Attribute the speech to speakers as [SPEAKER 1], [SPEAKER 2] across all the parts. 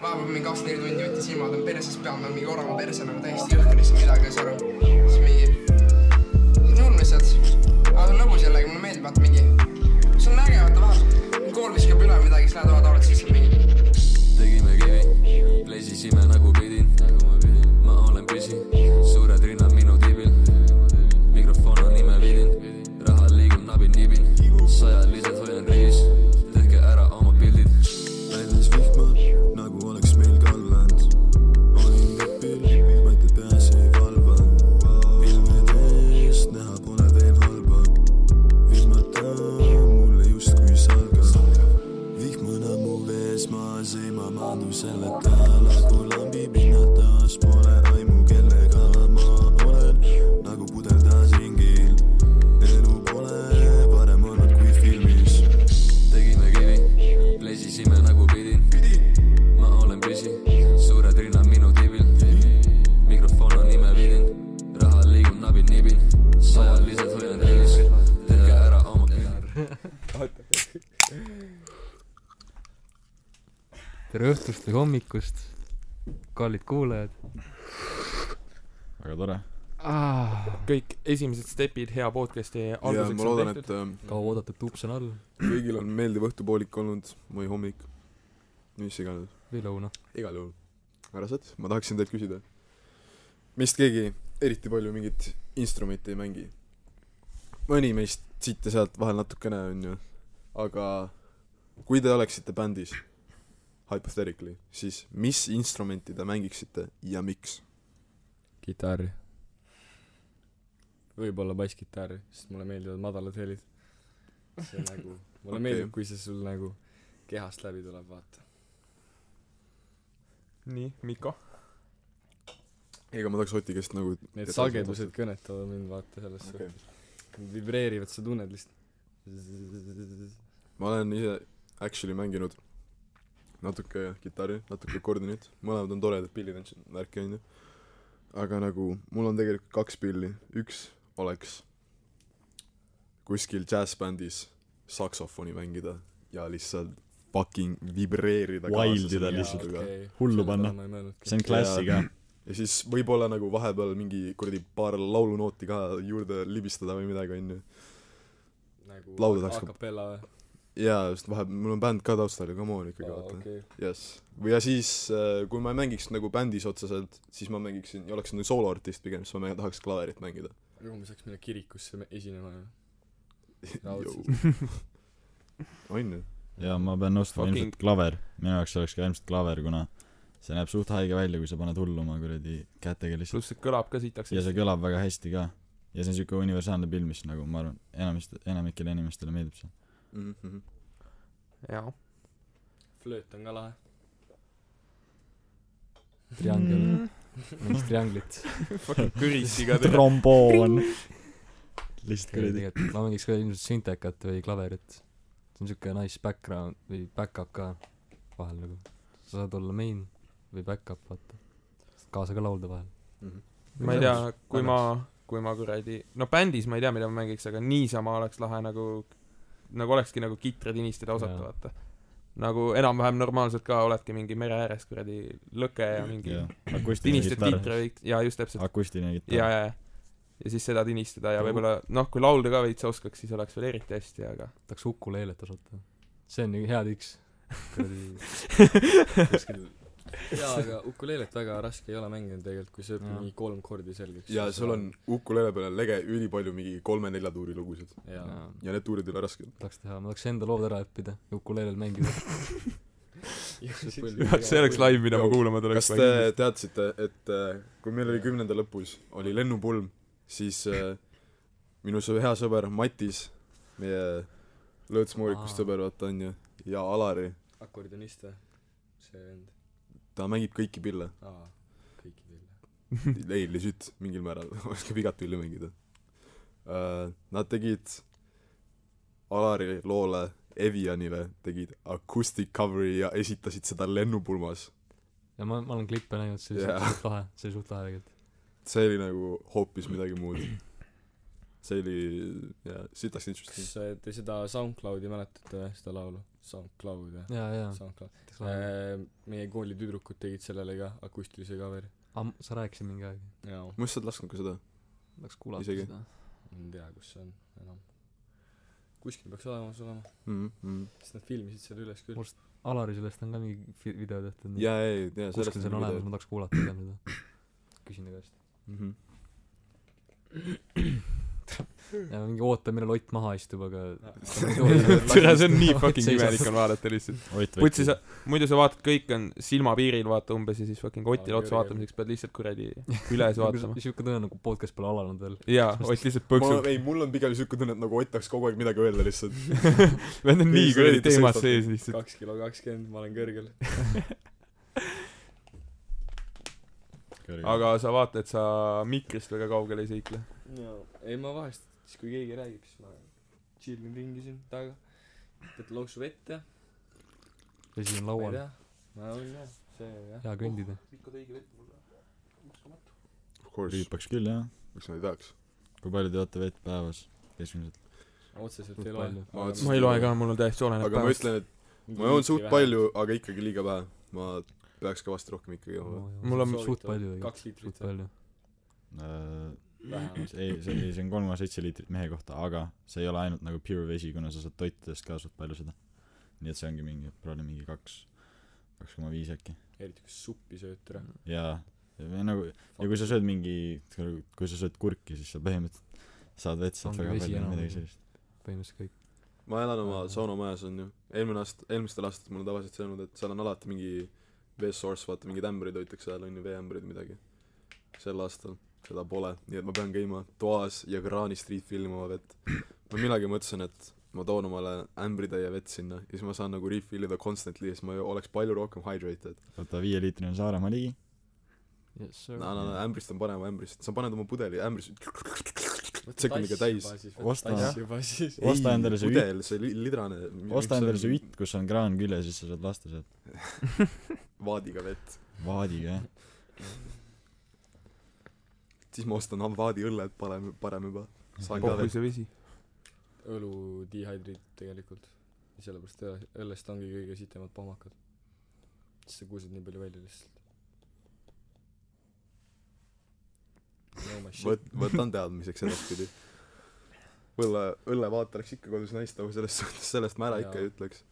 [SPEAKER 1] vahepeal mingi kakskümmend neli tundi võttis ilma ta perses peal , ma olen mingi orava perse nagu täiesti jõhker , siis midagi ei saa aru . siis mingi , nurm lihtsalt , aga see on lõbus jällegi , mulle meeldib vaata mingi , see on äge , vaata vahel kool viskab üle midagi , siis lähed vaatad autot sisse mingi
[SPEAKER 2] tegime kivi , plesisime nagu pidin , ma olen püsi , suured rinnad minu tiibil , mikrofon on imevidin , raha liigub nabin-nibin , sajalised hoian riis , tehke ära oma pildid .
[SPEAKER 3] väljas vihma , nagu oleks meil kalland . olin kapil , mõtted peas ei valva . pilvede eest näha pole veel halba . vihmata mulle justkui salgab . vihmana mu vees maas ei ma maandu selleta , nagu lambi pinnalt taas pole aimu , kellega ma olen , nagu pudel taas ringil . elu pole varem olnud kui filmis
[SPEAKER 2] tegime nagu kivi , plesisime nagu pidin , ma olen püsi , suured rinnad minu tiibil , mikrofon on imevidin , raha liigub nabin-nibin , sajalised hoian riis , tehke ära oma pildid .
[SPEAKER 4] tere õhtust või hommikust , kallid kuulajad
[SPEAKER 5] väga tore .
[SPEAKER 4] ah, .
[SPEAKER 6] kõik esimesed stepid hea podcasti
[SPEAKER 7] ja
[SPEAKER 6] alguseks
[SPEAKER 7] ma
[SPEAKER 6] on
[SPEAKER 7] loodan ,
[SPEAKER 6] tehtud
[SPEAKER 7] et äh,
[SPEAKER 4] kauaoodatud tuups on all
[SPEAKER 7] kõigil on meeldiv õhtupoolik olnud või hommik , mis iganes ,
[SPEAKER 4] või lõuna .
[SPEAKER 7] igal juhul . härrased , ma tahaksin teilt küsida , meist keegi eriti palju mingit instrumenti ei mängi ? mõni meist siit ja sealt vahel natukene onju , aga kui te oleksite bändis , hypothetically , siis mis instrumenti te mängiksite ja miks ?
[SPEAKER 5] kitarr .
[SPEAKER 8] võib-olla basskitarr , sest mulle meeldivad madalad helid . see nagu , mulle
[SPEAKER 7] Okei.
[SPEAKER 8] okay. meeldib , kui see sul nagu kehast läbi tuleb , vaata .
[SPEAKER 6] nii Miko
[SPEAKER 7] ega ma tahaks Oti käest nagu
[SPEAKER 8] Need sagedused kõnetavad mind , vaata , selles
[SPEAKER 7] Okei.
[SPEAKER 8] okay. suhtes . Nad vibreerivad , sa tunned lihtsalt .
[SPEAKER 7] ma olen ise actually mänginud natuke kitarri , natuke akordionit , mõlemad on toredad pillid , värki onju . aga nagu mul on tegelikult kaks pilli , üks oleks kuskil džässbändis saksofoni mängida ja lihtsalt fucking vibreerida
[SPEAKER 5] Wildida lihtsalt.
[SPEAKER 7] muusikaga.
[SPEAKER 5] Hullu panna.
[SPEAKER 8] ma ei mõelnudki
[SPEAKER 5] see . on klassiga .
[SPEAKER 7] ja siis võib-olla nagu vahepeal mingi kuradi paar laulunooti ka juurde libistada või midagi onju
[SPEAKER 8] nagu
[SPEAKER 7] laulda tahaks
[SPEAKER 8] a
[SPEAKER 7] ka-
[SPEAKER 8] capella või ?
[SPEAKER 7] jaa , sest vahepeal mul on bänd ka taustal ju , come on ikkagi
[SPEAKER 8] aa ,
[SPEAKER 7] vaata
[SPEAKER 8] okei .
[SPEAKER 7] jess , või ja siis , kui ma ei mängiks nagu bändis otseselt , siis ma mängiksin ja oleksin nagu sooloartist pigem , siis ma mäng- tahaks klaverit mängida .
[SPEAKER 8] ju me saaks minna kirikusse me- esinema ju . Raudselt.
[SPEAKER 7] on ju ?
[SPEAKER 5] ja ma pean nõustuma
[SPEAKER 6] Fucking-
[SPEAKER 5] ilmselt klaver , minu jaoks oleks ka ilmselt klaver , kuna see näeb suht haige välja , kui sa paned hullu oma kuradi kätega lihtsalt .
[SPEAKER 6] pluss see kõlab ka sitaks
[SPEAKER 5] ja see kõlab väga hästi ka . ja see on siuke universaalne pill , mis nagu ma arvan , enamist , enamikele inimestele meeldib see .
[SPEAKER 6] jaa
[SPEAKER 8] flööt on ka lahe .
[SPEAKER 4] triangel , mingit trianglit .
[SPEAKER 6] fucking kõristiga teha
[SPEAKER 5] tromboon . lihtsalt kuradi .
[SPEAKER 4] tegelikult ma mängiks ka ilmselt sintekat või klaverit . see on siuke nice background või back-up ka vahel nagu . sa saad olla main või back-up , vaata . kaasa ka laulda vahel .
[SPEAKER 6] ma ei tea kui ma kui ma kuradi no bändis ma ei tea mida ma mängiks aga niisama oleks lahe nagu nagu olekski nagu kitrid inistida osata
[SPEAKER 4] Jaa.
[SPEAKER 6] vaata nagu enam-vähem normaalselt ka oledki mingi mere ääres kuradi lõke ja mingi
[SPEAKER 5] jah , akustiline
[SPEAKER 6] tinistad
[SPEAKER 5] kitarr .
[SPEAKER 6] titra või jaa just täpselt
[SPEAKER 5] akustiline
[SPEAKER 6] ja ,
[SPEAKER 5] kitarr .
[SPEAKER 6] ja , ja siis seda tinistada ja võib-olla noh , kui laulda ka veits oskaks , siis oleks veel eriti hästi , aga
[SPEAKER 4] tahaks ukuleelet osata . see on ju hea tiks . kuradi ,
[SPEAKER 8] jaa , aga ukuleelet väga raske ei ole mängida tegelikult , kui sa õpid
[SPEAKER 4] Jah.
[SPEAKER 8] mingi kolm kordi selgeks .
[SPEAKER 7] ja sul on ukulele peal on lege ülipalju mingi kolme-nelja tuuri lugusid
[SPEAKER 8] jaa
[SPEAKER 7] ja need tuurid ei ole rasked .
[SPEAKER 4] tahaks teha , ma tahaks enda lood ära õppida ja ukuleelel mängida .
[SPEAKER 6] see
[SPEAKER 8] nagu
[SPEAKER 6] oleks live , mida ma kuulama
[SPEAKER 7] kas
[SPEAKER 6] tuleks .
[SPEAKER 7] te teadsite , et äh, kui meil oli kümnenda lõpus , oli lennupulm , siis äh, minu sõ- hea sõber Matis , meie lõõtsmoorikust
[SPEAKER 4] Aa.
[SPEAKER 7] sõber , vaata onju , ja Alari ,
[SPEAKER 8] akordionist või see vend
[SPEAKER 7] ta mängib kõiki pille .
[SPEAKER 8] aa kõikidele
[SPEAKER 7] ei , legit , mingil määral oskab igat pilli mängida uh, . Nad tegid Alari loole Evianile , tegid acoustic cover'i ja esitasid seda lennupulmas .
[SPEAKER 4] ja ma , ma olen klippe näinud , see oli
[SPEAKER 7] Jaa.
[SPEAKER 4] suht lahe , see oli suht lahe tegelikult .
[SPEAKER 7] see oli nagu hoopis midagi muud . see oli , jaa , sitaks interesting .
[SPEAKER 8] kas äh, te seda SoundCloudi mäletate või seda laulu SoundCloud või ?
[SPEAKER 4] jaa , jaa .
[SPEAKER 8] SoundCloud . meie kooli tüdrukud tegid sellele ka akustilise coveri .
[SPEAKER 4] sa rääkisid mingi aeg ,
[SPEAKER 8] jaa ,
[SPEAKER 7] ma just ei lasknud ka seda
[SPEAKER 4] tahaks kuulata
[SPEAKER 7] Isegi.
[SPEAKER 4] seda .
[SPEAKER 8] ma ei tea , kus see on enam . kuskil peaks olemas olema ,
[SPEAKER 7] mm . -hmm.
[SPEAKER 8] sest nad filmisid selle üles küll
[SPEAKER 4] Mul- . Alari sellest on ka mingi fi- video tehtud .
[SPEAKER 7] jaa , ei , jaa ,
[SPEAKER 4] kuskil
[SPEAKER 7] sellest nagu
[SPEAKER 4] see on
[SPEAKER 7] mingi
[SPEAKER 4] olemas ,
[SPEAKER 7] video.
[SPEAKER 4] ma tahaks kuulata pigem seda . küsin ta käest .
[SPEAKER 7] Mhm.
[SPEAKER 4] ja mingi ootan , millal Ott maha istub , aga
[SPEAKER 8] Ah.
[SPEAKER 6] tere , see on nii fucking imelik on vaadata lihtsalt .
[SPEAKER 5] Ott
[SPEAKER 6] putsi sa , muidu sa vaatad , kõik on silmapiiril , vaata umbes ja siis fucking Otile
[SPEAKER 8] Aa,
[SPEAKER 6] otsa
[SPEAKER 8] jaa,
[SPEAKER 6] vaatamiseks pead lihtsalt kuradi üles vaatama .
[SPEAKER 4] siuke tunne nagu podcast pole alanud veel .
[SPEAKER 6] jaa , Ott lihtsalt
[SPEAKER 7] ma ,
[SPEAKER 6] põksub .
[SPEAKER 7] ei , mul on pigem siuke tunne , et nagu Ott tahaks kogu aeg midagi öelda lihtsalt .
[SPEAKER 6] Nad on nii
[SPEAKER 7] Ei, see
[SPEAKER 6] kuradi
[SPEAKER 7] eriti
[SPEAKER 6] teemas
[SPEAKER 7] sõltub.
[SPEAKER 6] sees lihtsalt .
[SPEAKER 8] kaks kilo kakskümmend , ma olen kõrgel .
[SPEAKER 5] sa
[SPEAKER 6] aga sa vaata , et sa mikrist väga kaugele ei seikle .
[SPEAKER 8] ei , ma vahest , siis kui keegi räägib , siis ma chillin ringi siin taga , võtad lonksu vett ja
[SPEAKER 4] vesi on
[SPEAKER 8] ma ei
[SPEAKER 4] laual ,
[SPEAKER 8] tea , ma võin jah , see jah .
[SPEAKER 4] hea kõndida .
[SPEAKER 7] Of course ,
[SPEAKER 5] rüüpaks küll jah
[SPEAKER 7] miks ma ei tahaks .
[SPEAKER 5] kui palju te joote vett päevas keskmiselt
[SPEAKER 8] otseselt
[SPEAKER 4] Suht
[SPEAKER 8] ei loe
[SPEAKER 4] palju. .
[SPEAKER 7] Ma otseselt
[SPEAKER 6] ma ei loe ka , mul on täiesti
[SPEAKER 4] Äh,
[SPEAKER 6] oleneb
[SPEAKER 7] aga ma . ütlen , et ma joon suht . palju , aga ikkagi liiga vähe . ma peaks kõvasti rohkem ikkagi jooma .
[SPEAKER 6] Mul on
[SPEAKER 4] suht palju tegelikult ,
[SPEAKER 8] kaks liitrit
[SPEAKER 4] suht
[SPEAKER 8] või
[SPEAKER 4] palju .
[SPEAKER 5] Äh,
[SPEAKER 8] vähem ?
[SPEAKER 5] see ei see ei see on kolm koma seitse liitrit mehe kohta aga see ei ole ainult nagu pure vesi kuna sa saad toitidest ka suht palju seda nii et see ongi mingi probably mingi kaks kaks koma viis äkki
[SPEAKER 8] eriti kui sa suppi sööd täna .
[SPEAKER 5] jaa ja või nagu ja kui sa sööd mingi kui sa sööd kurki siis sa põhimõtteliselt saad vett sealt
[SPEAKER 4] Ongi
[SPEAKER 5] väga
[SPEAKER 4] vesi
[SPEAKER 5] palju
[SPEAKER 4] enam-
[SPEAKER 5] midagi sellist
[SPEAKER 4] põhimõtteliselt kõik .
[SPEAKER 7] ma elan oma saunamajas onju . eelmine aasta , eelmistel aastatel mul on tavaliselt see olnud , et seal on alati mingi vee source , vaata mingeid ämbreid hoitakse seal onju , veeämbreid või midagi . sel aastal seda pole , nii et ma pean käima toas ja kraanist refillima oma vett . ma millalgi mõtlesin , et ma toon omale ämbritäie vett sinna ja siis ma saan nagu refill ida constantly ja siis ma ju- oleks palju rohkem hydrated .
[SPEAKER 5] oota viieliitrine on Saaremaa ligi
[SPEAKER 4] Yes sir .
[SPEAKER 7] no , no , no ämbrist on parem ämbrist , sa paned oma pudeli ämbris , sekundiga täis. .
[SPEAKER 5] Osta-
[SPEAKER 8] tass juba siis .
[SPEAKER 5] Osta endale see
[SPEAKER 7] pudel , see li- lidrane .
[SPEAKER 5] osta endale see vitt kus on kraan küljes siis sa saad lasta sealt
[SPEAKER 7] vaadiga vett .
[SPEAKER 5] vaadiga jah
[SPEAKER 7] siis ma ostan vaadi õlled parem , parem juba . saan ka vett .
[SPEAKER 6] pohvis ja Oh, vesi .
[SPEAKER 8] õlu dehydrid tegelikult . ja sellepärast õle- õllest ongi kõige sitemad pohmakad . siis sa kuused nii palju välja lihtsalt . no my shit .
[SPEAKER 7] võt- , võtan teadmiseks edaspidi . õlle , õllevaat oleks ikka kodus naiste au , selles suhtes , sellest ma ära ikka ei
[SPEAKER 8] Jaa.
[SPEAKER 7] ütleks .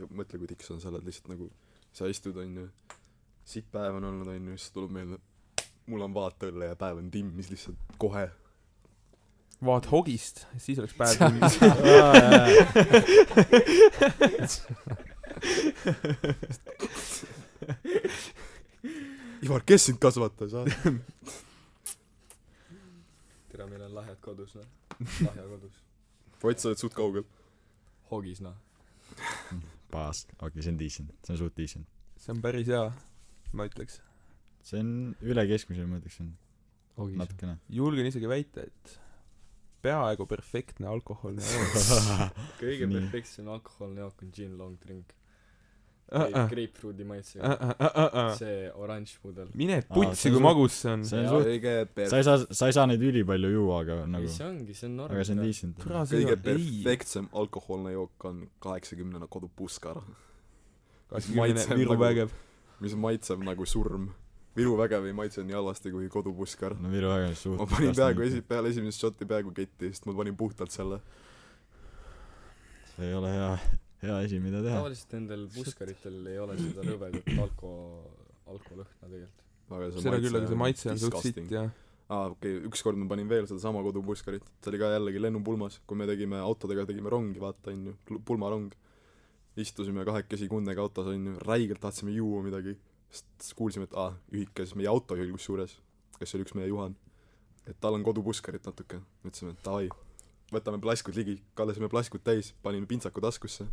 [SPEAKER 7] ja mõtle , kui tiks on , sa oled lihtsalt nagu , sa istud , onju , sitt päev on olnud , onju , siis tuleb meelde , mul on vaat õlle ja päev on timmis lihtsalt kohe .
[SPEAKER 6] vaat hogist , siis oleks päev .
[SPEAKER 7] Ivar , kes sind kasvatas , ah ?
[SPEAKER 8] tere , meil on lahjad kodus , noh . lahja kodus .
[SPEAKER 7] Ott , sa oled suht kaugel .
[SPEAKER 8] hogis , noh .
[SPEAKER 5] paas okei okay, see on decent see on suht decent
[SPEAKER 6] see on päris hea , ma ütleks .
[SPEAKER 5] see on üle keskmise ma ütleksin
[SPEAKER 4] hogis .
[SPEAKER 5] natukene
[SPEAKER 6] julgen isegi väita , et peaaegu perfektne alkoholne joon .
[SPEAKER 8] kõige
[SPEAKER 5] Nii.
[SPEAKER 8] perfektsem alkoholne jook on gin long drink .
[SPEAKER 5] Ah,
[SPEAKER 6] Uh-uh.
[SPEAKER 8] Grapefruidi
[SPEAKER 6] Ah,
[SPEAKER 8] maitsega .
[SPEAKER 6] Uh-uh-uh-uh.
[SPEAKER 8] see oranž pudel .
[SPEAKER 6] mine
[SPEAKER 5] Aa, see
[SPEAKER 6] putsi ,
[SPEAKER 5] on
[SPEAKER 6] kui
[SPEAKER 5] suht-
[SPEAKER 6] magus see on .
[SPEAKER 5] see on suht
[SPEAKER 7] E
[SPEAKER 5] sa ei saa sa ei saa neid ülipalju juua aga
[SPEAKER 8] ei ,
[SPEAKER 5] nagu
[SPEAKER 8] see ongi , see on norm .
[SPEAKER 5] aga see on decent
[SPEAKER 6] kurat , see
[SPEAKER 7] kõige
[SPEAKER 6] on , ei .
[SPEAKER 7] perfektsem alkohoolne jook on kaheksakümnene kodupuskar ,
[SPEAKER 6] kakskümmend
[SPEAKER 7] maitse on
[SPEAKER 6] Viru
[SPEAKER 7] nagu-
[SPEAKER 6] vägev .
[SPEAKER 7] mis maitseb nagu surm . Viru vägev ei maitse nii halvasti kui kodupuskar .
[SPEAKER 5] no Viru väga suht
[SPEAKER 7] ma panin peaaegu esi- , peale esimest šotti peaaegu ketti , sest ma panin puhtalt selle .
[SPEAKER 5] see ei ole hea hea asi mida teha
[SPEAKER 8] tavaliselt nendel puskaritel ei ole seda rõvedat alko , alkolõhna tegelikult .
[SPEAKER 7] aga
[SPEAKER 6] seda küll , aga see maitse on suht sitt jah .
[SPEAKER 7] aa , okei okay, , ükskord ma panin veel sedasama kodupuskarit , see oli ka jällegi lennupulmas , kui me tegime autodega , tegime rongi , vaata onju , pulmarong . istusime kahekesi kundega autos onju , räigelt tahtsime juua midagi , sest kuulsime , et aa , ühikas meie autojuhil kusjuures , kes oli üks meie Juhan , et tal on kodupuskarit natuke , mõtlesime , et davai , võtame plaskud ligi , kallasime plaskud täis , panime pintsaku taskusse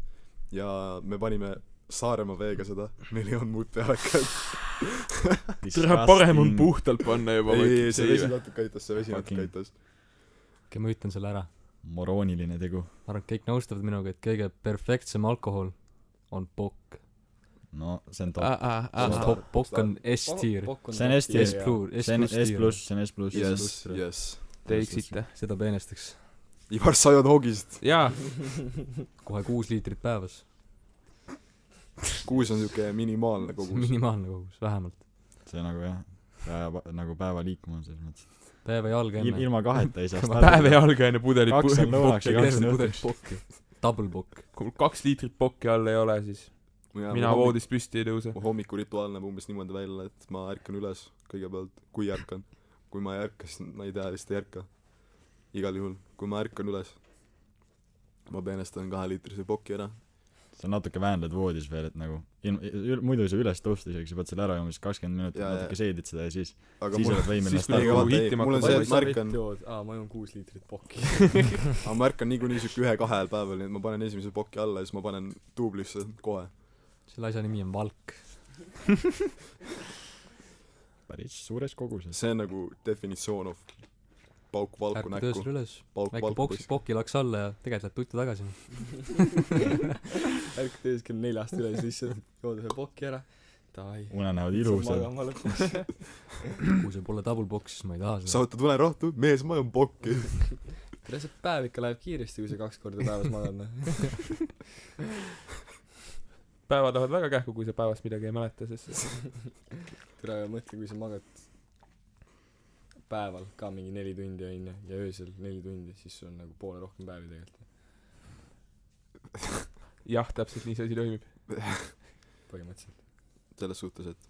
[SPEAKER 7] ja me panime Saaremaa veega seda , meil ei olnud muud peale ka ,
[SPEAKER 6] tere , parem on puhtalt panna juba .
[SPEAKER 7] ei , ei , see vesi natuke aitas , see vesi natuke
[SPEAKER 5] Fucking-
[SPEAKER 7] aitas .
[SPEAKER 4] okei , ma ütlen selle ära .
[SPEAKER 5] morooniline tegu
[SPEAKER 4] ma arvan , et kõik nõustuvad minuga , et kõige perfektsem alkohol on pokk .
[SPEAKER 5] no see on
[SPEAKER 6] Ah,
[SPEAKER 5] top
[SPEAKER 4] ah,
[SPEAKER 6] vesi .
[SPEAKER 4] pokk on S-tier .
[SPEAKER 5] see on hästi
[SPEAKER 4] S
[SPEAKER 5] S-
[SPEAKER 4] pluss , S
[SPEAKER 5] see on
[SPEAKER 4] pluss
[SPEAKER 5] S
[SPEAKER 4] tiir .
[SPEAKER 5] pluss see on S pluss
[SPEAKER 7] jess , jess .
[SPEAKER 6] Te eksite .
[SPEAKER 4] seda peenestaks .
[SPEAKER 7] Ivar , sa jood hoogist .
[SPEAKER 6] jaa ,
[SPEAKER 4] kohe kuus liitrit päevas .
[SPEAKER 7] kuus on siuke minimaalne kogus .
[SPEAKER 4] minimaalne kogus , vähemalt .
[SPEAKER 5] see nagu jah , päeva , nagu päeva liikuma on selles mõttes .
[SPEAKER 4] päeva jalga enne .
[SPEAKER 5] ilma kaheta ei saa
[SPEAKER 6] päev ei . alga enne pudelit
[SPEAKER 5] kaks on lõunaks ja kaks on õhtuks .
[SPEAKER 4] Double book .
[SPEAKER 6] kui mul kaks liitrit pokki all ei ole , siis mina . voodist püsti ei tõuse .
[SPEAKER 7] mu hommikurituaal näeb umbes niimoodi välja , et ma ärkan üles kõigepealt , kui ärkan . kui ma ei ärka , siis ma ei tea , vist ei ärka . igal juhul , kui ma ärkan üles , ma peenestan kaheliitrise poki ära .
[SPEAKER 5] sa natuke väänled voodis veel , et nagu ilma , muidu ei saa üles tõusta isegi , sa pead selle ära jooma , siis kakskümmend minutit
[SPEAKER 7] Jaa, jaa.
[SPEAKER 5] natuke seedid seda ja siis ,
[SPEAKER 7] aga
[SPEAKER 5] siis
[SPEAKER 7] mul ,
[SPEAKER 5] oled võimeline
[SPEAKER 6] siis nagu liiga
[SPEAKER 5] startima .
[SPEAKER 6] vaata, ei,
[SPEAKER 7] mul on
[SPEAKER 6] Palju
[SPEAKER 7] see ,
[SPEAKER 6] sa
[SPEAKER 7] et ma ärkan ,
[SPEAKER 8] aa , ma joon kuus liitrit pokki .
[SPEAKER 7] aga ma ärkan niikuinii siuke ühe-kahe ajal päeval , nii et ma panen esimese poki alla ja siis ma panen tuublisse kohe .
[SPEAKER 4] selle asja nimi on valk .
[SPEAKER 5] päris suures koguses .
[SPEAKER 7] see on nagu definitsioon of pauk valku
[SPEAKER 4] ärkad
[SPEAKER 7] näkku ,
[SPEAKER 4] öösel üles ,
[SPEAKER 7] pauk
[SPEAKER 4] väike
[SPEAKER 7] valku
[SPEAKER 4] boks ,
[SPEAKER 7] kuskil .
[SPEAKER 4] pokki laks alla ja tegelikult lähed tuttu tagasi .
[SPEAKER 8] ärkad öösel kell neljast üles lihtsalt , jood ühe pokki ära , davai .
[SPEAKER 5] unenäod ilusad .
[SPEAKER 8] magama lõpuks .
[SPEAKER 4] kui see pole double box , siis ma ei taha
[SPEAKER 7] sa
[SPEAKER 4] seda .
[SPEAKER 7] võtad unerohtu , mees , ma joon pokki .
[SPEAKER 8] tere , see päev ikka läheb kiiresti , kui sa kaks korda päevas magad , noh .
[SPEAKER 6] päevad lähevad väga kähku , kui sa päevast midagi ei mäleta , sest
[SPEAKER 8] tere , aga mõtle , kui sa magad päeval ka mingi neli tundi , onju , ja öösel neli tundi , siis sul on nagu poole rohkem päevi tegelikult ,
[SPEAKER 6] jah , täpselt nii see asi toimib .
[SPEAKER 8] põhimõtteliselt .
[SPEAKER 7] selles suhtes , et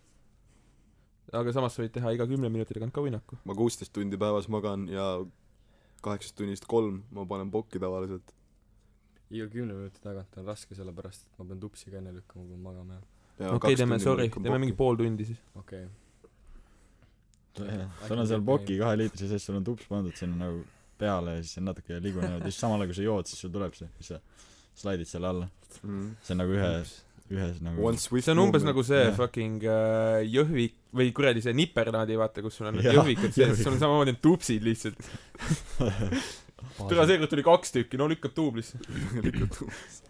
[SPEAKER 6] aga samas sa võid teha iga kümne minuti tagant ka uinaku .
[SPEAKER 7] ma kuusteist tundi päevas magan ja kaheksast tunnist kolm ma panen pokki tavaliselt .
[SPEAKER 8] iga kümne minuti tagant on raske , sellepärast et ma pean tupsi ka enne lükkama , kui ma magama jään .
[SPEAKER 6] okei okay, , teeme , sorry , teeme mingi . pool tundi siis .
[SPEAKER 8] okei okay. .
[SPEAKER 5] sul on seal poki kaheliitrise sees , sul on tups pandud sinna nagu peale ja siis see on natuke ligunenud ja siis samal ajal kui sa jood , siis sul tuleb see , siis sa slaidid selle alla . see on nagu ühe , ühes nagu
[SPEAKER 7] Mhm. One swift
[SPEAKER 6] see on umbes nagu see
[SPEAKER 5] Jah.
[SPEAKER 6] fucking äh, jõhvik või kuradi see nipernaadi , vaata , kus sul on need
[SPEAKER 5] Jah,
[SPEAKER 6] jõhvikud sees , sul on samamoodi need tupsid lihtsalt . täna seekord tuli kaks tükki , no lükkab tuublisse .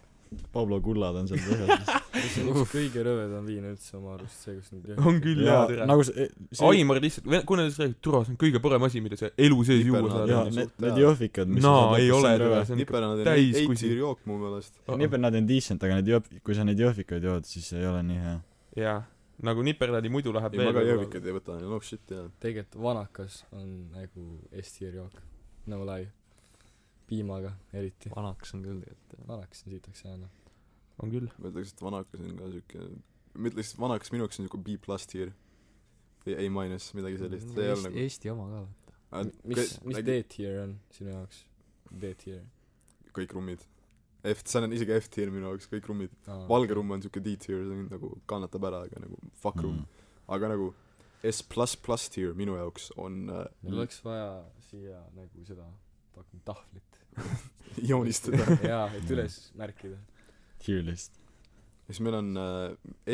[SPEAKER 5] Pablo kullad on seal põhjas .
[SPEAKER 8] see on üks kõige rõvedam viin üldse oma arust , see , kus nüüd
[SPEAKER 6] on küll hea tere .
[SPEAKER 5] nagu see , see ,
[SPEAKER 6] Aimar lihtsalt , kuna ta räägib , türa , see on kõige parem asi , mida sa elu sees juua
[SPEAKER 7] Nipernaad,
[SPEAKER 6] saad
[SPEAKER 5] jaa ,
[SPEAKER 7] on .
[SPEAKER 5] need ,
[SPEAKER 7] suht
[SPEAKER 5] need
[SPEAKER 7] hea.
[SPEAKER 5] jõhvikad , mis
[SPEAKER 6] no ei ole , türa , see on ikka
[SPEAKER 7] nipernaad on
[SPEAKER 6] täis
[SPEAKER 7] eight
[SPEAKER 6] kusi.
[SPEAKER 7] year jook mu meelest .
[SPEAKER 5] nipernaad on decent , aga need jõhv- , kui sa neid jõhvikaid jood , siis ei ole nii hea .
[SPEAKER 6] jaa , nagu nipernaadi muidu läheb
[SPEAKER 7] ei , ma ka
[SPEAKER 6] veel .
[SPEAKER 7] jõhvikaid ei võta , no shit jaa .
[SPEAKER 8] tegelikult vanakas on nagu Eesti jook , no lie . piimaga eriti .
[SPEAKER 4] vanaks on küll äh, tegelikult .
[SPEAKER 8] vanakas on siitaks jäänud .
[SPEAKER 6] on küll .
[SPEAKER 7] ma ütleks , et vanakas on ka siuke , ma ütleks , et vanakas minu jaoks on siuke B pluss tier . või A minus , midagi sellist , see ei ole nagu .
[SPEAKER 4] Eesti oma ka .
[SPEAKER 8] mis , mis D-tier on sinu jaoks ? D-tier .
[SPEAKER 7] kõik rummid . F , seal on isegi F tier minu jaoks , kõik rummid . valge rumm on siuke D tier , see on nagu kannatab ära , aga nagu fuck room
[SPEAKER 5] Hmm.
[SPEAKER 7] mm. . aga nagu S pluss pluss tier minu jaoks on
[SPEAKER 8] meil
[SPEAKER 7] äh,
[SPEAKER 8] oleks vaja siia nagu seda fucking tahvlit .
[SPEAKER 7] joonistada .
[SPEAKER 8] jaa , et üles märkida .
[SPEAKER 5] Tier list .
[SPEAKER 7] ja siis meil on äh,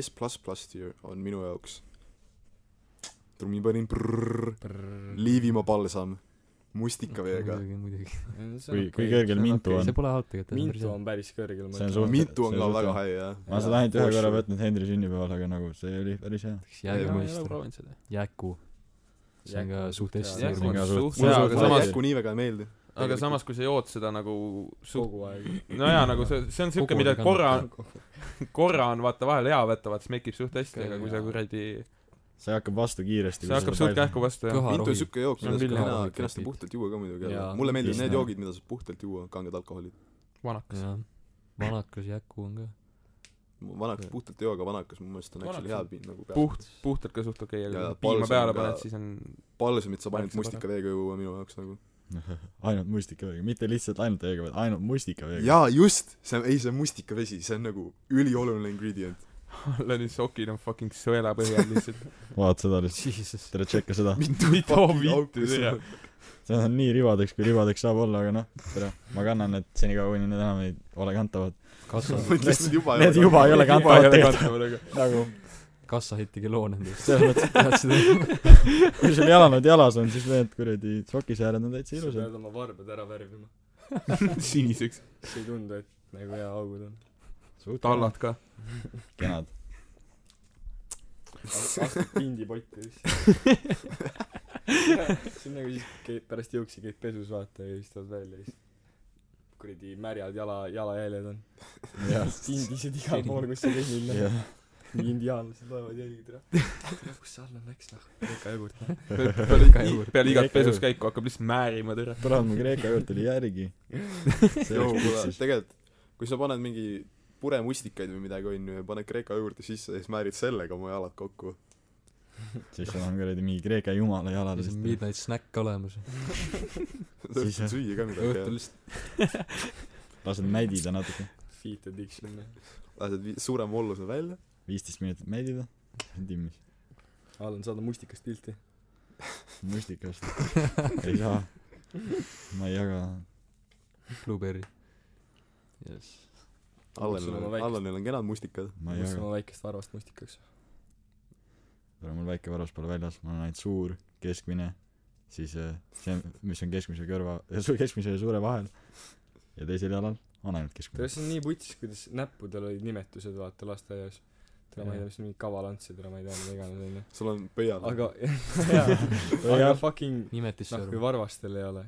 [SPEAKER 7] S pluss pluss tier on minu jaoks trummipanin prrrr , Liivimaa palsam ,
[SPEAKER 6] Mm-hmm.
[SPEAKER 7] mustikaveega .
[SPEAKER 4] muidugi , muidugi .
[SPEAKER 5] kui , kui kõrgel mintu on
[SPEAKER 4] see . pole halb tegelikult .
[SPEAKER 8] mintu on päris kõrgel , ma
[SPEAKER 5] See on
[SPEAKER 8] ütlen .
[SPEAKER 5] suht-
[SPEAKER 7] mitu on
[SPEAKER 5] see
[SPEAKER 7] ka
[SPEAKER 5] on
[SPEAKER 7] väga
[SPEAKER 5] suht-
[SPEAKER 7] hea jah .
[SPEAKER 5] ma olen seda ainult ühe korra võtnud Hendri sünnipäeval , aga nagu see oli päris hea .
[SPEAKER 4] jäägu
[SPEAKER 7] ma
[SPEAKER 4] mõista . jääku . see on ka
[SPEAKER 8] Jääku.
[SPEAKER 4] suht Eesti
[SPEAKER 8] Jääku
[SPEAKER 4] järgmine .
[SPEAKER 5] Jaa, aga
[SPEAKER 6] aga
[SPEAKER 7] mulle
[SPEAKER 5] samas-
[SPEAKER 6] samas ,
[SPEAKER 7] Jäku nii väga ei meeldi .
[SPEAKER 6] aga samas , kui sa jood seda nagu suht- ,
[SPEAKER 8] kogu aeg .
[SPEAKER 6] nojaa , nagu see , see on siuke ,
[SPEAKER 4] Kogu
[SPEAKER 6] mida
[SPEAKER 4] aeg
[SPEAKER 6] korra , korra on vaata vahel hea võtta , vaata , siis mekib suht hästi ,
[SPEAKER 4] Ikka
[SPEAKER 6] aga kui
[SPEAKER 4] jaa.
[SPEAKER 6] sa kuradi ,
[SPEAKER 5] see hakkab vastu kiiresti .
[SPEAKER 6] see hakkab suht kähku vastu jah .
[SPEAKER 7] mint on
[SPEAKER 4] kõharohi .
[SPEAKER 7] siuke jook ,
[SPEAKER 6] See on
[SPEAKER 7] mida saab
[SPEAKER 6] küll
[SPEAKER 7] kena
[SPEAKER 4] hea. ,
[SPEAKER 7] kenasti puhtalt juua ka muidugi , aga
[SPEAKER 8] Jaa.
[SPEAKER 7] mulle meeldivad
[SPEAKER 5] Just,
[SPEAKER 7] need
[SPEAKER 5] jah.
[SPEAKER 7] joogid , mida saab puhtalt juua , kanged alkoholid .
[SPEAKER 6] vanakas .
[SPEAKER 4] jah , vanakas jääku on ka .
[SPEAKER 7] vanakas
[SPEAKER 4] Jaa.
[SPEAKER 7] puhtalt ei joo , aga vanakas mu meelest on actually
[SPEAKER 6] Vanakas
[SPEAKER 7] hea
[SPEAKER 6] on
[SPEAKER 7] piim nagu peab .
[SPEAKER 6] puht , puhtalt ka suht okei , aga
[SPEAKER 7] Jaa,
[SPEAKER 6] kui piima
[SPEAKER 7] palus on
[SPEAKER 6] peale
[SPEAKER 7] ka-
[SPEAKER 6] paned , siis on
[SPEAKER 7] palsamit saab ainult
[SPEAKER 6] Märksa
[SPEAKER 7] mustikaveega juua minu jaoks nagu .
[SPEAKER 5] ainult mustikaveega , mitte lihtsalt ainult veega , vaid ainult mustikaveega .
[SPEAKER 7] jaa , just , see on , ei see on mustikavesi , see on nagu ülioluline ingredient .
[SPEAKER 6] alla nüüd sokid on fucking sõela põhjal lihtsalt .
[SPEAKER 5] vaat seda lihtsalt .
[SPEAKER 4] Jesus .
[SPEAKER 5] tere , tšekka seda .
[SPEAKER 6] mida vittu , tere .
[SPEAKER 5] see on nii ribadeks , kui ribadeks saab olla , aga noh , tere , ma kannan need senikaua , kuni need enam ei ole kantavad .
[SPEAKER 4] kassa ,
[SPEAKER 7] ma ütlesin juba .
[SPEAKER 5] Need juba ei ole kantavad tegelikult nagu .
[SPEAKER 4] kassa heitti kiloo nendest .
[SPEAKER 5] selles mõttes , kui sul jalanad jalas on , siis need kuradi sokisääred on täitsa
[SPEAKER 8] sa
[SPEAKER 5] ilusad .
[SPEAKER 8] pead oma varbad ära värvima .
[SPEAKER 6] siniseks .
[SPEAKER 8] see ei tundu , et nagu hea augud on .
[SPEAKER 6] tallad ka .
[SPEAKER 5] kenad .
[SPEAKER 8] astud pindipotti lihtsalt . see on nagu siis käid pärast jooksi käid pesus vaata ja siis tuled välja ja siis kuradi märjad jala , jalajäljed on .
[SPEAKER 5] jah ,
[SPEAKER 8] tindised igal pool , kus sa käid minna .
[SPEAKER 5] jah .
[SPEAKER 8] mingi indiaanlased loevad jälgid ära . kus see Allan läks noh , Kreeka jogurt noh .
[SPEAKER 6] peale, peale igat pesuskäiku hakkab lihtsalt määrima tõra .
[SPEAKER 5] tuleb mu Kreeka juurde oli järgi .
[SPEAKER 7] tegelikult , kui sa paned mingi puremustikaid või midagi onju ja paned Kreeka juurde sisse ja siis määrid sellega oma jalad kokku .
[SPEAKER 5] siis sul on kuradi mingi Kreeka jumala jalad
[SPEAKER 4] siis on
[SPEAKER 5] lihtsalt .
[SPEAKER 4] midnight snack olemas .
[SPEAKER 7] sa
[SPEAKER 5] Siis, jah.
[SPEAKER 7] võid süüa ka
[SPEAKER 8] õhtul
[SPEAKER 7] midagi .
[SPEAKER 8] lihtsalt
[SPEAKER 5] lased mädida natuke .
[SPEAKER 8] feet addiction noh .
[SPEAKER 7] Lähed vi- suure molluse välja .
[SPEAKER 5] viisteist minutit mädida . timmis .
[SPEAKER 8] Allan , saada mustikast pilti .
[SPEAKER 5] mustikast . ei saa . ma ei jaga
[SPEAKER 4] Blueberry . jess .
[SPEAKER 7] Allanil
[SPEAKER 8] Kutsun
[SPEAKER 7] on ,
[SPEAKER 8] oma väikest-
[SPEAKER 7] Allanil on kenad mustikad .
[SPEAKER 5] ma ei
[SPEAKER 8] kutsun
[SPEAKER 5] jaga ,
[SPEAKER 8] oma väikest varvast mustikaks .
[SPEAKER 5] kuna mul väike varas pole väljas , mul on ainult suur , keskmine , siis äh, see , mis on keskmise kõrva , keskmise ja suure vahel ja teisel jalal on ainult keskmine
[SPEAKER 8] tead ,. see on nii putsis , kuidas näppudel olid nimetused vaata lasteaias . täna ma ei tea , mis mingid kavalantsid , täna ma ei tea , mida iganes onju .
[SPEAKER 7] sul on pöial .
[SPEAKER 8] aga jaa , aga fucking
[SPEAKER 4] nimetisse
[SPEAKER 8] noh , kui
[SPEAKER 4] arvan .
[SPEAKER 8] varvastel ei ole .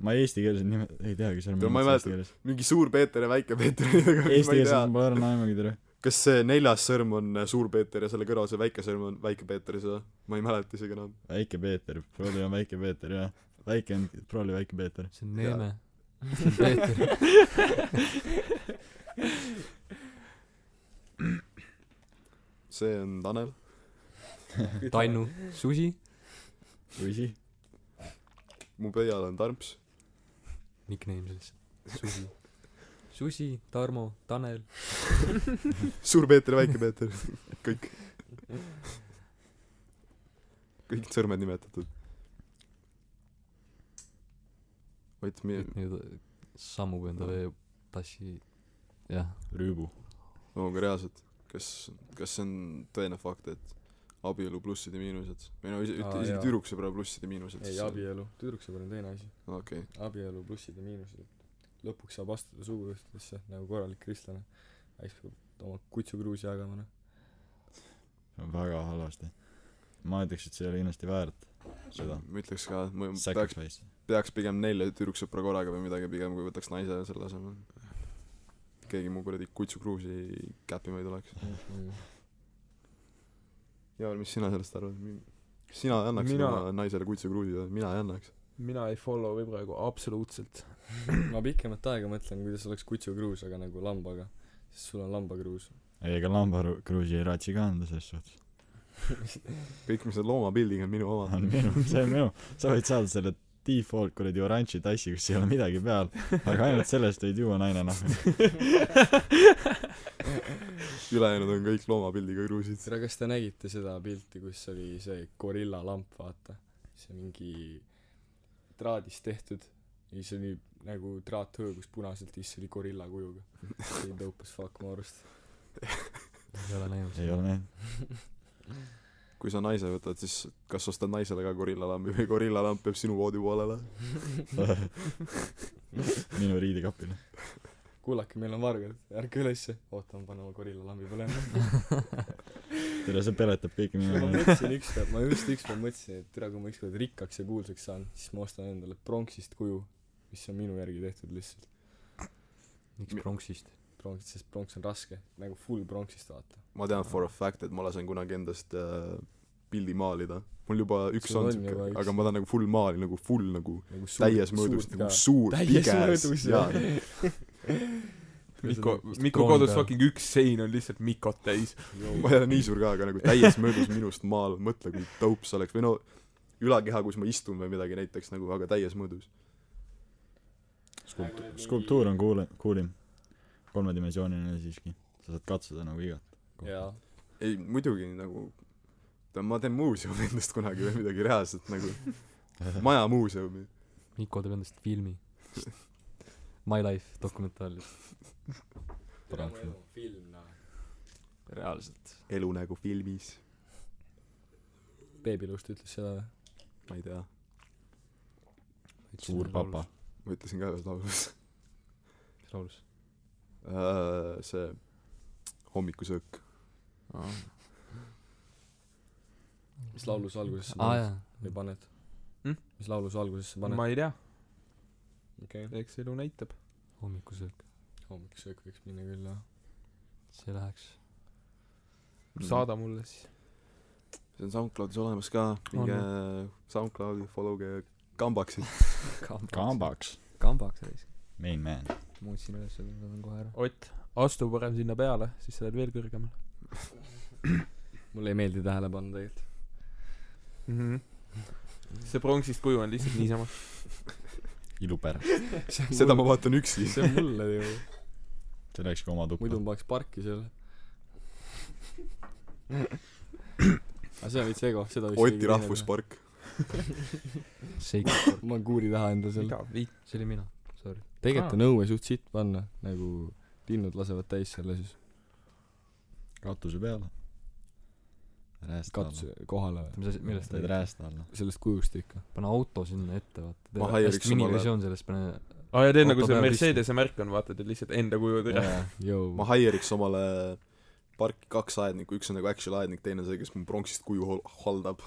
[SPEAKER 5] ma eestikeelset nime , ei teagi , seal
[SPEAKER 7] Tead, ma ei mäleta. mingi suur Peeter ja väike Peeter .
[SPEAKER 5] eesti keeles on pole ära naemugi tere .
[SPEAKER 7] kas see neljas sõrm on äh, suur Peeter ja selle kõrval see väike sõrm on väike Peeter ja see , ma ei mäleta isegi enam .
[SPEAKER 5] väike Peeter , Proli on väike Peeter jah . väike on Proli väike Peeter .
[SPEAKER 4] see on Neeme .
[SPEAKER 7] see on Tanel .
[SPEAKER 4] Tannu . Susi .
[SPEAKER 5] Luisi ,
[SPEAKER 7] mu pöial on Tarms .
[SPEAKER 4] Nickname siis . Susi . Susi , Tarmo , Tanel .
[SPEAKER 7] suur Peeter ja väike Peeter . kõik . kõik sõrmed nimetatud . Ott , meie ,
[SPEAKER 4] et nüüd sammub enda veetassi jah
[SPEAKER 5] Rüübu .
[SPEAKER 7] no aga reaalselt , kas , kas see on tõene fakt , et abielu plussid ja miinused või no ise-
[SPEAKER 8] Aa,
[SPEAKER 7] üt- isegi
[SPEAKER 8] jaa.
[SPEAKER 7] tüdruks sõbra plussid ja miinused
[SPEAKER 8] ei , abielu , tüdruksõber on teine asi .
[SPEAKER 7] okei okay.
[SPEAKER 8] abielu plussid ja miinused , et lõpuks saab astuda suguühtedesse nagu korralik kristlane . aga siis peab oma kutsukruusi jagama , noh .
[SPEAKER 5] väga halvasti . ma ütleks , et see ei ole kindlasti väärt seda .
[SPEAKER 7] ma ütleks ka , ma peaks ,
[SPEAKER 5] Sacrifice .
[SPEAKER 7] peaks pigem nelja tüdruksõpra korraga või midagi pigem , kui võtaks naise selle asemel . keegi mu kuradi kutsukruusi käppima ei tuleks . Jaan , mis sina sellest arvad ? sina ei annaks
[SPEAKER 6] Mina-
[SPEAKER 7] mina... oma naisele kutsukruusi või ? mina ei annaks .
[SPEAKER 6] mina ei follow'i praegu absoluutselt .
[SPEAKER 8] ma pikemat aega mõtlen , kuidas oleks kutsukruus , aga nagu lambaga . sest sul on lambakruus .
[SPEAKER 5] ei , ega lambakruusi ei raatsi ka anda selles suhtes .
[SPEAKER 7] kõik , mis on loomapildiga , on minu oma .
[SPEAKER 5] on minu , see on minu . sa võid saada selle default kuradi oranži tassi , kus ei ole midagi peal , aga ainult sellest võid juua naine noh .
[SPEAKER 7] ülejäänud on kõik loomapildiga kruusid .
[SPEAKER 8] tere , kas te nägite seda pilti , kus oli see gorillalamp , vaata ? see mingi traadist tehtud ja siis oli nagu traat hõõgus punaselt ja siis oli gorilla kujuga . see oli dope as fuck mu arust .
[SPEAKER 4] ei ole näinud
[SPEAKER 5] ei ole näinud .
[SPEAKER 7] kui sa naise võtad , siis kas ostad naisele ka gorillalambi või gorillalamp jääb sinu voodi poolele ?
[SPEAKER 5] minu riidikapil .
[SPEAKER 8] kuulake , meil on vargad , ärka ülesse . oota , ma panen oma gorillalambi põlema .
[SPEAKER 5] tere , see peletab kõiki
[SPEAKER 8] ma
[SPEAKER 7] Mm.
[SPEAKER 5] minu .
[SPEAKER 8] mõtlesin ükspäev , ma just ükspäev mõtlesin , et tere , kui ma ükskord rikkaks ja kuulsaks saan , siis ma ostan endale pronksist kuju , mis on minu järgi tehtud lihtsalt .
[SPEAKER 4] miks pronksist
[SPEAKER 8] pronksist , sest pronks on raske , nagu full pronksist vaata .
[SPEAKER 7] ma tean for a fact , et ma lasen kunagi endast äh, pildi maalida . mul juba üks
[SPEAKER 8] Sul
[SPEAKER 7] on
[SPEAKER 8] on
[SPEAKER 7] siuke
[SPEAKER 8] juba , üks.
[SPEAKER 7] aga ma tahan nagu full maali , nagu full nagu
[SPEAKER 8] nagu
[SPEAKER 7] täies mõõdus , nagu suur ,
[SPEAKER 8] täies
[SPEAKER 7] piges
[SPEAKER 8] mõõdus
[SPEAKER 7] ja
[SPEAKER 8] jah .
[SPEAKER 6] Mikko , Miku kodus fucking üks sein on lihtsalt Mikot täis .
[SPEAKER 7] ma ei ole nii suur ka , aga nagu täies möödus minust maal , mõtle kui dope see oleks või no ülakeha , kus ma istun või midagi näiteks nagu , aga täies mõõdus .
[SPEAKER 5] skulptuur , skulptuur on kuule- , kuulim . kolmedimensiooniline siiski . sa saad katsuda nagu igat .
[SPEAKER 8] jaa ,
[SPEAKER 7] ei muidugi nagu , ma teen muuseumi endast kunagi või midagi reaalset nagu , majamuuseumi .
[SPEAKER 4] Mikko teeb endast filmi My Life dokumentaal
[SPEAKER 8] tere , mul on film , noh .
[SPEAKER 4] reaalselt
[SPEAKER 7] elu nagu filmis ,
[SPEAKER 8] beebilust ütles seda või ?
[SPEAKER 7] ma ei tea ,
[SPEAKER 5] suur papa .
[SPEAKER 7] ma ütlesin ka ühes laulus
[SPEAKER 4] mis laulus
[SPEAKER 7] Äh, see hommikusöök .
[SPEAKER 8] mis laulu sa algusesse
[SPEAKER 4] aa Ah,
[SPEAKER 8] paned
[SPEAKER 4] jaa
[SPEAKER 8] või paned
[SPEAKER 6] Hm? ?
[SPEAKER 8] mis laulu sa algusesse paned ?
[SPEAKER 6] ma ei tea ,
[SPEAKER 8] okei .
[SPEAKER 6] eks elu näitab .
[SPEAKER 4] hommikusöök ,
[SPEAKER 8] hommikusöök võiks minna küll jah
[SPEAKER 4] see läheks .
[SPEAKER 7] Mm.
[SPEAKER 6] saada mulle siis .
[SPEAKER 7] see on SoundCloudis olemas ka minge SoundCloudi followge kambaksid
[SPEAKER 4] kambaks ,
[SPEAKER 5] kambaks ,
[SPEAKER 4] kambaks reis ,
[SPEAKER 5] main man .
[SPEAKER 4] ma otsin üles , ma võtan kohe ära .
[SPEAKER 6] Ott , astu parem sinna peale , siis sa oled veel kõrgemal
[SPEAKER 8] mulle ei meeldi tähele panna tegelikult
[SPEAKER 6] mm . -hmm. see pronksist kuju on lihtsalt niisama .
[SPEAKER 5] ilupäär .
[SPEAKER 7] seda ma vaatan üksi
[SPEAKER 8] see on mulle ju
[SPEAKER 5] see läks ka oma tuppa
[SPEAKER 8] muidu . ma paneks parki selle aga see on veits ego seda vist
[SPEAKER 7] Oti . rahvuspark
[SPEAKER 4] seik ,
[SPEAKER 8] ma olen kuuri taha enda selle
[SPEAKER 6] mida viit- ?
[SPEAKER 4] see oli mina , sorry .
[SPEAKER 8] tegelikult on õue suht sitt panna nagu linnud lasevad täis selle siis
[SPEAKER 5] katuse peale . räästa alla .
[SPEAKER 8] katse kohale või
[SPEAKER 4] mis asi , millest
[SPEAKER 5] teed
[SPEAKER 4] ta oli ?
[SPEAKER 5] räästa alla .
[SPEAKER 8] sellest kujust ikka
[SPEAKER 4] pane auto sinna ette ,
[SPEAKER 7] Ma
[SPEAKER 4] vaata .
[SPEAKER 7] häiriks
[SPEAKER 4] hästi miniversioon
[SPEAKER 7] omale-
[SPEAKER 4] sellest , pane ,
[SPEAKER 6] aa ja teed nagu see
[SPEAKER 4] Autopäev
[SPEAKER 6] Mercedese märk on , vaatad , et lihtsalt enda kuju tõrjub .
[SPEAKER 8] Jõu.
[SPEAKER 7] ma haieriks omale parki kaks aednikku üks on nagu actual aednik teine on see kes mu pronksist kuju hol- haldab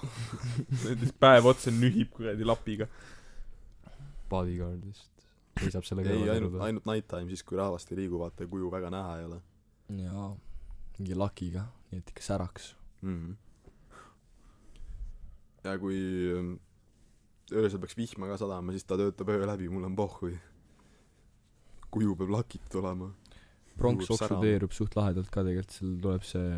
[SPEAKER 6] näiteks päev otsa nühib kuradi lapiga .
[SPEAKER 4] bodyguard vist . seisab selle
[SPEAKER 7] ei
[SPEAKER 4] kõrval
[SPEAKER 7] ainult . ainult night time siis kui rahvast ei liigu vaata ja kuju väga näha ei ole
[SPEAKER 8] jaa mingi lakiga nii et ikka säraks
[SPEAKER 7] mm. ja kui ähm, öösel peaks vihma ka sadama , siis ta töötab öö läbi , mul on pohhui . kuju peab lakitud olema .
[SPEAKER 8] pronks
[SPEAKER 7] Juurest ära.
[SPEAKER 8] oksudeerub suht lahedalt ka tegelikult seal tuleb see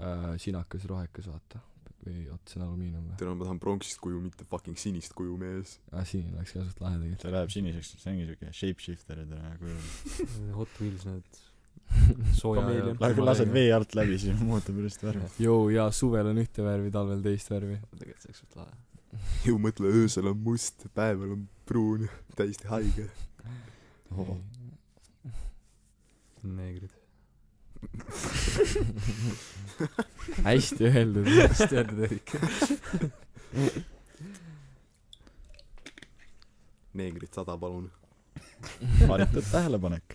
[SPEAKER 8] äh, sinakas rohekas vaata või oot see on alumiinium või
[SPEAKER 7] tead , ma tahan pronksist kuju , mitte fucking sinist kuju , mees .
[SPEAKER 8] aa sinine oleks ka suht lahe tegelikult
[SPEAKER 5] see läheb siniseks , see ongi siuke shapeshifter , et ära kuju .
[SPEAKER 4] Hot Wheels need sooja
[SPEAKER 6] Kameelion.
[SPEAKER 5] lähed küll lased vee alt läbi , siis muutub ilusti värvi .
[SPEAKER 8] joo jaa suvel on ühte värvi talvel teist värvi
[SPEAKER 4] tegelikult see oleks suht lahe
[SPEAKER 7] ju mõtle , öösel on must , päeval on pruun , täiesti haige .
[SPEAKER 8] oh.
[SPEAKER 4] neegrid
[SPEAKER 8] hästi öeldud hästi öeldud Erik
[SPEAKER 7] neegrid sada , palun .
[SPEAKER 5] haritud tähelepanek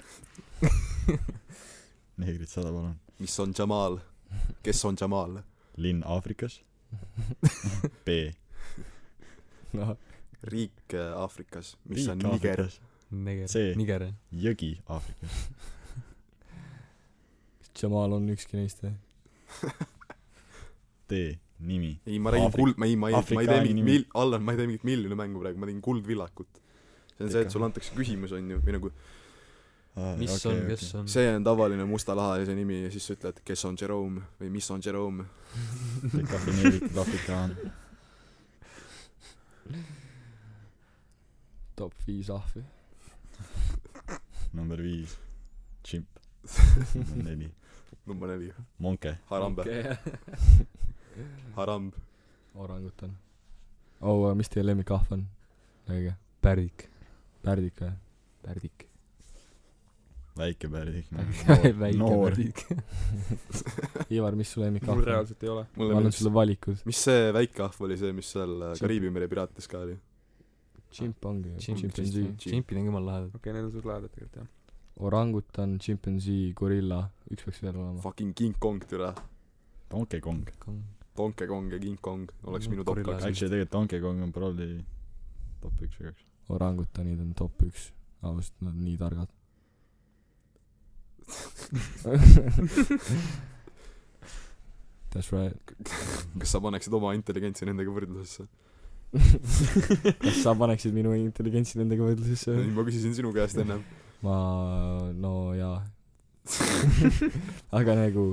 [SPEAKER 5] neegrid sada palun
[SPEAKER 7] mis on Jamal ? kes on Jamal ?
[SPEAKER 5] linn Aafrikas B
[SPEAKER 8] noh
[SPEAKER 7] riik äh, Aafrikas , mis
[SPEAKER 5] riik
[SPEAKER 7] on Niger .
[SPEAKER 5] Aafrikas See.
[SPEAKER 4] neger niger
[SPEAKER 5] jõgi Aafrikas
[SPEAKER 8] kas Jamal on ükski neist või
[SPEAKER 5] D nimi
[SPEAKER 7] ei , ma räägin
[SPEAKER 5] Aafrik-
[SPEAKER 7] kuld , ma ei , ma ei , ma ei tee
[SPEAKER 5] Aafrika
[SPEAKER 7] mingit
[SPEAKER 5] nimi.
[SPEAKER 7] mil- , Allan , ma ei tee mingit miljonimängu praegu , ma tegin kuldvillakut . see on see , et sulle antakse küsimus , on ju , või nagu
[SPEAKER 5] ah,
[SPEAKER 4] mis okay, on kes okay. on
[SPEAKER 7] see on tavaline mustalahalise nimi ja siis sa ütled , kes on Jerome või mis on Jerome .
[SPEAKER 5] on dekafineeritud afrikaan
[SPEAKER 8] top viis ahvi
[SPEAKER 5] number viis tšimp number neli
[SPEAKER 7] number neli ,
[SPEAKER 5] monke
[SPEAKER 7] Harambe okay. , Haramb .
[SPEAKER 8] orangutan oo oh, mis teie lemmikahv on rääkige
[SPEAKER 4] pärdik
[SPEAKER 8] pärdik või
[SPEAKER 4] pärdik
[SPEAKER 5] väike pärdik
[SPEAKER 4] väike
[SPEAKER 5] noor
[SPEAKER 4] pärdik
[SPEAKER 8] Ivar mis su lemmikahv on
[SPEAKER 6] mul reaalselt ei ole .
[SPEAKER 8] ma
[SPEAKER 7] mulle
[SPEAKER 8] annan
[SPEAKER 7] meeldis
[SPEAKER 8] sulle , valikud
[SPEAKER 7] mis see väike ahv oli see , mis seal äh, Kariibi mere piraatis ka oli ?
[SPEAKER 8] tšimp ongi ju tšimpensii
[SPEAKER 4] tšimpid tšimpid on jumala lahedad
[SPEAKER 6] okei , need on suht lahedad tegelikult jah .
[SPEAKER 8] orangutan , tšimpensii , gorilla , üks peaks veel olema .
[SPEAKER 7] Fucking King Kong türa ,
[SPEAKER 5] Donkey Kong
[SPEAKER 7] Donkey Kong ja King Kong oleks
[SPEAKER 4] Mm,
[SPEAKER 7] minu top
[SPEAKER 4] gorilla.
[SPEAKER 7] kaks .
[SPEAKER 5] actually tegelikult Donkey Kong on probably top üks või kaks
[SPEAKER 8] orangutanid on top üks , ausalt , nad on nii targad . That's right .
[SPEAKER 7] kas sa paneksid oma intelligentsi nendega võrdlusesse ?
[SPEAKER 8] kas sa paneksid minu intelligentsi nendega võrdlusesse
[SPEAKER 7] ei ,
[SPEAKER 8] või ?
[SPEAKER 7] ma küsisin sinu käest ennem .
[SPEAKER 8] ma , no jaa . aga nagu ,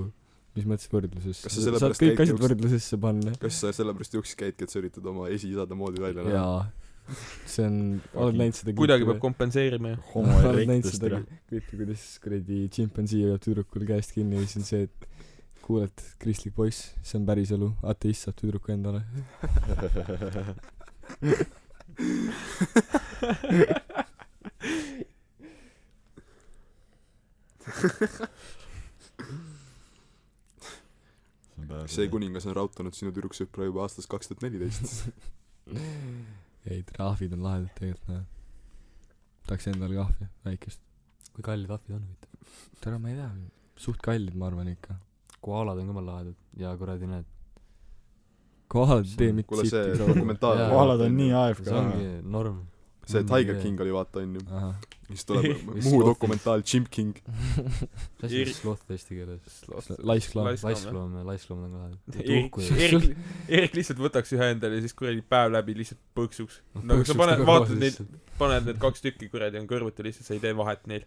[SPEAKER 8] mis mõttes võrdlusesse ?
[SPEAKER 7] Kas sa selle
[SPEAKER 8] saad
[SPEAKER 7] pärast
[SPEAKER 8] kõik
[SPEAKER 7] käidki
[SPEAKER 8] asjad
[SPEAKER 7] just-
[SPEAKER 8] võrdlusesse panna .
[SPEAKER 7] kas sa sellepärast juhuseks käidki , et sa üritad oma esiisade moodi välja näha ?
[SPEAKER 8] jaa . see on , oled näinud seda
[SPEAKER 6] kuidagi peab kompenseerima ju .
[SPEAKER 5] homo
[SPEAKER 8] oled näinud
[SPEAKER 5] erectus
[SPEAKER 8] seda
[SPEAKER 5] tere
[SPEAKER 8] klippi , kuidas kuradi tšimpansii hoiab tüdrukul käest kinni ja siis on see , et kuule , et kristlik poiss , see on päriselu , ateist saab tüdruku endale .
[SPEAKER 7] see kuningas on rautanud sinu tüdruksõpra juba aastast kaks tuhat neliteist .
[SPEAKER 8] ei , trahvid on lahedad tegelikult , näe . tahaks endale kahvi , väikest .
[SPEAKER 4] kui kallid ahvid on huvitav
[SPEAKER 8] tere , ma ei tea , suht kallid , ma arvan ikka .
[SPEAKER 4] koaalad on jumala lahedad ja kuradi need
[SPEAKER 8] kohal ei tee mitte
[SPEAKER 7] kuule , see
[SPEAKER 8] siit .
[SPEAKER 7] dokumentaal .
[SPEAKER 4] Jaa.
[SPEAKER 5] kohalad on nii AFK
[SPEAKER 4] see ongi norm
[SPEAKER 7] see
[SPEAKER 4] Mm,
[SPEAKER 7] Tiger
[SPEAKER 4] jaa.
[SPEAKER 7] King oli vaata onju ,
[SPEAKER 4] ahah ,
[SPEAKER 7] siis tuleb
[SPEAKER 4] Mis
[SPEAKER 7] Muhu
[SPEAKER 4] kohvi-
[SPEAKER 7] dokumentaal Chimp King .
[SPEAKER 4] mis asi on sloth eesti keeles ?
[SPEAKER 8] laiskloom .
[SPEAKER 6] Laiskloom, jah.
[SPEAKER 4] laiskloom ja laiskloom on ka
[SPEAKER 6] Erik ,
[SPEAKER 4] tuhku
[SPEAKER 6] Erik , Erik lihtsalt võtaks ühe endale ja siis kuradi päev läbi lihtsalt põksuks . no kui sa
[SPEAKER 4] Põksuks
[SPEAKER 6] paned ,
[SPEAKER 4] nagu
[SPEAKER 6] vaatad neid
[SPEAKER 4] lihtsalt. ,
[SPEAKER 6] paned need kaks tükki kuradi on kõrvuti lihtsalt , sa ei tee vahet neil .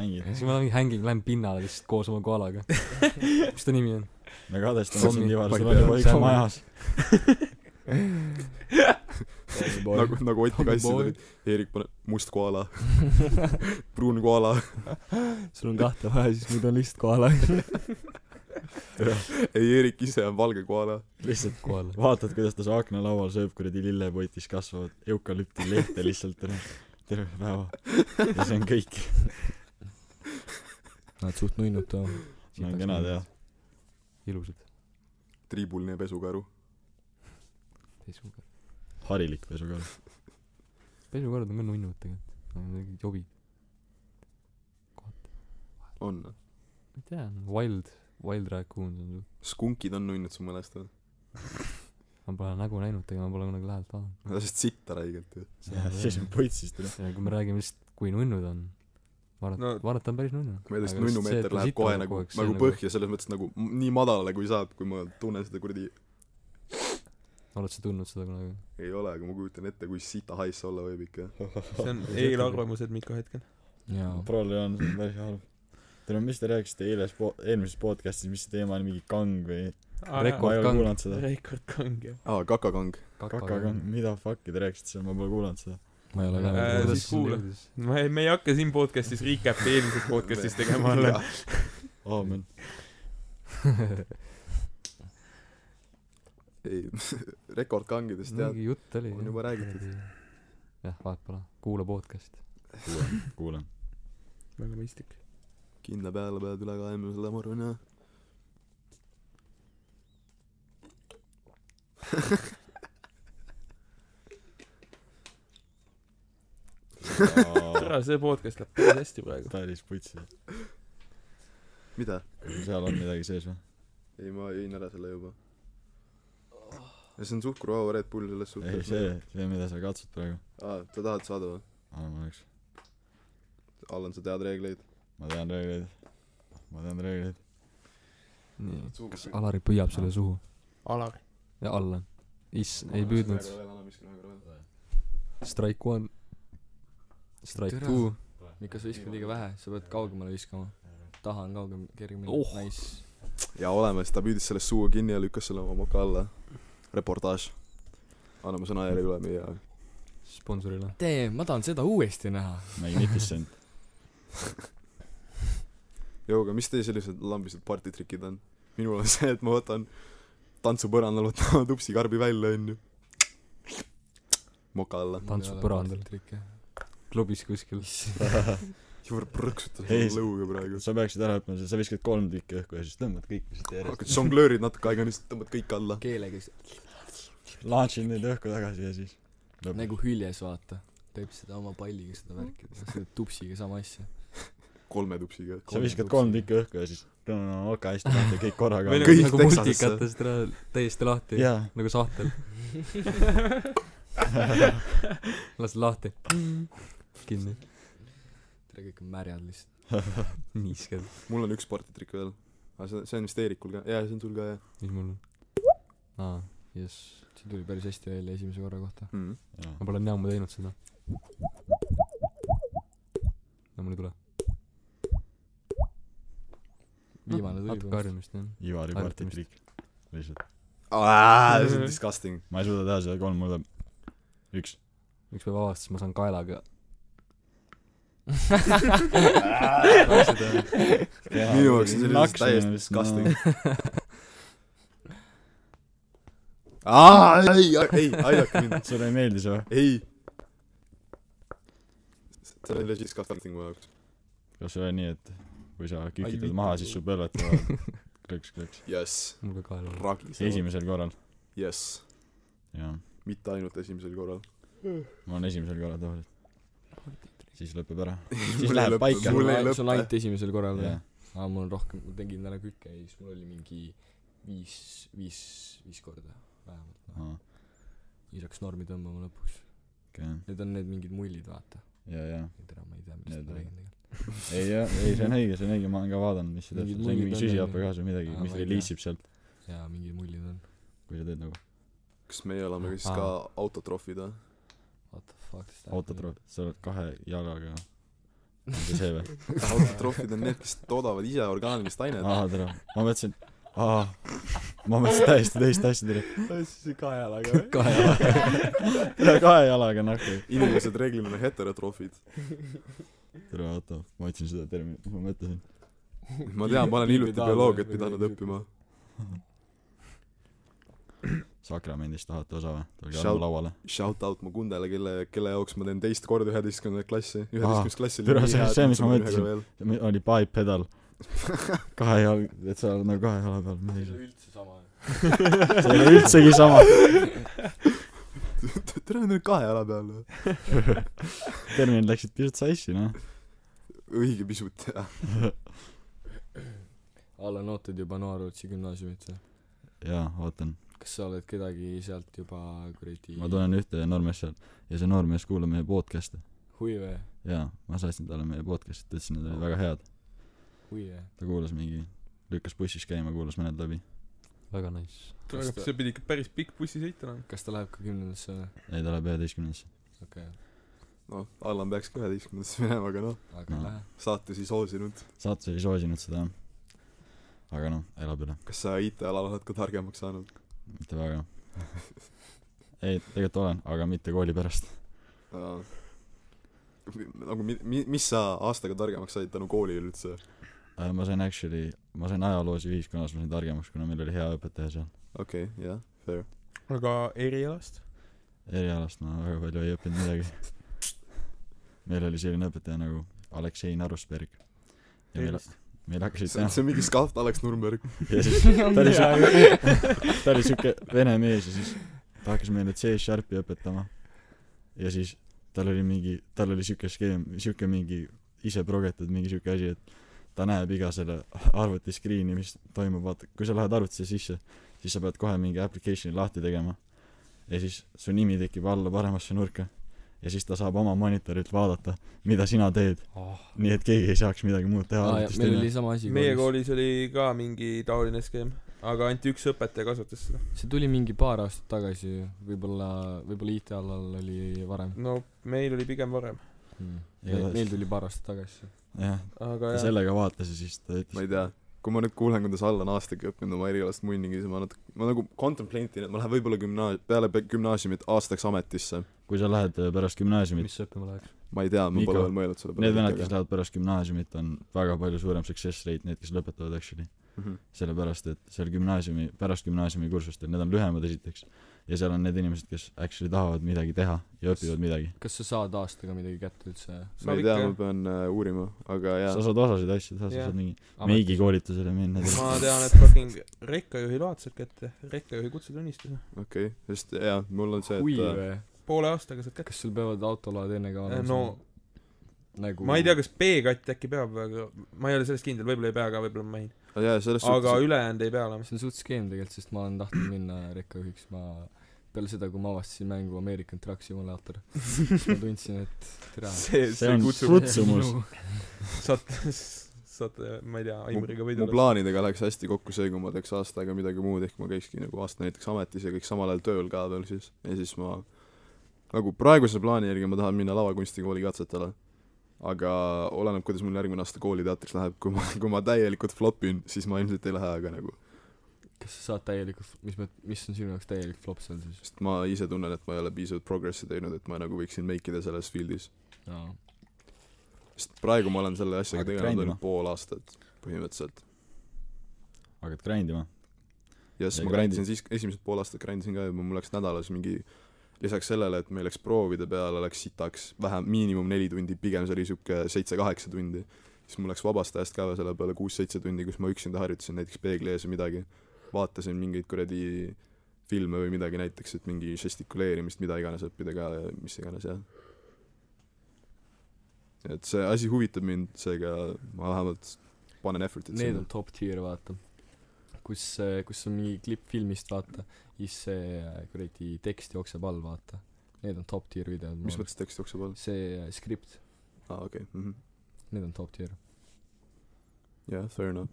[SPEAKER 5] hängi .
[SPEAKER 4] siis ma olen mingi hänging , lähen pinnale lihtsalt koos oma koalaga mis ta nimi on ?
[SPEAKER 5] me kadestame sind , Ivar , sul on
[SPEAKER 4] Tommy-
[SPEAKER 5] juba üks
[SPEAKER 4] Tommy-
[SPEAKER 5] majas .
[SPEAKER 7] nagu , nagu Ott
[SPEAKER 4] Tommy
[SPEAKER 7] kassid
[SPEAKER 4] boy.
[SPEAKER 7] olid , Eerik paneb must koala , pruun koala ,
[SPEAKER 8] sul on kahte vaja , siis nüüd on lihtsalt koala .
[SPEAKER 7] ei Eerik ise on valge koala .
[SPEAKER 5] lihtsalt
[SPEAKER 4] koala
[SPEAKER 5] vaatad , kuidas ta su aknalaual sööb kuradi lillepotis kasvavat eukalüpti lehte lihtsalt terve , terve päeva . ja see on kõik .
[SPEAKER 8] Nad suht nunnud too .
[SPEAKER 5] see on kena teha .
[SPEAKER 4] ilusad
[SPEAKER 7] triibuline pesukaru .
[SPEAKER 4] pesukord
[SPEAKER 5] harilik pesukaru .
[SPEAKER 4] pesukord on ka nunnud tegelikult Nad on mingid jobid
[SPEAKER 7] on .
[SPEAKER 4] ma ei tea wild wild raccoons on ju
[SPEAKER 7] skunkid on nunnud , sa mälestad ?
[SPEAKER 4] ma pole nägu näinud aga ma pole kunagi lähedalt vaadanud
[SPEAKER 7] Nad lasid sitta räigelt ju .
[SPEAKER 5] siis on puitsist üle .
[SPEAKER 4] ja kui me räägime lihtsalt kui nunnud on ma arvan
[SPEAKER 6] No-
[SPEAKER 4] no, ma arvan et ta on päris nunnu
[SPEAKER 7] ma ei tea , kas
[SPEAKER 4] Aga lihtsalt
[SPEAKER 7] nunnu
[SPEAKER 4] see, et
[SPEAKER 7] meeter
[SPEAKER 4] ta
[SPEAKER 7] läheb
[SPEAKER 4] sitta
[SPEAKER 7] kohe
[SPEAKER 4] läheb
[SPEAKER 7] nagu
[SPEAKER 4] kogu aeg, , see
[SPEAKER 7] nagu
[SPEAKER 4] nagu-
[SPEAKER 7] põhja , selles mõttes nagu m- nii madalale kui saab , kui ma tunnen seda kuradi ,
[SPEAKER 4] oled sa tundnud seda kunagi
[SPEAKER 7] ei ole , aga ma kujutan ette , kui sita hais see olla võib ikka .
[SPEAKER 6] see on eelarvamused Mika hetkel .
[SPEAKER 8] jaa .
[SPEAKER 5] Prole on see on päris halb . tere , mis te rääkisite eile spo- , eelmises podcastis , mis see teema oli , mingi kang või ?
[SPEAKER 6] Ah,
[SPEAKER 5] ma ei ole
[SPEAKER 4] Kang.
[SPEAKER 5] kuulanud seda .
[SPEAKER 6] Reikord Kang jah .
[SPEAKER 7] aa , kakakang .
[SPEAKER 5] kakakang , mida fuck'i te rääkisite seal , ma pole kuulanud seda .
[SPEAKER 8] ma ei ole
[SPEAKER 4] Äh,
[SPEAKER 8] ka
[SPEAKER 6] Äh,
[SPEAKER 8] näinud .
[SPEAKER 6] siis kuula. ma ei , me ei hakka siin podcastis recap'i eelmises podcastis tegema jälle .
[SPEAKER 5] aamen .
[SPEAKER 7] ei , rekordkangidest jah .
[SPEAKER 4] mingi jutt oli
[SPEAKER 7] on
[SPEAKER 4] jah.
[SPEAKER 7] juba räägitud.
[SPEAKER 4] jah vahet pole kuula podcast'i
[SPEAKER 5] kuulan , kuulan .
[SPEAKER 6] väga mõistlik .
[SPEAKER 7] kindla peale pead üle kaema selle noh. maruna .
[SPEAKER 6] tore , see podcast läheb päris hästi praegu .
[SPEAKER 5] päris putsi .
[SPEAKER 7] mida ?
[SPEAKER 5] seal on midagi sees või ?
[SPEAKER 7] ei , ma jõin ära selle juba . ja see on suhkruvaba Red Bull selles
[SPEAKER 5] ei ,
[SPEAKER 7] suhtes .
[SPEAKER 5] see , see , mida sa katsud praegu .
[SPEAKER 7] aa , sa tahad saada või ?
[SPEAKER 5] annan üks .
[SPEAKER 7] Allan , sa tead reegleid ?
[SPEAKER 5] ma tean reegleid . ma tean reegleid .
[SPEAKER 4] nii kas Alari püüab selle suhu
[SPEAKER 6] Alar .
[SPEAKER 4] ja alla iss ei püüdnud Strike one Strike
[SPEAKER 8] Tere.
[SPEAKER 4] two
[SPEAKER 8] Mika , sa viskad liiga vähe , sa pead kaugemale viskama . taha on kaugem , kergemini
[SPEAKER 4] Oh.
[SPEAKER 8] oh. . Nice .
[SPEAKER 7] ja oleme , siis ta püüdis selle suu kinni ja lükkas selle oma moka alla . reportaaž . anname sõna järgi üle meie .
[SPEAKER 4] sponsorile
[SPEAKER 8] tee , ma tahan seda uuesti näha .
[SPEAKER 5] Magnificent .
[SPEAKER 7] joo , aga mis teie sellised lambised partitrikid on ? minul on see , et ma võtan tantsupõrandal , võtan oma tupsikarbi välja , onju . moka alla .
[SPEAKER 4] Tantsu põrandal. . klubis kuskil
[SPEAKER 7] juur prõksutas
[SPEAKER 5] Ei,
[SPEAKER 7] mulle lõuga praegu .
[SPEAKER 5] sa peaksid ära õppima , sa viskad kolm tükki õhku ja siis tõmbad kõik lihtsalt
[SPEAKER 7] hakkad
[SPEAKER 5] järjest .
[SPEAKER 7] žonglöörid natuke aega , lihtsalt tõmbad kõik alla .
[SPEAKER 8] keelega siis
[SPEAKER 5] launch'id neid õhku tagasi ja siis .
[SPEAKER 8] nagu hüljes , vaata . teeb seda oma palliga , seda värki . selle tupsiga sama asja .
[SPEAKER 7] kolme tupsiga .
[SPEAKER 5] sa viskad kolm tükki õhku ja siis no, no, no, okei , hästi , vaata kõik korraga
[SPEAKER 6] Meil . on-
[SPEAKER 7] Kõik
[SPEAKER 4] nagu
[SPEAKER 7] Texasesse.
[SPEAKER 4] multikatest ära täiesti lahti
[SPEAKER 5] jaa ,
[SPEAKER 4] nagu sahtel las lahti kinni
[SPEAKER 8] tere , kõik on märjad lihtsalt .
[SPEAKER 4] niisked
[SPEAKER 7] mul on üks partitrikk veel . aga see , see on vist Eerikul ka , jaa , see on sul ka jah
[SPEAKER 4] mis mul on aa jess
[SPEAKER 8] see tuli päris hästi välja esimese korra kohta .
[SPEAKER 7] mm. ?
[SPEAKER 5] jaa .
[SPEAKER 4] ma pole nii ammu teinud seda no mul ei tule
[SPEAKER 8] viimane tuli
[SPEAKER 4] natuke . harjumist jah
[SPEAKER 5] Ivari
[SPEAKER 4] Harjutamist.
[SPEAKER 5] partitrikk . lihtsalt .
[SPEAKER 7] see
[SPEAKER 5] Mhm.
[SPEAKER 7] on disgusting .
[SPEAKER 5] ma ei suuda teha seda kolm , mul tuleb üks .
[SPEAKER 4] üks päev avastas ma saan kaelaga
[SPEAKER 7] minu jaoks on see lihtsalt täiesti disgusting . aa , Ah, ei , ei , aidake mind ,
[SPEAKER 5] sulle ei meeldi see või ?
[SPEAKER 7] ei . see on legit disgusting mu jaoks .
[SPEAKER 5] kas see oli nii , et kui sa
[SPEAKER 8] vitt-
[SPEAKER 5] kükitad maha , siis su põlved tulevad klõks , klõks ?
[SPEAKER 7] jess ,
[SPEAKER 4] mul ka kael oli
[SPEAKER 7] ragis .
[SPEAKER 5] esimesel korral ,
[SPEAKER 7] jess ,
[SPEAKER 5] jaa .
[SPEAKER 7] mitte ainult esimesel korral .
[SPEAKER 5] ma olen esimesel korral tavaliselt . siis lõpeb ära .
[SPEAKER 7] Mul
[SPEAKER 5] siis
[SPEAKER 7] ei
[SPEAKER 5] läheb
[SPEAKER 7] lõpe,
[SPEAKER 5] paika .
[SPEAKER 7] mul ei
[SPEAKER 8] sul on
[SPEAKER 7] lõpe.
[SPEAKER 8] ainult esimesel korral või
[SPEAKER 5] jah ?,
[SPEAKER 8] aa , mul on rohkem , ma tegin täna kükke ja siis mul oli mingi viis , viis , viis korda vähemalt . noh.
[SPEAKER 5] ahah .
[SPEAKER 8] siis hakkas normi tõmbama lõpuks .
[SPEAKER 5] siuke jah
[SPEAKER 8] Need on need mingid mullid , vaata .
[SPEAKER 5] ja ja
[SPEAKER 8] tere , ma ei tea , millest ma
[SPEAKER 5] Need on-
[SPEAKER 8] räägin tegelikult .
[SPEAKER 5] ei jah ei see on õige see on õige ma olen ka vaadanud mis see
[SPEAKER 8] Mingid
[SPEAKER 5] täpselt see on
[SPEAKER 8] mullid on
[SPEAKER 5] mingi süsihappegaas või midagi
[SPEAKER 8] Aa,
[SPEAKER 5] mis
[SPEAKER 8] ma ei tea.
[SPEAKER 5] reliisib sealt
[SPEAKER 8] jaa , mingid mullid on .
[SPEAKER 5] kui sa teed nagu
[SPEAKER 7] kas meie oleme siis ka autotroofid või ?
[SPEAKER 8] What the fuck is that ?
[SPEAKER 5] autotroot sa oled kahe jalaga ongi see või
[SPEAKER 7] autotroofid on need , kes toodavad ise orgaanilist ainet .
[SPEAKER 5] aa tere ma mõtlesin aa ma mõtlesin täiesti teist asja tere
[SPEAKER 8] autotroofid . kahe jalaga või ?
[SPEAKER 4] kahe jalaga .
[SPEAKER 5] üle kahe jalaga noh. nahku
[SPEAKER 7] inimesed reeglina on heterotroofid .
[SPEAKER 5] tere oota ma otsin seda terminit ma mõtlesin
[SPEAKER 7] ma tean , ma olen hiljuti bioloogiat pidanud õppima .
[SPEAKER 5] sakramendist tahate osa või tulge
[SPEAKER 7] Shout-
[SPEAKER 5] alla lauale
[SPEAKER 7] Shout out mu kundele , kelle , kelle jaoks ma teen teist korda üheteistkümnendat klassi . üheteistkümnes klass
[SPEAKER 5] Tere, see- see, mis ma mõtlesin. . See oli bipedal kahe jal- et sa oled nagu kahe jala peal midagi sellist
[SPEAKER 8] üldse sama .
[SPEAKER 5] see ei ole üldsegi sama
[SPEAKER 7] tere , nüüd kahe jala peal .
[SPEAKER 5] terminid läksid pisut sassi noh
[SPEAKER 7] õige pisut , jah .
[SPEAKER 8] Allan , ootad juba Noa-Rootsi gümnaasiumit või ?
[SPEAKER 5] jaa ootan
[SPEAKER 8] kas sa oled kedagi sealt juba kuradi
[SPEAKER 5] ma tunnen ühte noormeest seal ja see noormees kuulab meie podcast'e
[SPEAKER 8] huvi või ?
[SPEAKER 5] jaa ma saatsin talle meie podcast'id ta ütles need olid väga head
[SPEAKER 8] huvi või ?
[SPEAKER 5] ta kuulas mingi lükkas bussis käima kuulas mõned läbi
[SPEAKER 4] väga nice .
[SPEAKER 6] kuule , aga see pidi ikka päris pikk bussisõit olema .
[SPEAKER 8] kas ta läheb ka kümnendasse või ?
[SPEAKER 5] ei ta läheb üheteistkümnendasse
[SPEAKER 8] okei ,
[SPEAKER 7] noh , Allan peaks ka üheteistkümnendasse minema , aga noh ,
[SPEAKER 8] aga
[SPEAKER 5] No.
[SPEAKER 8] ei lähe .
[SPEAKER 7] saate siis hoosinud .
[SPEAKER 5] saates ei soosinud seda jah aga noh elab üle
[SPEAKER 7] kas sa IT-alal oled ka targemaks saanud ?
[SPEAKER 5] mitte väga ei tegelikult olen aga mitte kooli pärast
[SPEAKER 7] nagu mi- , mi- , mis sa aastaga targemaks said tänu koolile üldse ?
[SPEAKER 5] Äh, ma sain actually ma sain ajaloos ja ühiskonnas ma sain targemaks kuna meil oli hea õpetaja seal
[SPEAKER 7] okei okay, , jah , fair .
[SPEAKER 6] aga erialast ?
[SPEAKER 5] erialast ma väga palju ei õppinud midagi meil oli selline õpetaja nagu Aleksei Narusberg ja meil
[SPEAKER 6] Tervist.
[SPEAKER 5] meil hakkasid
[SPEAKER 7] see on , see on mingi skaft Alex Nurmberg .
[SPEAKER 5] ja siis ta oli siuke ta oli siuke vene mees ja siis ta hakkas meile C-sharpi õpetama ja siis tal oli mingi tal oli siuke skeem siuke mingi ise progetud mingi siuke asi et ta näeb iga selle arvuti screen'i mis toimub vaata kui sa lähed arvutisse sisse siis sa pead kohe mingi application'i lahti tegema ja siis su nimi tekib alla paremasse nurka ja siis ta saab oma monitorilt vaadata mida sina teed
[SPEAKER 4] oh ,
[SPEAKER 5] nii et keegi ei saaks midagi muud teha
[SPEAKER 8] aa jaa ,
[SPEAKER 5] arvutist
[SPEAKER 8] meil
[SPEAKER 5] onju
[SPEAKER 8] oli sama asi
[SPEAKER 6] meie . koolis oli ka mingi taoline skeem , aga ainult üks õpetaja kasutas seda .
[SPEAKER 8] see tuli mingi paar aastat tagasi ju , võib-olla , võib-olla IT-alal oli varem
[SPEAKER 6] no meil oli pigem varem ,
[SPEAKER 8] hmm. .
[SPEAKER 5] Igatahes-
[SPEAKER 8] meil tuli paar aastat tagasi see .
[SPEAKER 5] jah
[SPEAKER 6] aga
[SPEAKER 5] ta
[SPEAKER 6] jah ,
[SPEAKER 5] sellega vaatas ja siis ta
[SPEAKER 7] ma
[SPEAKER 5] ütles
[SPEAKER 7] ei tea , kui ma nüüd kuulen , kuidas Allan Aastaga õppinud oma erialast munnigi , siis ma natuke , ma nagu contemplate'in , et ma lähen võib-olla gümnaas- , peale pe- gümnaasiumit aastaks ametisse .
[SPEAKER 5] kui sa lähed äh, pärast gümnaasiumit ,
[SPEAKER 4] mis õppima läheks ?
[SPEAKER 7] ma ei tea , ma
[SPEAKER 5] Mika.
[SPEAKER 7] pole veel mõelnud selle
[SPEAKER 5] need vennad , kes lähevad pärast gümnaasiumit , on väga palju suurem success rate , need , kes lõpetavad actually .
[SPEAKER 7] Mhm.
[SPEAKER 5] sellepärast , et seal gümnaasiumi , pärast gümnaasiumi kursustel , need on lühemad esiteks , ja seal on need inimesed , kes actually tahavad midagi teha ja õpivad midagi .
[SPEAKER 8] kas sa saad aastaga midagi kätte üldse ?
[SPEAKER 7] ma ei
[SPEAKER 6] Saab
[SPEAKER 7] tea ,
[SPEAKER 6] ikka.
[SPEAKER 7] ma pean äh, uurima , aga jaa
[SPEAKER 5] sa . saad osasid asju teha , sa
[SPEAKER 6] Jah.
[SPEAKER 5] saad mingi meigi koolitusele minna .
[SPEAKER 6] ma tean , et fucking rekkajuhi load saad kätte , rekkajuhi kutsetunnistuse .
[SPEAKER 7] okei okay. , sest jaa , mul on see ,
[SPEAKER 8] huvi
[SPEAKER 5] äh,
[SPEAKER 7] et äh,
[SPEAKER 8] või ?
[SPEAKER 6] poole aastaga saad kätte .
[SPEAKER 8] kas sul peavad autoload enne ka olemas
[SPEAKER 6] Äh, no
[SPEAKER 8] nagu
[SPEAKER 6] ma ei tea , kas B-katt äkki peab , aga ma ei ole selles kindel , võib-olla ei pea ka , võib-olla ma mainin .
[SPEAKER 7] äh, jaa , selles
[SPEAKER 6] aga
[SPEAKER 7] suhtes ,
[SPEAKER 6] ülejäänud ei pea olema .
[SPEAKER 8] see on suht skeem tegelikult , sest ma olen tahtnud minna rekkajuhiks , ma peale seda , kui ma avastasin mängu American Truck Simulator , siis ma tundsin , et tere .
[SPEAKER 6] see ,
[SPEAKER 5] see on
[SPEAKER 6] kutsub ,
[SPEAKER 5] kutsumus .
[SPEAKER 6] saate , saate , ma ei tea , Aimuriga
[SPEAKER 7] mu
[SPEAKER 6] võidule .
[SPEAKER 7] plaanidega läheks hästi kokku see , kui ma teeks aasta aega midagi muud , ehk ma käikski nagu aasta näiteks ametis ja kõik samal ajal tööl ka veel siis , ja siis ma nagu praeguse plaani järgi ma tahan minna lavakunstikooli katsetele . aga oleneb , kuidas mul järgmine aasta kooliteatris läheb , kui ma , kui ma täielikult flopin , siis ma ilmselt ei lähe , aga nagu ,
[SPEAKER 8] kas sa saad täielikult , mis mõt- , mis on sinu jaoks täielik flop seal siis ?
[SPEAKER 7] sest ma ise tunnen , et ma ei ole piisavalt progressi teinud , et ma nagu võiksin make ida selles field'is .
[SPEAKER 8] jaa .
[SPEAKER 7] sest praegu ma olen selle asjaga
[SPEAKER 5] Hakkad
[SPEAKER 7] tegelenud
[SPEAKER 5] grindima?
[SPEAKER 7] ainult pool aastat põhimõtteliselt .
[SPEAKER 5] hakkad grind ima .
[SPEAKER 7] ja
[SPEAKER 5] Ja
[SPEAKER 7] siis ma
[SPEAKER 5] grindid.
[SPEAKER 7] grindisin siis , esimesed pool aastat grindisin ka juba , mul läks nädalas mingi , lisaks sellele , et meil läks proovide peale , läks sitaks vähem , miinimum neli tundi , pigem see oli sihuke seitse-kaheksa tundi . siis mul läks vabast ajast ka veel selle peale kuus-seitse tundi , kus ma üksinda harjutasin näiteks peegli ees või midagi , vaatasin mingeid kuradi filme või midagi näiteks , et mingi žestikuleerimist , mida iganes õppida ka ja mis iganes jah . et see asi huvitab mind , seega ma vähemalt panen effort'it
[SPEAKER 8] Need on top tier , vaata . kus , kus on mingi klipp filmist , vaata , siis see kuradi tekst eh, jookseb all , vaata . Need on top tier videod
[SPEAKER 7] mis . mõttes tekst jookseb all
[SPEAKER 8] see äh, skript ,
[SPEAKER 7] aa okei mhm. okay. mhmh
[SPEAKER 8] need on top tier .
[SPEAKER 7] jah yeah, fair enough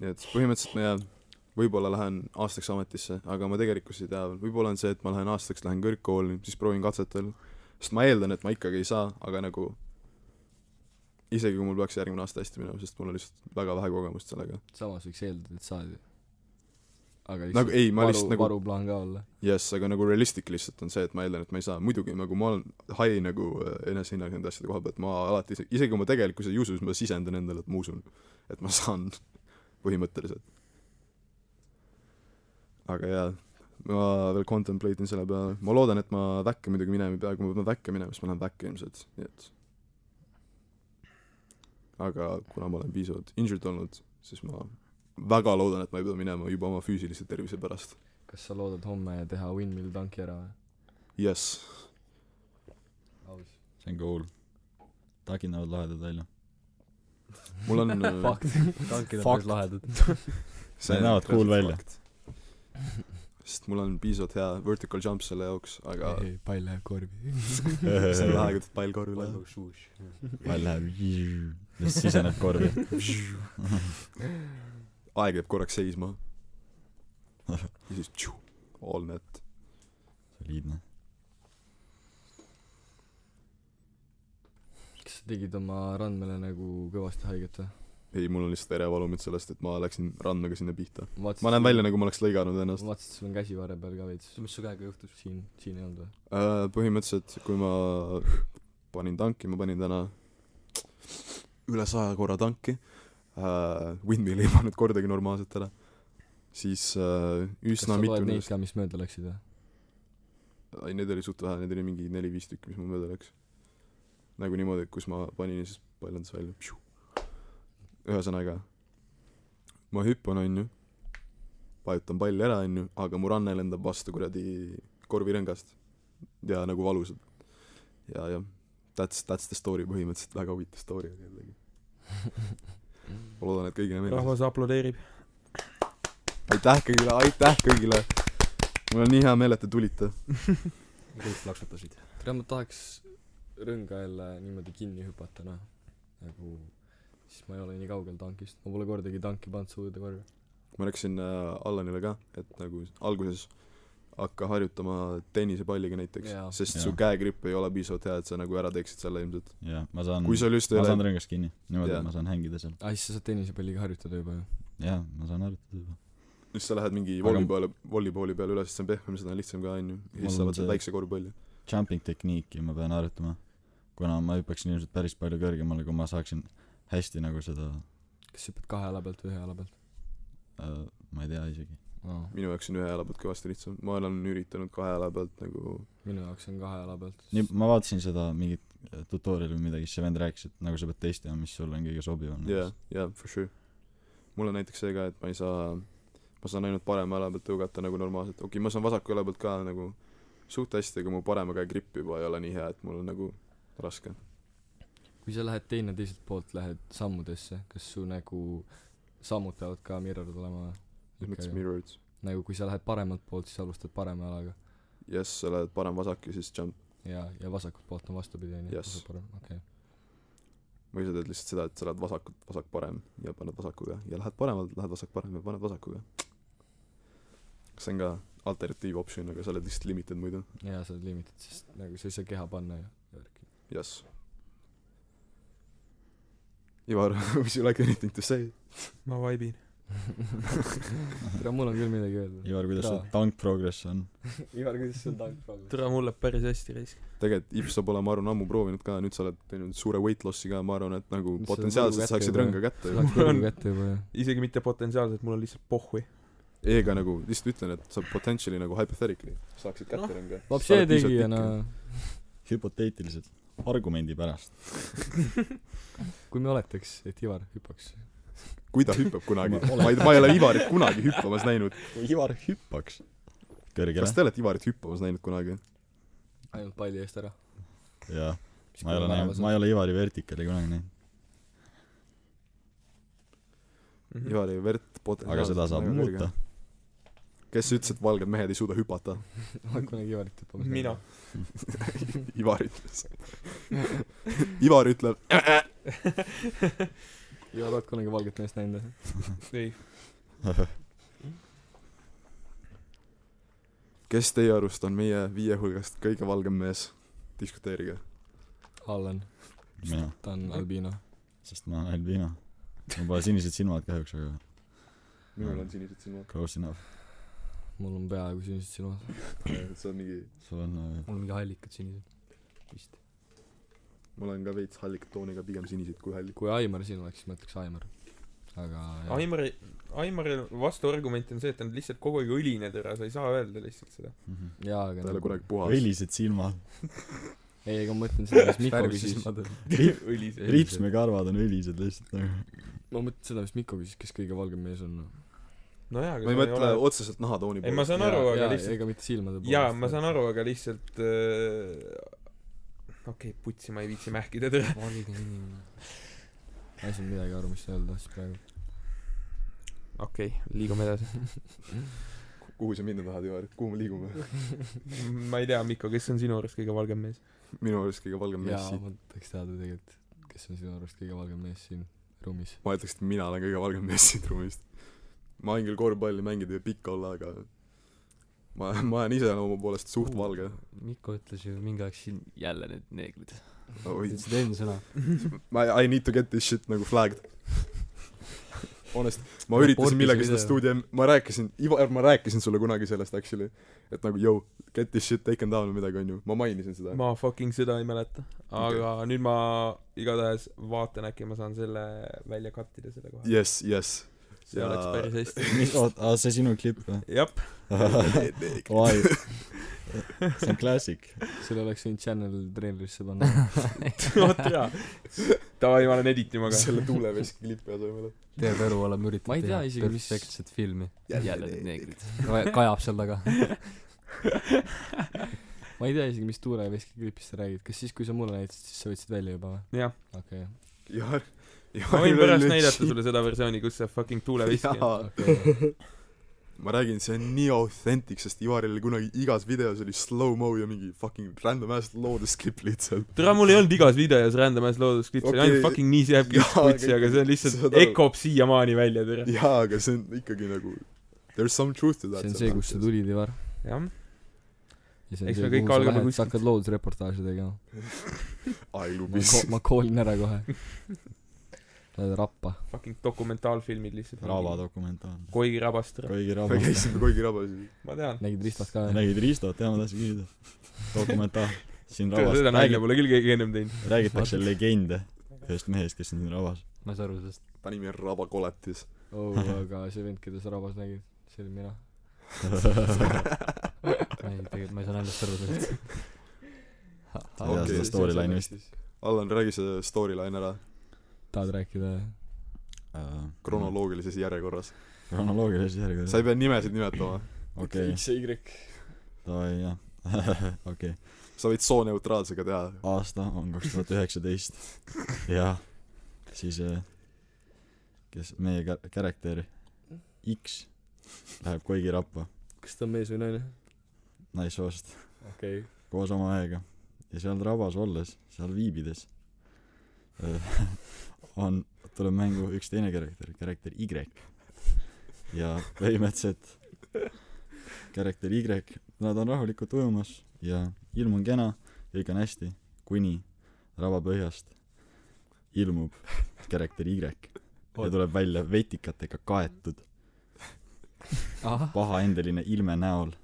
[SPEAKER 7] nii et põhimõtteliselt ma jään võibolla lähen aastaks ametisse aga ma tegelikkuses ei tea veel võibolla on see et ma lähen aastaks lähen kõrgkooli siis proovin katsetel sest ma eeldan et ma ikkagi ei saa aga nagu isegi kui mul peaks järgmine aasta hästi minema sest mul on lihtsalt väga vähe kogemust sellega
[SPEAKER 8] samas võiks eeldada , et saad ju . aga
[SPEAKER 7] Nagu ei, ma lihtsalt nagu-
[SPEAKER 8] varuplaan ka olla .
[SPEAKER 7] jess , aga nagu realistlik lihtsalt on see , et ma eeldan , et ma ei saa , muidugi nagu ma olen high nagu äh, enesehinnang nende asjade koha pealt , ma alati , isegi kui ma tegelikkuses ei usu , siis ma sisendan endale , et ma usun , et ma saan põhimõtteliselt . aga jaa , ma veel contemplate in selle peale , ma loodan , et ma väkke muidugi minema ei pea , kui ma pean väkke minema , siis ma lähen väkke ilmselt , nii et aga kuna ma olen piisavalt injured olnud , siis ma väga loodan , et ma ei pea minema juba oma füüsilise tervise pärast .
[SPEAKER 8] kas sa loodad homme teha windmill tanki ära või ?
[SPEAKER 7] jess
[SPEAKER 8] aus .
[SPEAKER 5] see on cool tagid näevad lahedad välja
[SPEAKER 7] mul on äh,
[SPEAKER 8] Fuck .
[SPEAKER 4] tankid on
[SPEAKER 8] Fakt.
[SPEAKER 4] päris lahedad .
[SPEAKER 5] Need näevad cool välja. .
[SPEAKER 7] sest mul on piisavalt hea vertical jump selle jaoks , aga
[SPEAKER 8] ei , pall läheb korvi .
[SPEAKER 7] see on vähe , kuidas pall korvi läheb .
[SPEAKER 5] pall läheb juu, ja siis siseneb korvi
[SPEAKER 7] aeg jääb korraks seisma . ja siis tšu, all net .
[SPEAKER 5] soliidne
[SPEAKER 8] kas sa tegid oma randmele nagu kõvasti haiget või ?
[SPEAKER 7] ei , mul on lihtsalt verevalumid sellest , et ma läksin randmega sinna pihta . ma näen välja , nagu ma oleks lõiganud ennast .
[SPEAKER 8] ma vaatasin , et sul on käsi varre peal ka veits .
[SPEAKER 4] mis su käega juhtus ?
[SPEAKER 8] siin , siin ei olnud või ?
[SPEAKER 7] Äh, põhimõtteliselt , kui ma panin tanki , ma panin täna üle saja korra tanki . Windmill ei pannud kordagi normaalselt ära . siis äh,
[SPEAKER 8] kas
[SPEAKER 7] üsna
[SPEAKER 8] sa
[SPEAKER 7] mitu
[SPEAKER 8] loed neid ka , mis mööda läksid või ?
[SPEAKER 7] ei , neid oli suht vähe , neid oli mingi neli-viis tükki , mis mul mööda läks . nagu niimoodi , et kus ma panin ja siis paljandas välja . ühesõnaga , ma hüppan , onju , vajutan palli ära , onju , aga mu ranne lendab vastu kuradi korvirõngast ja nagu valusalt . ja , jah , that's , that's the story põhimõtteliselt , väga huvitav story oli jällegi . ma loodan , et kõigile meeldis .
[SPEAKER 6] rahvas aplodeerib .
[SPEAKER 7] aitäh kõigile , aitäh kõigile . mul on nii hea meel , et te tulite .
[SPEAKER 4] kõik plaksutasid .
[SPEAKER 8] tead , ma tahaks rõnga jälle niimoodi kinni hüpata , noh . nagu , siis ma ei ole nii kaugel tankist . ma pole kordagi tanki pannud suude korvi .
[SPEAKER 7] ma rääkisin äh, Allanile ka , et nagu alguses hakka harjutama tennisepalliga näiteks
[SPEAKER 8] Jaa. ,
[SPEAKER 7] sest
[SPEAKER 5] Jaa.
[SPEAKER 7] su käegripp ei ole piisavalt hea , et sa nagu ära teeksid selle ilmselt .
[SPEAKER 5] jah ma saan
[SPEAKER 7] kui sul just ei
[SPEAKER 5] ma
[SPEAKER 7] ole
[SPEAKER 5] saan , rõngast kinni niimoodi
[SPEAKER 7] Jaa.
[SPEAKER 5] et ma saan hängida seal
[SPEAKER 8] aa , Ah, siis sa saad tennisepalliga harjutada juba ju .
[SPEAKER 5] jah ma saan harjutada juba
[SPEAKER 7] siis sa lähed mingi
[SPEAKER 5] Aga-
[SPEAKER 7] volleyball , volleyboli peale üles , see on pehmem , seda on lihtsam ka onju . ja
[SPEAKER 5] Mul
[SPEAKER 7] siis
[SPEAKER 5] on
[SPEAKER 7] sa võtad
[SPEAKER 5] see-
[SPEAKER 7] väikse korvpalli .
[SPEAKER 5] jumping tekniiki ma pean harjutama kuna ma hüppaksin ilmselt päris palju kõrgemale kui ma saaksin hästi nagu seda
[SPEAKER 8] kas hüppad kahe jala pealt või ühe jala pealt ?
[SPEAKER 5] äh, ma ei tea isegi
[SPEAKER 7] minu jaoks on ühe jala pealt kõvasti lihtsam , ma olen üritanud kahe jala pealt nagu
[SPEAKER 8] minu jaoks on kahe jala pealt .
[SPEAKER 5] nii ma vaatasin seda mingit äh, tutorial'i või midagi siis see vend rääkis et nagu sa pead testima mis sulle on kõige sobivam
[SPEAKER 7] jaa , jaa , for sure . mul on näiteks see ka , et ma ei saa , ma saan ainult parema jala pealt tõugata nagu normaalselt , okei okay, , ma saan vasaku jala pealt ka nagu suht hästi , aga mu parema käe gripp juba ei ole nii hea , et mul on nagu raske .
[SPEAKER 8] kui sa lähed teine teiselt poolt , lähed sammudesse , kas su nagu sammud peavad ka mirrored olema või
[SPEAKER 7] miks
[SPEAKER 8] Ikka ju.
[SPEAKER 7] mirrored ?
[SPEAKER 8] nagu kui sa lähed paremalt poolt , siis alustad parema jalaga
[SPEAKER 7] jess , sa lähed parem-vasak ja siis jump .
[SPEAKER 8] ja , ja vasakult poolt on vastupidi , onju ,
[SPEAKER 7] Yes.
[SPEAKER 8] vasak parem , okei okay. .
[SPEAKER 7] või sa teed lihtsalt seda , et sa lähed vasakult , vasak-parem ja paned vasakuga ja lähed paremalt , lähed vasak-parem ja paned vasakuga . see on ka alternatiiv optsioon , aga sa oled lihtsalt limited muidu .
[SPEAKER 8] ja sa oled limited , sest nagu sa ei saa keha panna ju .
[SPEAKER 7] Yes. Ivar , would you like anything to say ?
[SPEAKER 6] ma vaibin .
[SPEAKER 8] tere , mul on küll midagi öelda .
[SPEAKER 5] Ivar kuidas see
[SPEAKER 8] Jaa.
[SPEAKER 5] tank progress on
[SPEAKER 8] Ivar , kuidas sul tank praegu ?
[SPEAKER 6] tere , mul läheb päris hästi raisk .
[SPEAKER 7] tegelikult Ipsa pole , ma arvan , ammu proovinud ka , nüüd sa oled teinud suure weight loss'i ka , ma arvan , et nagu
[SPEAKER 8] Nüüd sa
[SPEAKER 7] potentsiaalselt
[SPEAKER 8] võidu
[SPEAKER 7] saaksid
[SPEAKER 8] kätte
[SPEAKER 7] rõnga kätte ju .
[SPEAKER 8] Läks kõrvu kätte juba ju .
[SPEAKER 6] isegi mitte potentsiaalselt , mul on lihtsalt pohhui .
[SPEAKER 7] Eega nagu lihtsalt ütlen , et sa potentially nagu hypothetically saaksid kätte
[SPEAKER 6] Noh,
[SPEAKER 7] rõnga .
[SPEAKER 8] vapsee tegija , no
[SPEAKER 5] hüpoteetiliselt argumendi pärast
[SPEAKER 8] kui me oletaks , et Ivar hüppaks .
[SPEAKER 7] kui ta hüppab kunagi ,
[SPEAKER 5] Ma olen-
[SPEAKER 7] ma ei , ma ei ole Ivarit kunagi hüppamas näinud .
[SPEAKER 5] kui Ivar hüppaks
[SPEAKER 7] kas
[SPEAKER 5] kõrgele
[SPEAKER 7] te olete Ivarit hüppamas näinud kunagi ?
[SPEAKER 8] ainult palli eest ära .
[SPEAKER 5] jaa ma ei ole näinud ma ei ole Ivari vertikaali kunagi näinud
[SPEAKER 7] Ivari verd
[SPEAKER 6] Mhm.
[SPEAKER 5] aga seda saab muuta .
[SPEAKER 7] Nagu kes ütles , et valged mehed ei suuda hüpata ?
[SPEAKER 8] ma kunagi Ivarit tüüpi .
[SPEAKER 6] mina .
[SPEAKER 7] Ivar ütles . Ivar ütleb ,
[SPEAKER 8] Ivar , oled kunagi valget meest näinud või ?
[SPEAKER 6] ei ,
[SPEAKER 7] kes teie arust on meie viie hulgast kõige valgem mees ? diskuteerige .
[SPEAKER 8] Allan ,
[SPEAKER 5] mina ,
[SPEAKER 8] ta
[SPEAKER 6] Mhm.
[SPEAKER 8] on albiino .
[SPEAKER 5] sest ma olen albino . mul pole sinised silmad kahjuks , aga
[SPEAKER 7] minul on sinised silmad .
[SPEAKER 5] close enough .
[SPEAKER 8] mul on peaaegu sinised silmad .
[SPEAKER 7] see on mingi ,
[SPEAKER 5] sul on äh,
[SPEAKER 4] mul on mingi allikad sinised . vist .
[SPEAKER 7] mul on ka veits hallika tooniga , pigem sinised kui hallikud .
[SPEAKER 8] kui Aimar siin oleks , siis ma ütleks Aimar . aga jah.
[SPEAKER 6] Aimari , Aimaril vastuargument on see , et ta on lihtsalt kogu aeg õline tõra , sa ei saa öelda lihtsalt seda .
[SPEAKER 5] mhm.
[SPEAKER 8] jaa , aga nagu-
[SPEAKER 7] ta ei
[SPEAKER 6] Nagu
[SPEAKER 7] ole kunagi puhas .
[SPEAKER 5] õilised silmad .
[SPEAKER 8] ei , ega ma mõtlen seda , mis Mikko
[SPEAKER 4] värvi
[SPEAKER 8] küsis
[SPEAKER 4] siis . madal .
[SPEAKER 6] õlised .
[SPEAKER 5] ripsmekarvad on õilised lihtsalt nagu .
[SPEAKER 8] ma mõtlen seda , mis Mikko küsis , kes kõige valgem mees on . noh.
[SPEAKER 6] nojaa , aga
[SPEAKER 7] ma ei
[SPEAKER 6] sul
[SPEAKER 7] mõtle
[SPEAKER 6] ole-
[SPEAKER 7] otseselt nahatooni
[SPEAKER 6] ei , ma saan aru , aga lihtsalt
[SPEAKER 8] ega mitte silmade poolest .
[SPEAKER 6] jaa , ma saan aru , aga lihtsalt äh, okei okay, , putsi ma ei viitsi mähkida tõra .
[SPEAKER 4] valge inimene .
[SPEAKER 8] ma ei saanud midagi aru , mis sa öelda tahtsid praegu .
[SPEAKER 6] okei okay, , liigume edasi .
[SPEAKER 7] kuhu sa minna tahad , Ivar , kuhu me liigume ?
[SPEAKER 6] ma ei tea , Mikko , kes on sinu arust kõige valgem mees ?
[SPEAKER 7] minu arust kõige valgem mees
[SPEAKER 8] jaa ,
[SPEAKER 7] siin .
[SPEAKER 8] ma tahaks teada tegelikult , kes on sinu arust kõige valgem mees siin ruumis .
[SPEAKER 7] ma ütleks , et mina olen kõige valgem mees siit ruumist . ma võin küll korvpalli mängida ja pikk olla , aga ma , ma olen iseloomu poolest suht valge .
[SPEAKER 4] Mikko ütles ju mingi aeg siin jälle need neegrid .
[SPEAKER 7] Oi.
[SPEAKER 4] ütlesid enne sõna .
[SPEAKER 7] ma , I need to get this shit nagu flagged . Honest , ma üritasin
[SPEAKER 4] Reporti
[SPEAKER 7] millega
[SPEAKER 4] see
[SPEAKER 7] seda
[SPEAKER 4] video.
[SPEAKER 7] stuudio , ma rääkisin , Ivar , ma rääkisin sulle kunagi sellest actually , et nagu yo , get this shit taken down või midagi onju , ma mainisin seda .
[SPEAKER 6] ma fucking seda ei mäleta . aga okay. nüüd ma igatahes vaatan , äkki ma saan selle välja cut ida selle koha .
[SPEAKER 7] Yes , yes .
[SPEAKER 6] see
[SPEAKER 7] ja-
[SPEAKER 6] oleks päris hästi .
[SPEAKER 5] mis , oota , see sinu klipp või ?
[SPEAKER 6] jah ,
[SPEAKER 5] Why ? see on klassik .
[SPEAKER 8] selle oleks võinud Channel treenerisse panna .
[SPEAKER 6] vot jaa . davai , ma lähen editima ka .
[SPEAKER 7] selle tuuleveski klipi asemel .
[SPEAKER 4] terve elu oleme
[SPEAKER 8] Ma ei
[SPEAKER 4] üritanud
[SPEAKER 8] tea isegi, mis-
[SPEAKER 4] perfektset filmi .
[SPEAKER 7] Jälle
[SPEAKER 4] jälle
[SPEAKER 7] need
[SPEAKER 4] need neegrid . kajab seal taga .
[SPEAKER 8] ma ei tea isegi , mis Tuure Veski klipist sa räägid , kas siis , kui sa mulle näitasid , siis sa võtsid välja juba või ?
[SPEAKER 6] jah ,
[SPEAKER 8] okei ,
[SPEAKER 7] Ivar ,
[SPEAKER 6] ma võin pärast näidata sulle seda versiooni , kus see fucking tuuleviski on .
[SPEAKER 7] jaa ,
[SPEAKER 8] okei .
[SPEAKER 7] ma räägin , see on nii authentic , sest Ivaril oli kunagi igas videos oli slow-mo ja mingi fucking random ass loodusklipp lihtsalt .
[SPEAKER 6] tere , mul ei olnud igas videos random ass loodusklipp , see oli
[SPEAKER 7] Okei.
[SPEAKER 6] ainult fucking nii , see jääbki
[SPEAKER 7] Jaa,
[SPEAKER 6] kutsi ,
[SPEAKER 7] aga-
[SPEAKER 6] aga see on lihtsalt
[SPEAKER 7] saad , aru.
[SPEAKER 6] ekob siiamaani välja , tere .
[SPEAKER 7] jaa , aga see on ikkagi nagu there is some truth to that .
[SPEAKER 8] see on see , kust sa . tulid , Ivar .
[SPEAKER 6] jah ,
[SPEAKER 8] ja see on
[SPEAKER 6] Eks
[SPEAKER 8] see ,
[SPEAKER 6] me kõik
[SPEAKER 8] kuhu sa
[SPEAKER 6] algame
[SPEAKER 8] lähed ,
[SPEAKER 6] kuskilt.
[SPEAKER 8] sa hakkad loodusreportaaže tegema .
[SPEAKER 7] I
[SPEAKER 8] ma
[SPEAKER 7] lubis
[SPEAKER 8] ko- , ma koolin ära kohe . Lähed rappa .
[SPEAKER 6] fucking dokumentaalfilmid lihtsalt .
[SPEAKER 5] Raava . dokumentaal .
[SPEAKER 6] koi rabast , tere .
[SPEAKER 5] kuigi
[SPEAKER 7] me
[SPEAKER 5] Raava .
[SPEAKER 7] käisime Koigirabas ja
[SPEAKER 6] ma tean .
[SPEAKER 8] nägid Ristat ka või ?
[SPEAKER 5] nägid Ristot , jah , ma tahtsin küsida . dokumentaal . siin Raavas
[SPEAKER 6] seda nalja
[SPEAKER 5] räägib-
[SPEAKER 6] pole küll keegi ennem teinud .
[SPEAKER 5] räägitakse legende ühest mehest , kes on siin Raavas .
[SPEAKER 4] ma ei saa aru sellest .
[SPEAKER 7] ta nimi on Raba Koletis .
[SPEAKER 8] oo , Oh, aga see vend , keda sa rabas nägid , see olin mina .
[SPEAKER 4] ma ei , tegelikult ma ei saa naljast aru sellest .
[SPEAKER 5] ta ei tea
[SPEAKER 7] Okei,
[SPEAKER 5] seda storyline'i vist .
[SPEAKER 7] Allan , räägi see storyline ära
[SPEAKER 8] tahad rääkida ?
[SPEAKER 7] kronoloogilises
[SPEAKER 8] Mm.
[SPEAKER 7] järjekorras .
[SPEAKER 5] kronoloogilises järjekorras
[SPEAKER 7] sa . ei pea nimesid nimetama ,
[SPEAKER 5] okei ,
[SPEAKER 8] X ja Y .
[SPEAKER 5] davai jah . okei ,
[SPEAKER 7] sa võid sooneutraalsega teha .
[SPEAKER 5] aasta on kaks tuhat üheksateist ja siis äh, kes meie kar- karakter X läheb kuigi rappa
[SPEAKER 8] kas ta on mees või naine ?
[SPEAKER 5] naissoost
[SPEAKER 8] okei .
[SPEAKER 5] koos oma mehega ja seal rabas olles , seal viibides öö, on , tuleb mängu üks teine karakter , karakter Y . ja põhimõtteliselt karakter Y , nad on rahulikult ujumas ja ilm on kena ja kõik on hästi , kuni raba põhjast ilmub karakter Y ja tuleb välja vetikatega kaetud
[SPEAKER 4] ahah ,
[SPEAKER 5] pahaendeline ilme näol ,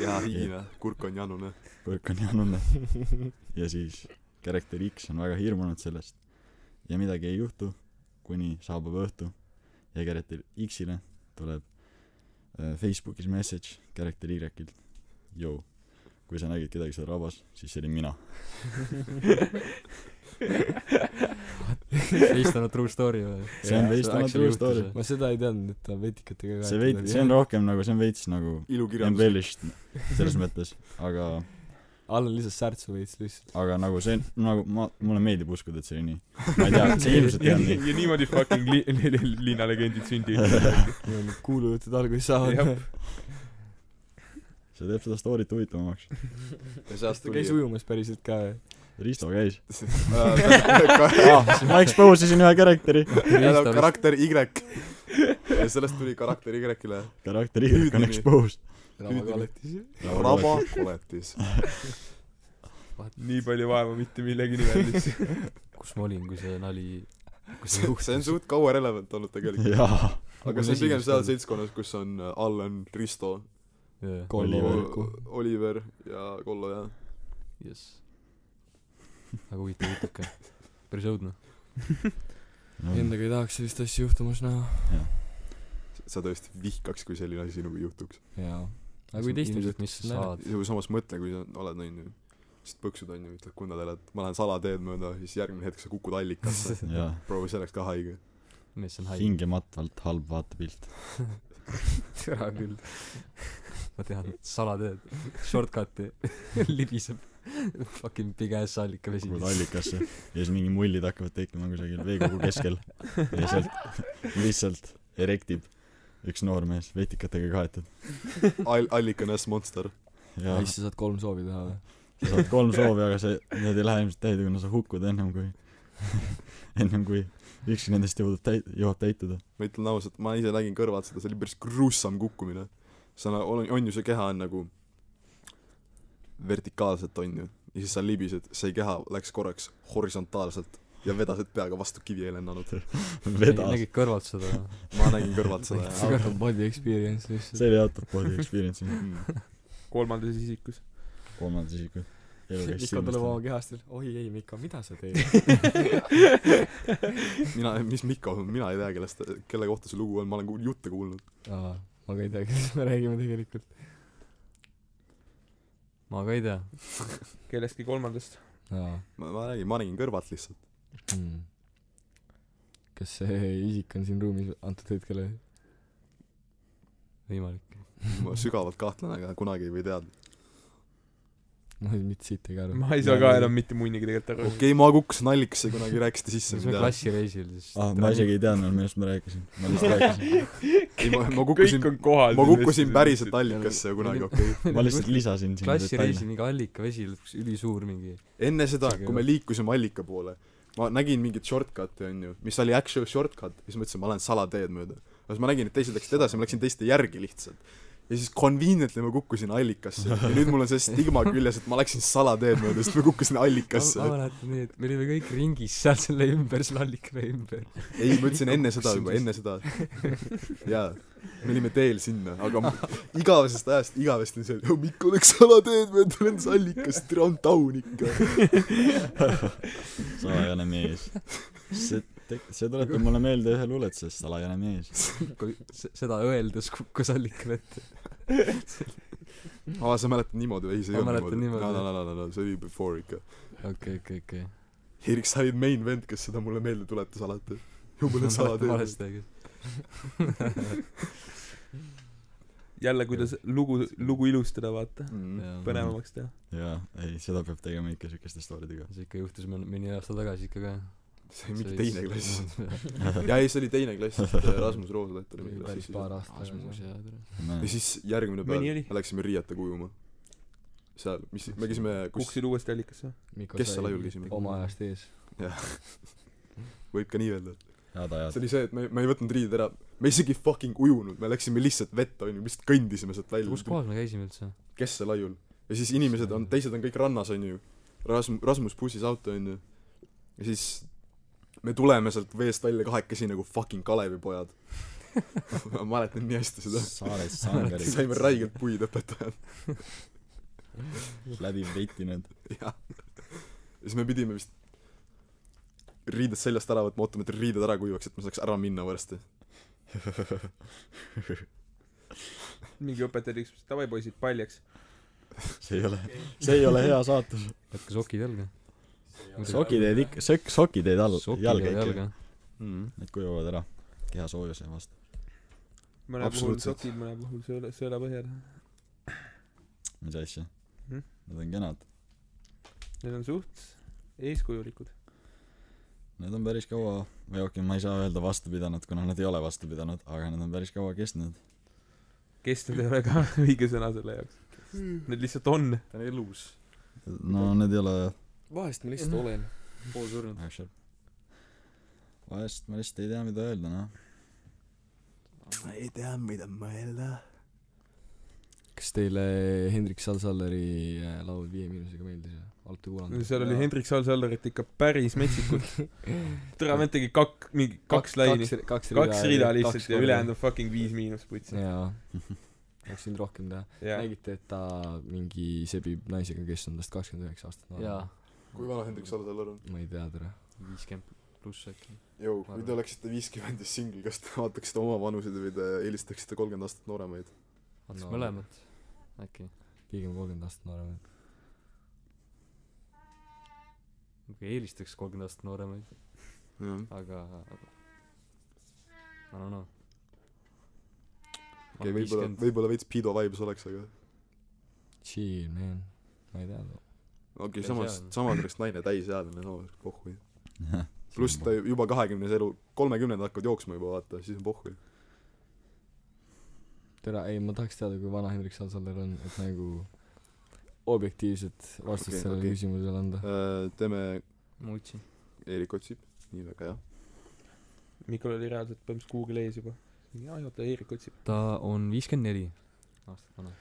[SPEAKER 7] ja higine , kurk on janune .
[SPEAKER 5] kurk on janune . ja siis karakter X on väga hirmunud sellest ja midagi ei juhtu kuni saabub õhtu ja karakter X-ile tuleb äh, Facebookis message karakter Y-ilt Jou , kui sa nägid kedagi seal rabas , siis see olin mina
[SPEAKER 4] based on a true story või ?
[SPEAKER 5] see on based on a true story
[SPEAKER 8] ma seda ei teadnud , et ta vetikatega
[SPEAKER 5] see veits , see on . rohkem nagu , see on veits nagu
[SPEAKER 7] ilukirjandus .
[SPEAKER 5] embellished selles mõttes , aga
[SPEAKER 8] all on lihtsalt särtsu veits lihtsalt .
[SPEAKER 5] aga nagu see nagu ma mulle meeldib uskuda et see oli nii ma ei tea see ilmselt ei
[SPEAKER 6] ja,
[SPEAKER 5] olnud nii
[SPEAKER 6] ja niimoodi fucking li- , li- li- linnalegendid sündivad .
[SPEAKER 8] kuulujutud alguses saavad
[SPEAKER 6] Jah. .
[SPEAKER 5] see teeb seda story't huvitavamaks
[SPEAKER 7] ja sealt
[SPEAKER 8] ta käis ujumas päriselt ka ju .
[SPEAKER 5] Risto käis
[SPEAKER 7] Ah, tuli
[SPEAKER 5] Ah, ma expose isin ühe karakteri
[SPEAKER 7] Ja
[SPEAKER 4] Risto
[SPEAKER 7] no, karakter Y . ja sellest tuli karakter Y-le .
[SPEAKER 5] karakteri kõik on exposed
[SPEAKER 7] Nagu raba koletis .
[SPEAKER 6] nii palju vaeva mitte millegi nimel lihtsalt .
[SPEAKER 4] kus ma olin , kui see nali , kui see
[SPEAKER 7] see on suht kaua relevant olnud tegelikult .
[SPEAKER 5] jaa
[SPEAKER 7] aga see on pigem seal seltskonnas , kus on äh, Allan , Risto ,
[SPEAKER 4] jaa ,
[SPEAKER 5] Oliver.
[SPEAKER 7] Oliver ja Kollo ja .
[SPEAKER 4] jess . väga huvitav jutuke , päris õudne .
[SPEAKER 8] Endaga ei tahaks sellist asja juhtumas näha .
[SPEAKER 7] sa tõesti vihkaks , kui selline asi sinuga juhtuks .
[SPEAKER 8] jaa . aga kui teistel juhtub ,
[SPEAKER 4] mis sa saad ,
[SPEAKER 7] ja kui samas mõtle , kui sa oled naine , lihtsalt põksud onju , ütled kundadele , et ma lähen salateed mööda , siis järgmine hetk sa kukud allikasse .
[SPEAKER 5] jaa
[SPEAKER 7] proovi , see oleks ka haige .
[SPEAKER 4] mees see on haige .
[SPEAKER 5] hingematavalt halb vaatepilt
[SPEAKER 4] ära küll . ma tean , salatööd , shortcut'i libiseb fucking big ass allikavesi .
[SPEAKER 5] kukud allikasse ja siis mingi mullid hakkavad tekkima kusagil veekogu keskel ja sealt lihtsalt erektib üks noormees vetikatega kaetud
[SPEAKER 7] All- , allikane S-monster .
[SPEAKER 5] ja
[SPEAKER 8] siis sa saad kolm soovi teha või ?
[SPEAKER 5] sa saad kolm soovi aga see need ei lähe ilmselt täide kuna sa hukkud ennem kui ennem kui ükski nendest jõudab täit- jõuab täituda
[SPEAKER 7] ma ütlen ausalt , ma ise nägin kõrvalt seda , see oli päris gruusam kukkumine . sa na- on , on ju see keha on nagu vertikaalselt on ju , ja siis sa libised , see keha läks korraks horisontaalselt ja vedasid peaga vastu kivi ei lennanud .
[SPEAKER 5] vedas
[SPEAKER 4] nägid kõrvalt seda ?
[SPEAKER 7] ma nägin kõrvalt seda ja
[SPEAKER 8] out of body experience lihtsalt .
[SPEAKER 5] see oli out of body experience
[SPEAKER 7] Mm.
[SPEAKER 6] kolmandas isikus .
[SPEAKER 5] kolmandas isikus elu käis
[SPEAKER 8] Mikko tuleb oma
[SPEAKER 5] silmast
[SPEAKER 8] kehast veel , oi ei Mikko , mida sa teed ?
[SPEAKER 7] mina , mis Mikko , mina ei tea , kellest , kelle kohta see lugu on , ma olen kuul- , jutte kuulnud .
[SPEAKER 8] aa , ma ka ei tea , kellest me räägime tegelikult .
[SPEAKER 4] ma ka ei tea .
[SPEAKER 6] kellestki kolmandast .
[SPEAKER 8] aa
[SPEAKER 7] ma , ma nägin , ma nägin kõrvalt lihtsalt .
[SPEAKER 8] mm. . kas see isik on siin ruumis antud hetkel või ?
[SPEAKER 4] võimalik .
[SPEAKER 7] ma sügavalt kahtlen , aga kunagi ei või teada .
[SPEAKER 8] ma ei- mitte siit ei ka aru .
[SPEAKER 6] ma ei saa ka enam . mitte munnigi tegelikult aru
[SPEAKER 7] okei . okay, , ma kukkusin allikasse , kunagi rääkisite sisse .
[SPEAKER 4] siis me klassireisil siis
[SPEAKER 5] ah ma isegi ei teadnud millest ma rääkisin ma lihtsalt rääkisin
[SPEAKER 7] ei , ma , ma kukkusin
[SPEAKER 6] kõik , on kohal .
[SPEAKER 7] ma kukkusin päriselt allikasse kunagi , okei okay. .
[SPEAKER 5] ma lihtsalt lisasin sinna
[SPEAKER 4] klassireisil
[SPEAKER 5] detaile
[SPEAKER 4] mingi allikavesi , üks ülisuur mingi .
[SPEAKER 7] enne seda ,
[SPEAKER 4] Isegi
[SPEAKER 7] kui me liikusime allika poole , ma nägin mingit shortcut'i , onju , mis oli actual shortcut , siis ma ütlesin , ma lähen salateed mööda . aga siis ma nägin , et teised läksid edasi , ma läksin teiste järgi lihtsalt . ja siis conveniently ma kukkusin allikasse ja nüüd mul on see stigma küljes , et ma läksin salateed mööda , sest ma kukkusin allikasse
[SPEAKER 4] ma . mäletan nii , et me olime kõik ringis seal selle ümber , selle allikavee ümber .
[SPEAKER 7] ei , ma ütlesin enne seda juba , enne seda . jaa , me olime teel sinna , aga mu- igavesest ajast igavesti on see , et "Oh, Mikko läks salateed mööda , lendas allikasse , tere , on taun ikka .
[SPEAKER 5] salajane mees see tek- see tuletab mulle meelde ühe luuletuse salajane mees
[SPEAKER 4] kui se- seda öeldes kukkus allikavette .
[SPEAKER 7] aa , sa mäletad niimoodi või ? ei , see ei
[SPEAKER 4] Ma
[SPEAKER 7] olnud
[SPEAKER 4] mäletan
[SPEAKER 7] niimoodi . no ,
[SPEAKER 4] niimoodi.
[SPEAKER 7] no , no , no , no , see oli before ikka .
[SPEAKER 4] okei , okei , okei .
[SPEAKER 7] Erik , sa olid main vend , kes seda mulle meelde tuletas alati . jumala salateed .
[SPEAKER 4] valesti tegid .
[SPEAKER 6] jälle , kuidas lugu , lugu ilustada , vaata .
[SPEAKER 7] Mm,
[SPEAKER 6] põnevamaks teha .
[SPEAKER 5] jaa ei seda peab tegema ikka siukeste story dega
[SPEAKER 4] see ikka juhtus mõni , mõni aasta tagasi ikka ka .
[SPEAKER 7] see oli mingi teine klass . jaa , ei , see oli teine klass , Rasmus Roosalaid oli meie klassis . ja
[SPEAKER 8] aastat
[SPEAKER 4] Asmus ja tere .
[SPEAKER 5] ma
[SPEAKER 7] siis järgmine
[SPEAKER 6] Mõni
[SPEAKER 7] päev
[SPEAKER 6] oli.
[SPEAKER 7] me läksime riietega ujuma . seal , mis , me käisime , kus ,
[SPEAKER 6] kukkusid uuesti allikasse .
[SPEAKER 7] kes seal laiul käisime ?
[SPEAKER 8] oma ajast ees .
[SPEAKER 7] võib ka nii öelda .
[SPEAKER 5] head
[SPEAKER 7] see
[SPEAKER 5] ajad
[SPEAKER 7] oli see , et me , me ei võtnud riided ära . me isegi fucking ujunud , me läksime lihtsalt vette , onju , lihtsalt kõndisime sealt
[SPEAKER 4] kus
[SPEAKER 7] välja .
[SPEAKER 4] kohas me käisime üldse ?
[SPEAKER 7] kes see laiul ja siis inimesed on teised on kõik rannas onju Rasm- Rasmus bussis auto onju ja siis me tuleme sealt veest välja kahekesi nagu fucking Kalevipojad ma mäletan nii hästi seda
[SPEAKER 5] saares sangarid
[SPEAKER 7] saime räigelt puid õpetajad
[SPEAKER 5] läbi petinud
[SPEAKER 7] jah ja siis me pidime vist riided seljast ära võtma ootame et riided ära kuivaks et me saaks ära minna varsti
[SPEAKER 6] mingi õpetaja tegi , davai poisid , paljaks .
[SPEAKER 5] see ei ole see ei ole hea saatus
[SPEAKER 4] jätke sokid jalga .
[SPEAKER 5] sokid jäid ikka sök- sokid jäid all
[SPEAKER 4] sokid
[SPEAKER 5] jalga
[SPEAKER 4] jalga,
[SPEAKER 5] ikka
[SPEAKER 4] jalga. .
[SPEAKER 7] mm.
[SPEAKER 5] need kuivavad ära keha soojuse vastu
[SPEAKER 6] mõne puhul
[SPEAKER 7] Absoluutselt.
[SPEAKER 6] sokid , mõne puhul sõela , sõelapõhjad .
[SPEAKER 5] mis asja
[SPEAKER 6] Mhm.
[SPEAKER 7] Hmm?
[SPEAKER 5] need on kenad
[SPEAKER 6] Need on suht eeskujulikud .
[SPEAKER 5] Need on päris kaua , või okei okay, , ma ei saa öelda vastu pidanud , kuna nad ei ole vastu pidanud , aga nad on päris kaua kestnud .
[SPEAKER 6] kestnud ei ole ka õige sõna selle jaoks . Need lihtsalt on .
[SPEAKER 4] ta on elus
[SPEAKER 5] no need ei ole
[SPEAKER 9] vahest ma lihtsalt olen .
[SPEAKER 4] poolsurnud
[SPEAKER 5] väga sharp . vahest ma lihtsalt ei tea , mida öelda , noh .
[SPEAKER 7] ma ei tea , mida mõelda .
[SPEAKER 8] kas teile Hendrik Sal-Salleri äh, laul Viie miinusega meeldis või ? olete kuulanud ?
[SPEAKER 6] seal oli Hendrik Sal-Sallarit ikka päris metsikult . tere , vend tegi kak- , mingi kaks laini ,
[SPEAKER 8] kaks, kaks,
[SPEAKER 6] kaks rida lihtsalt ja ülejäänud on fucking viis miinus putsi .
[SPEAKER 8] jaa oleks võinud rohkem teha
[SPEAKER 6] jaa .
[SPEAKER 8] nägite et ta mingi sebib naisega kes on tast kakskümmend üheksa aastat vanem
[SPEAKER 4] jaa
[SPEAKER 7] kui vana Hendrik Salusalu on ?
[SPEAKER 8] ma ei tea tere
[SPEAKER 4] viiskümmend pluss äkki
[SPEAKER 7] Jõu , kui te oleksite viiskümmend ja singel , kas te vaataksite oma vanuseid või te eelistaksite kolmkümmend aastat nooremaid ?
[SPEAKER 4] vaatasin
[SPEAKER 8] No.
[SPEAKER 4] no. mõlemat äkki
[SPEAKER 8] pigem kolmkümmend aastat noorem
[SPEAKER 4] või eelistaks kolmkümmend aastat nooremaid
[SPEAKER 7] jah ,
[SPEAKER 4] aga aga I don't know
[SPEAKER 7] okei , võib-olla , võib-olla veits Pido vibes oleks , aga
[SPEAKER 8] chill man ma ei tea too
[SPEAKER 7] okei okay, ,
[SPEAKER 4] Täisealine.
[SPEAKER 7] samas , samas oleks naine täisealine noor , pohhui . pluss ta ju- juba kahekümnes elu , kolmekümnendad hakkavad jooksma juba , vaata , siis on pohhui .
[SPEAKER 8] tere ei ma tahaks teada kui vana Hendrik Sal-Saller on et nagu objektiivset vastust
[SPEAKER 7] Okei,
[SPEAKER 8] okay, sellele
[SPEAKER 7] okei.
[SPEAKER 8] okay. küsimusele anda
[SPEAKER 7] Äh, teeme ,
[SPEAKER 4] ma otsin
[SPEAKER 7] Eerik otsib , nii väga hea .
[SPEAKER 6] Mikol oli reaalselt põhimõtteliselt Google ees juba . jaa , oota , Eerik otsib .
[SPEAKER 4] ta on viiskümmend neli aastat vana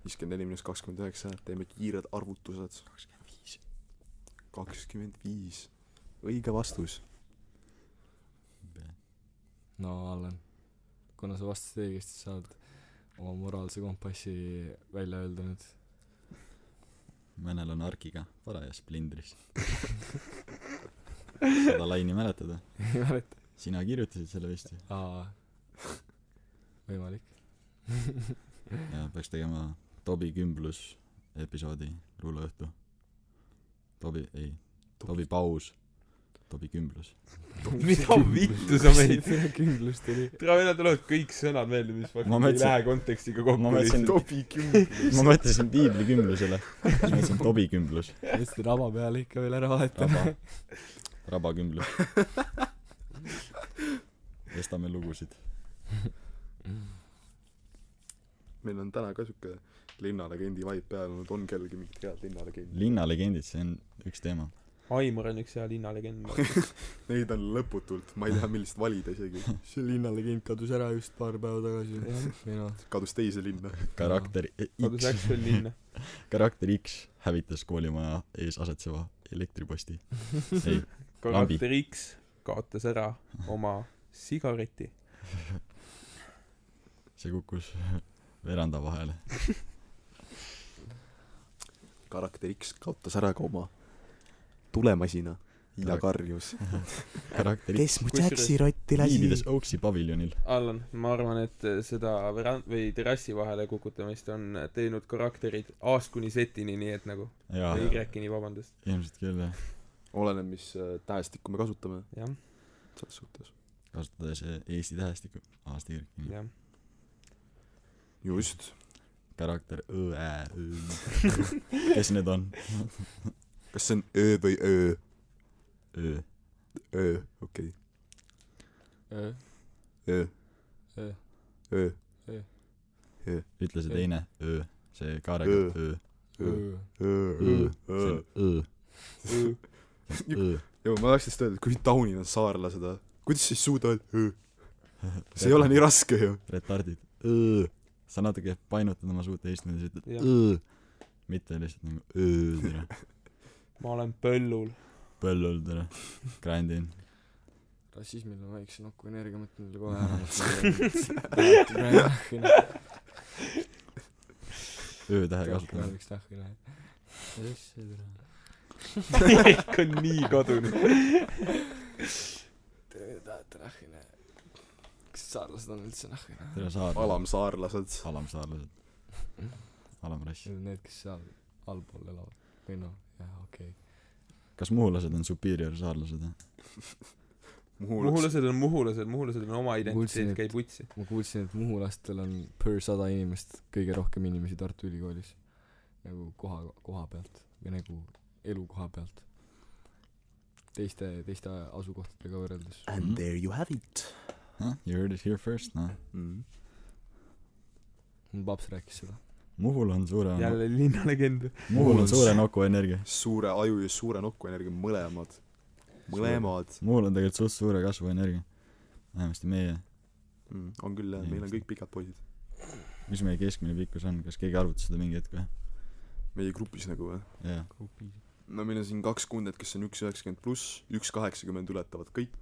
[SPEAKER 7] viiskümmend neli miinus kakskümmend üheksa , teeme kiired arvutused . kakskümmend viis . kakskümmend viis . õige vastus .
[SPEAKER 8] no Allan kuna sa vastasid õigesti sa oled oma moraalse kompassi välja öelda nüüd
[SPEAKER 5] mõnel on argiga parajas plindris seda laini mäletad või
[SPEAKER 8] ei mäleta
[SPEAKER 5] sina kirjutasid selle vist ju
[SPEAKER 8] aa võimalik
[SPEAKER 5] ja peaks tegema Tobi kümblus episoodi luuleõhtu Tobi ei Tobi paus Tobi kümblus
[SPEAKER 6] mida vittu sa meid ,
[SPEAKER 8] kindlust oli
[SPEAKER 6] tere , meil tulevad kõik sõnad meelde , mis fucking
[SPEAKER 5] Ma
[SPEAKER 6] ei
[SPEAKER 5] mõtlesin-
[SPEAKER 6] lähe kontekstiga kokku
[SPEAKER 5] ma mõtlesin-
[SPEAKER 6] lihtsalt .
[SPEAKER 7] topi kümnes .
[SPEAKER 5] ma mõtlesin piibli kümlusele siis ma mõtlesin Tobi kümblus
[SPEAKER 8] tõesti raba peale ikka veel ära vahetama
[SPEAKER 5] raba raba kümblus tõstame lugusid
[SPEAKER 7] meil on täna ka siuke linnalegendi vibe peal olnud , on kellelgi mingit head linnalegendi ?
[SPEAKER 5] linnalegendid see on üks teema
[SPEAKER 6] Aimar on üks hea linnalegend .
[SPEAKER 7] Neid on lõputult , ma ei tea , millist valida isegi .
[SPEAKER 8] see linnalegend kadus ära just paar päeva tagasi minu
[SPEAKER 7] kadus teise linna .
[SPEAKER 5] karakter
[SPEAKER 6] kadus
[SPEAKER 5] X
[SPEAKER 6] Axel linna .
[SPEAKER 5] karakter X hävitas koolimaja ees asetseva elektriposti ei
[SPEAKER 6] karakter X kaotas ära oma sigareti .
[SPEAKER 5] see kukkus veranda vahele
[SPEAKER 7] karakter X kaotas ära ka oma tulemasina ja
[SPEAKER 5] Karak-
[SPEAKER 7] karjus .
[SPEAKER 5] karakter X
[SPEAKER 6] mu Jaxi
[SPEAKER 7] rotti
[SPEAKER 5] viibides Oaksi paviljonil
[SPEAKER 6] Allan , ma arvan , et seda veran- või terrassi vahele kukutamist on teinud karakterid A-st kuni Z-ini , nii et nagu
[SPEAKER 5] Ah, jaa
[SPEAKER 6] või Y-ini , vabandust .
[SPEAKER 5] ilmselt küll jah
[SPEAKER 7] oleneb , mis äh, tähestikku me kasutame
[SPEAKER 5] Mm.
[SPEAKER 6] jah ,
[SPEAKER 7] selles suhtes .
[SPEAKER 5] kasutades Eesti tähestikku aasta järgi
[SPEAKER 6] jah .
[SPEAKER 7] just .
[SPEAKER 5] karakter Õe Õ- kes need on
[SPEAKER 7] kas see on öö või öö ?
[SPEAKER 5] Ö
[SPEAKER 7] öö , okei
[SPEAKER 8] öö
[SPEAKER 7] okay. . öö ,
[SPEAKER 8] öö
[SPEAKER 7] öö ,
[SPEAKER 5] ütle see teine Ö see kaarega
[SPEAKER 7] Ö.
[SPEAKER 5] Ö
[SPEAKER 8] öö
[SPEAKER 7] öö
[SPEAKER 5] Ö , see
[SPEAKER 7] öö
[SPEAKER 5] on . Ö
[SPEAKER 6] Ö.
[SPEAKER 5] See on Ö
[SPEAKER 7] ja ma tahaks lihtsalt öelda , et kui taunid on saarlased , kuidas sa ei suuda öelda öö ? see ei ole nii raske ju .
[SPEAKER 5] retardid Ö sa natuke painutad oma suurt eesti keeles ütled
[SPEAKER 6] Jah.
[SPEAKER 5] Ö mitte lihtsalt nagu Ö tere
[SPEAKER 6] ma olen põllul .
[SPEAKER 5] põllul tere grindin
[SPEAKER 8] rassismil on väikse nuku energia mõtlen selle kohe ära
[SPEAKER 5] Ö
[SPEAKER 8] kasutan
[SPEAKER 5] tähe kasutamine
[SPEAKER 8] üks nahkine
[SPEAKER 6] Erik on nii kadunud .
[SPEAKER 8] tere tahate nahkine kas saarlased on üldse nahkine
[SPEAKER 5] tere saar
[SPEAKER 7] alamsaarlased .
[SPEAKER 5] alamsaarlased alamrass
[SPEAKER 8] need on need kes seal allpool elavad või noh jah okei
[SPEAKER 5] kas muhulased on superior saarlased või
[SPEAKER 7] muhulased .
[SPEAKER 6] muhulased on muhulased , muhulased on oma
[SPEAKER 8] Kuulsin,
[SPEAKER 6] identiteet
[SPEAKER 8] et- ,
[SPEAKER 6] käib utsi .
[SPEAKER 8] ma kuulsin et muhulastel on per sada inimest kõige rohkem inimesi Tartu Ülikoolis nagu koha koha pealt või nagu
[SPEAKER 10] elukoha pealt teiste teiste asukohtadega võrreldes
[SPEAKER 5] And
[SPEAKER 7] there you have it
[SPEAKER 5] huh? you heard it here first noh
[SPEAKER 7] mm.
[SPEAKER 10] mu paps rääkis seda
[SPEAKER 5] Muhul on suure
[SPEAKER 6] jälle linnalegend .
[SPEAKER 5] Muhul on suure noku energia
[SPEAKER 7] suure aju ja suure nokuenergia mõlemad mõlemad
[SPEAKER 5] Muhul on tegelikult suht suure kasvu energia vähemasti meie
[SPEAKER 7] mm. on küll jah meil on kõik pikad poisid
[SPEAKER 5] mis meie keskmine pikkus on kas keegi arvutas seda mingi hetk või
[SPEAKER 7] meie grupis nagu või
[SPEAKER 5] jaa
[SPEAKER 7] no meil on siin kaks kundjat kes on üks üheksakümmend pluss üks kaheksakümmend ületavad kõik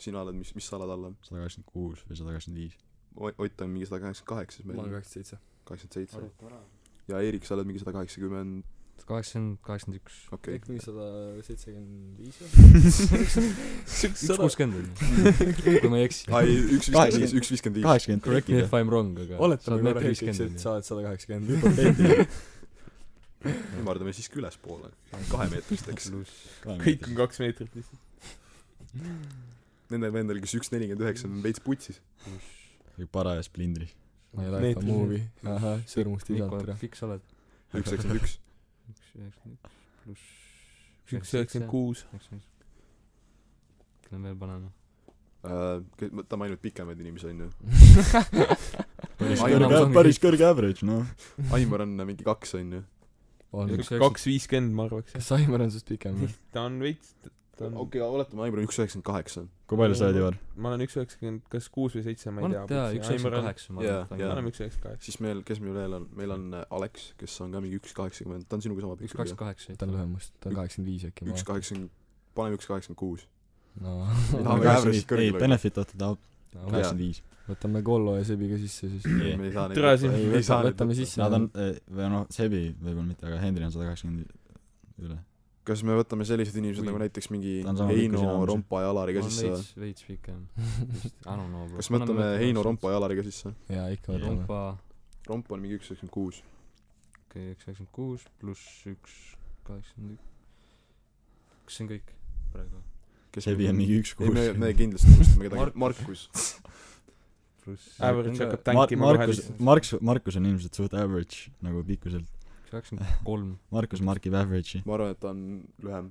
[SPEAKER 7] sina oled mis mis sa oled alla
[SPEAKER 5] sada kakskümmend kuus või sada kakskümmend viis
[SPEAKER 7] O- Ott on mingi sada kaheksakümmend kaheksa siis
[SPEAKER 10] ma
[SPEAKER 7] meil
[SPEAKER 10] olen
[SPEAKER 7] on
[SPEAKER 10] kakskümmend seitse
[SPEAKER 7] kaheksakümmend seitse ja Eerik sa oled mingi sada kaheksakümmend
[SPEAKER 4] kaheksakümmend , kaheksakümmend üks ,
[SPEAKER 7] okei
[SPEAKER 10] kõik mingi sada seitsekümmend viis
[SPEAKER 4] üks
[SPEAKER 10] või
[SPEAKER 4] kuuskümmend oli , kui ma ei eksi .
[SPEAKER 7] ai üks viiskümmend viis üks viiskümmend viis
[SPEAKER 5] kaheksakümmend
[SPEAKER 4] Correct me
[SPEAKER 5] tekkiga
[SPEAKER 4] if I m wrong , aga
[SPEAKER 10] oletame
[SPEAKER 4] sa oled
[SPEAKER 10] korra
[SPEAKER 4] meeter
[SPEAKER 10] hetkeks et
[SPEAKER 4] viiskümmend
[SPEAKER 10] sa oled sada kaheksakümmend
[SPEAKER 7] ümardame siiski ülespoole kahemeetristeks
[SPEAKER 6] kõik on kaks meetrit lihtsalt .
[SPEAKER 7] nendel vendel kes üks nelikümmend üheksa on veits putsis
[SPEAKER 5] kõik parajas plindris
[SPEAKER 10] ma ei
[SPEAKER 6] Need-
[SPEAKER 10] lähe movie ahah sõrmust
[SPEAKER 4] on ju .
[SPEAKER 10] isalt
[SPEAKER 4] Mikko
[SPEAKER 10] ära ,
[SPEAKER 4] miks sa oled ?
[SPEAKER 7] üks üheksakümmend üks
[SPEAKER 4] üks üheksakümmend üks pluss
[SPEAKER 6] üks üheksakümmend . kuus .
[SPEAKER 4] üheksakümmend üks . kelle me veel paneme ?
[SPEAKER 7] Äh, ke- ma- ta mainib pikemaid inimesi onju
[SPEAKER 5] päris
[SPEAKER 7] Aivar
[SPEAKER 5] kõrge
[SPEAKER 4] Sõõrmus-
[SPEAKER 5] päris kõrge average noh
[SPEAKER 7] Aimar on mingi kaks onju
[SPEAKER 10] on
[SPEAKER 4] Üks-
[SPEAKER 10] üks
[SPEAKER 6] kaks viiskümmend , ma arvaks .
[SPEAKER 10] kas Saimar on sinust pikem või
[SPEAKER 6] ta on veits , ta on okay. ,
[SPEAKER 7] okei oletame Aimar on üks üheksakümmend kaheksa
[SPEAKER 5] kui palju sa oled Ivar
[SPEAKER 6] ma olen üks üheksakümmend , kas kuus või seitse ,
[SPEAKER 4] ma
[SPEAKER 6] ma ei
[SPEAKER 4] ei
[SPEAKER 6] tea .
[SPEAKER 4] tea , üks üheksakümmend . kaheksa ma
[SPEAKER 7] Jaa,
[SPEAKER 6] me
[SPEAKER 7] jaa.
[SPEAKER 4] arvan .
[SPEAKER 6] oleme üks üheksakümmend kaheksa .
[SPEAKER 7] siis meil kes meil veel on meil on äh, Alex kes on ka mingi üks kaheksakümmend ta on sinuga sama
[SPEAKER 4] üks
[SPEAKER 7] pikk
[SPEAKER 4] kakskümmend kaheksa .
[SPEAKER 10] ta on lühem must ta on kaheksakümmend viis äkki ma
[SPEAKER 7] üks kaheksakümmend paneme üks kaheksakümmend kuus
[SPEAKER 10] no
[SPEAKER 7] tahame
[SPEAKER 5] Kaheksakümmend-
[SPEAKER 7] average'ist
[SPEAKER 5] ei
[SPEAKER 7] kõrgele hoida.
[SPEAKER 5] Benefit oota tahab
[SPEAKER 10] no
[SPEAKER 7] Jaa.
[SPEAKER 5] kaheksakümmend viis
[SPEAKER 10] võtame Kollo ja Sebi ka sisse siis
[SPEAKER 5] Ei.
[SPEAKER 7] me ei saa neid
[SPEAKER 6] Tere,
[SPEAKER 7] võtta.
[SPEAKER 6] siin-
[SPEAKER 7] Me ei
[SPEAKER 10] võta-
[SPEAKER 7] saa neid
[SPEAKER 10] võtame
[SPEAKER 7] võtta.
[SPEAKER 10] sisse.
[SPEAKER 5] nad on eh, või noh Sebi võibolla mitte aga Henri on sada kaheksakümmend üle
[SPEAKER 7] kas me võtame sellised inimesed
[SPEAKER 4] Kui-
[SPEAKER 7] nagu näiteks mingi
[SPEAKER 5] Ta on sama pikk kui
[SPEAKER 7] Heino
[SPEAKER 5] sina, ma saan-
[SPEAKER 7] Rompa ja Alariga
[SPEAKER 4] ma olen
[SPEAKER 7] sisse või
[SPEAKER 4] veits , veits pikem . I don't know .
[SPEAKER 7] kas me võtame Heino Rompa ja Alariga sisse
[SPEAKER 10] jaa ikka võtame
[SPEAKER 4] Rompa ,
[SPEAKER 7] Romp on mingi üks üheksakümmend kuus
[SPEAKER 4] okei , üks üheksakümmend kuus pluss üks kaheksakümmend üks . kas see on kõik praegu ?
[SPEAKER 7] kes
[SPEAKER 5] Sebi on mingi üks
[SPEAKER 7] ei
[SPEAKER 5] kuus
[SPEAKER 7] me me kindlasti unustame
[SPEAKER 4] Mark-
[SPEAKER 7] kedagi Markus
[SPEAKER 4] pluss .
[SPEAKER 6] Average hakkab
[SPEAKER 5] Mar-
[SPEAKER 6] tänkima kohe
[SPEAKER 5] Markus
[SPEAKER 6] lihtsalt .
[SPEAKER 5] Markus Markus on ilmselt suht average nagu pikkuselt
[SPEAKER 4] üks üheksakümmend kolm .
[SPEAKER 5] Markus margib average'i
[SPEAKER 7] ma arvan et ta on lühem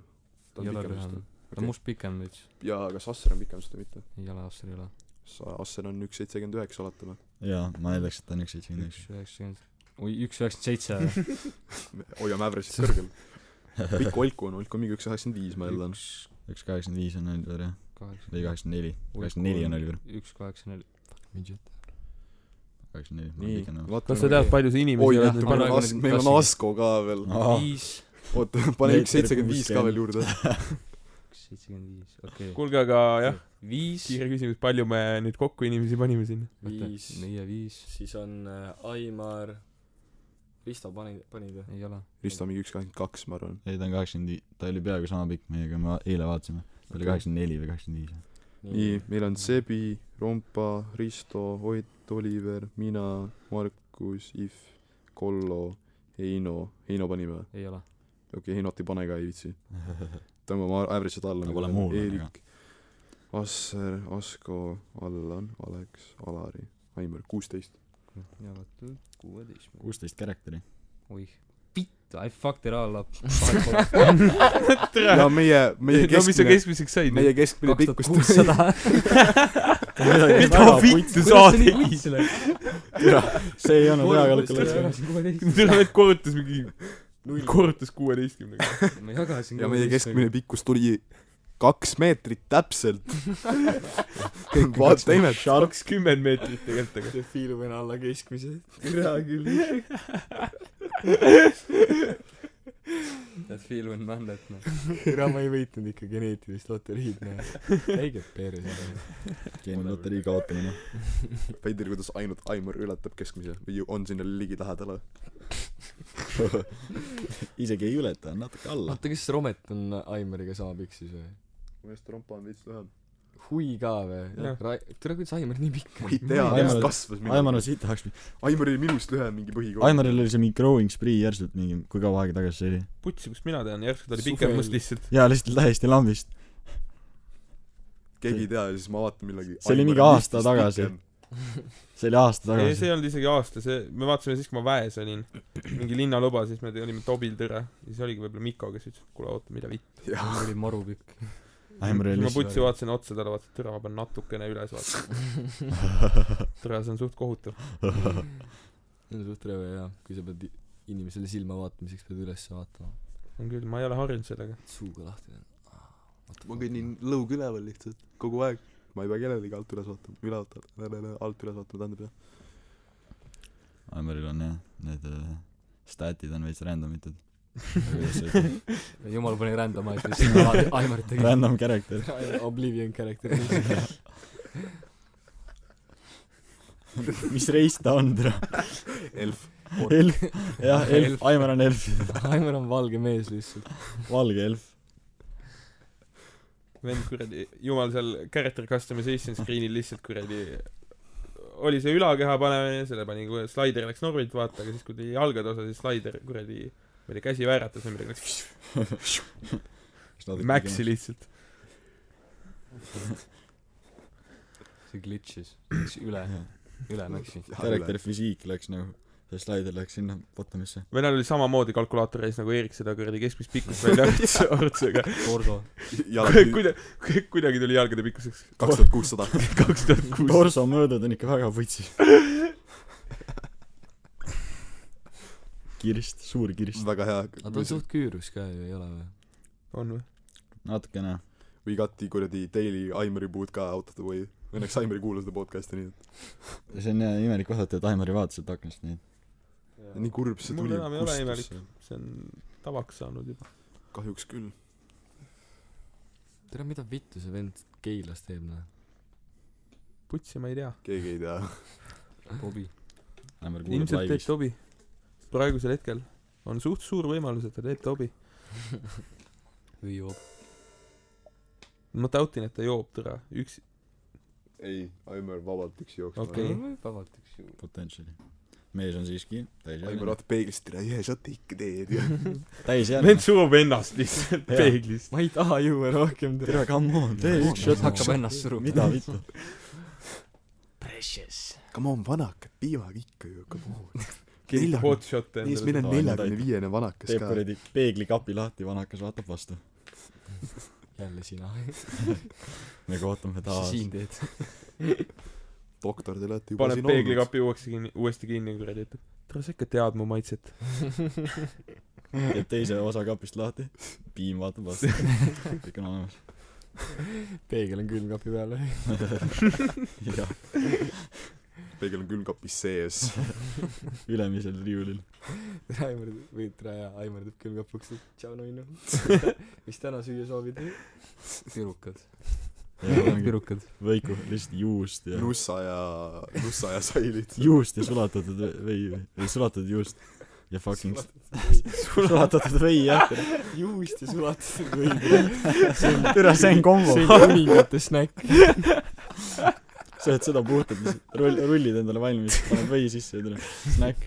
[SPEAKER 7] ta
[SPEAKER 4] ei
[SPEAKER 7] on
[SPEAKER 4] ole
[SPEAKER 7] pikem
[SPEAKER 4] lühem
[SPEAKER 7] vist .
[SPEAKER 4] ta on must pikem veits .
[SPEAKER 7] ja kas Asser on pikem sest või mitte
[SPEAKER 4] ei ole , Asser ei ole .
[SPEAKER 7] sa Asser on üks seitsekümmend üheksa oletame
[SPEAKER 5] jaa ma eeldaks et ta on üks seitsekümmend üks
[SPEAKER 4] üks üheksakümmend , oi , üks üheksakümmend seitse .
[SPEAKER 7] Me hoiame average'it kõrgel pikk Olku on Olku on mingi üks üheksakümmend viis ma eeldan
[SPEAKER 4] üks
[SPEAKER 5] üks kaheksakümmend viis on Oliver jah või
[SPEAKER 4] kaheksakümmend .
[SPEAKER 5] kaheksakümmend neli kaheksakümmend neli on Oliver
[SPEAKER 4] üks kaheksa neli .
[SPEAKER 10] midžet
[SPEAKER 5] kaheksakümmend neli
[SPEAKER 7] nii
[SPEAKER 5] ma olen pikem
[SPEAKER 7] vaata
[SPEAKER 6] kas sa tead , palju see
[SPEAKER 7] oi
[SPEAKER 6] inimesi
[SPEAKER 7] jah meil
[SPEAKER 6] on ?
[SPEAKER 7] on
[SPEAKER 4] praegu
[SPEAKER 7] As-
[SPEAKER 4] on
[SPEAKER 7] meil on
[SPEAKER 4] klassik.
[SPEAKER 7] Asko ka veel
[SPEAKER 5] Aa.
[SPEAKER 4] viis ,
[SPEAKER 7] oota pane üks
[SPEAKER 5] Meeter
[SPEAKER 7] seitsekümmend viis ka veel juurde
[SPEAKER 4] üks seitsekümmend viis , okei .
[SPEAKER 6] kuulge , aga jah ,
[SPEAKER 4] viis ,
[SPEAKER 6] kiire küsimus , palju me nüüd kokku inimesi panime sinna ?
[SPEAKER 10] viis
[SPEAKER 4] meie viis ,
[SPEAKER 10] siis on äh, Aimar Risto pani pani ta
[SPEAKER 4] ei ole .
[SPEAKER 7] Risto on mingi üks kaheksakümmend kaks ma arvan
[SPEAKER 5] ei ta on kaheksakümmend vii- ta oli peaaegu sama pikk meiega me eile vaatasime ta oli kaheksakümmend neli või kaheksakümmend viis
[SPEAKER 7] nii meil on Sebi Rompa Risto Ott Oliver mina Markus If Kollo Heino Heino panime või
[SPEAKER 4] ei ole .
[SPEAKER 7] okei okay, Heinot ei pane ka ei viitsi tõmbame a- average'it alla
[SPEAKER 5] No
[SPEAKER 7] nagu
[SPEAKER 5] pole muul
[SPEAKER 7] läheb.
[SPEAKER 5] väga.
[SPEAKER 7] Eerik Asser Asko Allan Aleks Alari Aimar kuusteist
[SPEAKER 4] jagatud kuueteistkümne .
[SPEAKER 5] kuusteist character'i
[SPEAKER 4] oih , pitt , I fucked it all up .
[SPEAKER 7] ja meie meie
[SPEAKER 6] no mis sa
[SPEAKER 7] keskmine
[SPEAKER 6] keskmiseks said ?
[SPEAKER 7] meie keskmine
[SPEAKER 4] kaks tuhat
[SPEAKER 7] pikkus
[SPEAKER 4] kuussada .
[SPEAKER 6] mida vittu sa
[SPEAKER 4] kuidas see nii
[SPEAKER 6] oled ?
[SPEAKER 4] võis olla ?
[SPEAKER 5] see ei olnud hea kalkulatsioon
[SPEAKER 6] tule nüüd korrutas mingi , korrutas kuueteistkümnega .
[SPEAKER 4] ma jagasin .
[SPEAKER 7] ja meie . keskmine pikkus tuli kaks meetrit täpselt vaata imet
[SPEAKER 6] kakskümmend meetrit tegelikult , aga
[SPEAKER 10] see fiilub enne alla keskmise
[SPEAKER 6] hea küll .
[SPEAKER 4] That feel when man that noh .
[SPEAKER 10] kurat ma ei võitnud ikka geneetilist loteriid näe väike pere see
[SPEAKER 5] geeni loterii kaotamine
[SPEAKER 7] veider kuidas ainult Aimar ületab keskmise või ju on sinna ligilähedale
[SPEAKER 5] isegi ei ületa on natuke alla
[SPEAKER 10] oota kas Romet on
[SPEAKER 8] äh,
[SPEAKER 10] Aimariga sama pikk siis või
[SPEAKER 7] minu meelest Rompa on veits lühem
[SPEAKER 10] hui ka või
[SPEAKER 6] Jah.
[SPEAKER 10] Ra- tule kuidas Aimar nii pikk
[SPEAKER 7] ma ei tea
[SPEAKER 5] Aimar-
[SPEAKER 7] Aimar kasvas
[SPEAKER 5] Aimar
[SPEAKER 7] midagi
[SPEAKER 5] on siit tahaks
[SPEAKER 7] Aimar oli minust lühem mingi põhikool
[SPEAKER 5] Aimaril oli see mingi growing spree järsult mingi kui kaua aega tagasi see oli
[SPEAKER 6] putsi , kust mina tean , järsku ta oli
[SPEAKER 10] Suvel.
[SPEAKER 6] pikem must lihtsalt .
[SPEAKER 5] jaa lihtsalt täiesti lambist
[SPEAKER 7] keegi ei tea ja siis ma vaatan millegi
[SPEAKER 5] See oli
[SPEAKER 7] Aimar
[SPEAKER 5] mingi
[SPEAKER 7] on
[SPEAKER 5] aasta
[SPEAKER 7] viisteist
[SPEAKER 5] tagasi.
[SPEAKER 7] pikem.
[SPEAKER 5] see oli aasta
[SPEAKER 6] ei , see
[SPEAKER 5] tagasi
[SPEAKER 6] ei olnud isegi aasta , see , me vaatasime siis , kui ma väes olin . mingi linnaluba , siis me te- olime Tobil tõre ja siis oligi võib-olla Mikko , kes ütles , et kuule oota , mida vitt .
[SPEAKER 4] mul oli marupikk .
[SPEAKER 5] I am
[SPEAKER 6] siis ma putsi
[SPEAKER 5] realist .
[SPEAKER 6] vaatasin otsa talle , vaatasin , et tõra , ma pean natukene üles vaatama . tõra , see on suht kohutav .
[SPEAKER 8] see on suht rõve jaa , kui sa pead i- inimesele silma vaatamiseks pead üles vaatama .
[SPEAKER 6] on küll , ma ei ole harjunud sellega .
[SPEAKER 8] suuga lahti teha .
[SPEAKER 7] ma kõnnin lõug üleval lihtsalt kogu aeg ma ei pea kellelegi alt üles vaatama ülevalt alt üles vaatama tähendab jah
[SPEAKER 5] Aimaril on jah , need äh, statid on veits random itud .
[SPEAKER 4] jumal pani rändama , et lihtsalt Aimar tegi .
[SPEAKER 5] Random character .
[SPEAKER 8] Oblivion character .
[SPEAKER 5] mis reis ta on , tere ?
[SPEAKER 7] elf
[SPEAKER 5] elf , jah , elf
[SPEAKER 8] Elf. ,
[SPEAKER 5] Aimar on elf ,
[SPEAKER 8] Aimar on valge mees lihtsalt .
[SPEAKER 5] valge elf .
[SPEAKER 6] vend kuradi , jumal seal character customization screen'il lihtsalt kuradi oli see ülakeha panemine , selle pani kohe , slaider läks normilt vaata , aga siis kui tuli jalgade osa , siis slaider kuradi , ma ei tea , käsi vääratas või midagi , läks mäksi lihtsalt .
[SPEAKER 4] see glitch'is , läks üle , üle läksin .
[SPEAKER 5] character physique läks nagu , see slaider läks sinna bottomisse .
[SPEAKER 6] vennal oli samamoodi kalkulaator ees nagu Erik seda kuradi keskmist pikkust välja arvutas , arvutusega .
[SPEAKER 4] Torso .
[SPEAKER 7] jalad
[SPEAKER 6] kuidagi , kuidagi tuli jalgade pikkuseks
[SPEAKER 7] kaks tuhat kuussada
[SPEAKER 6] kaks tuhat kuus .
[SPEAKER 5] torso mõõdud on ikka väga võtsis . kirst , suur kirst .
[SPEAKER 7] väga hea
[SPEAKER 8] aga ta on suht küürus ka ju , ei ole või ?
[SPEAKER 6] on või ?
[SPEAKER 5] natukene .
[SPEAKER 7] we got the kuradi daily Aimari boot ka out of the way õnneks Aimar ei kuula seda podcast'i nii
[SPEAKER 5] see on jah imelik vaadata , et Aimari vaatas sealt aknast neid .
[SPEAKER 7] et nii kurb see
[SPEAKER 6] mul
[SPEAKER 7] tuli
[SPEAKER 6] enam ei ole
[SPEAKER 7] kustus.
[SPEAKER 6] imelik , see on tavaks saanud juba .
[SPEAKER 7] kahjuks küll
[SPEAKER 8] tere , mida vittu see vend Keilas teeb , noh ?
[SPEAKER 6] putsi ma ei tea .
[SPEAKER 7] keegi ei tea
[SPEAKER 4] Bobi .
[SPEAKER 5] Aimar kuulab
[SPEAKER 6] ilmselt teeb
[SPEAKER 5] laivis .
[SPEAKER 6] Tobi . praegusel hetkel on suht suur võimalus , et ta teeb Tobi .
[SPEAKER 4] või joob .
[SPEAKER 6] ma tautin , et ta joob tõra , üks ,
[SPEAKER 7] ei Aimar vabalt üksi jooksma
[SPEAKER 6] Okei.
[SPEAKER 4] vabalt üks ju .
[SPEAKER 5] Potentially . mees on siiski
[SPEAKER 7] Aimar
[SPEAKER 5] täisealine .
[SPEAKER 7] vaatab peeglist üle ühe šoti ikka teed ju
[SPEAKER 6] vend
[SPEAKER 5] täisealine .
[SPEAKER 6] surub ennast lihtsalt
[SPEAKER 5] Jaa.
[SPEAKER 6] peeglist .
[SPEAKER 8] ma ei taha juua rohkem teha .
[SPEAKER 5] tere , come on , tee üks shot .
[SPEAKER 4] hakkab ennast suruma .
[SPEAKER 5] mida vittu ?
[SPEAKER 7] come on vanakad piimaga ikka ju come on
[SPEAKER 6] hot
[SPEAKER 7] neljakümne
[SPEAKER 6] shot
[SPEAKER 7] siis meil
[SPEAKER 6] endale .
[SPEAKER 7] on
[SPEAKER 5] seda aega
[SPEAKER 7] neljakümne viiene vanakas
[SPEAKER 5] teeb
[SPEAKER 7] ka
[SPEAKER 5] kuradi peeglikapi lahti , vanakas vaatab vastu .
[SPEAKER 8] jälle sina .
[SPEAKER 5] me kohtume
[SPEAKER 4] mis sa
[SPEAKER 5] taas .
[SPEAKER 4] siin teed ?
[SPEAKER 7] doktor te olete juba
[SPEAKER 6] paneb
[SPEAKER 7] siin olnud
[SPEAKER 6] peeglikapi uuesti kinni , uuesti kinni ja kuradi ütleb , tere sa ikka tead mu maitset .
[SPEAKER 5] teeb teise osa kapist lahti . piim vaatab vastu . kõik on olemas .
[SPEAKER 8] peegel on külmkapi peal või ?
[SPEAKER 5] jah ,
[SPEAKER 7] peegel on külmkapis sees
[SPEAKER 5] ülemisel riiulil .
[SPEAKER 8] tere , Aimar , või tere , Aimar teeb külmkapuks , et tšau , nunnu . mis täna süüa soovid ?
[SPEAKER 4] pirukad . pirukad .
[SPEAKER 5] Võiku , lihtsalt juust ja
[SPEAKER 7] nussa ja nussa ja sailid
[SPEAKER 5] juust ja sulatatud ve- vei , ei sulatatud juust ja fucking sulatatud vei jah .
[SPEAKER 8] juust ja sulatatud võid .
[SPEAKER 5] türa , see on kombo .
[SPEAKER 8] see on kuningate snäkk .
[SPEAKER 5] sööd seda puhtalt , rull , rullid endale valmis , paned vei sisse ja tuleb snäkk .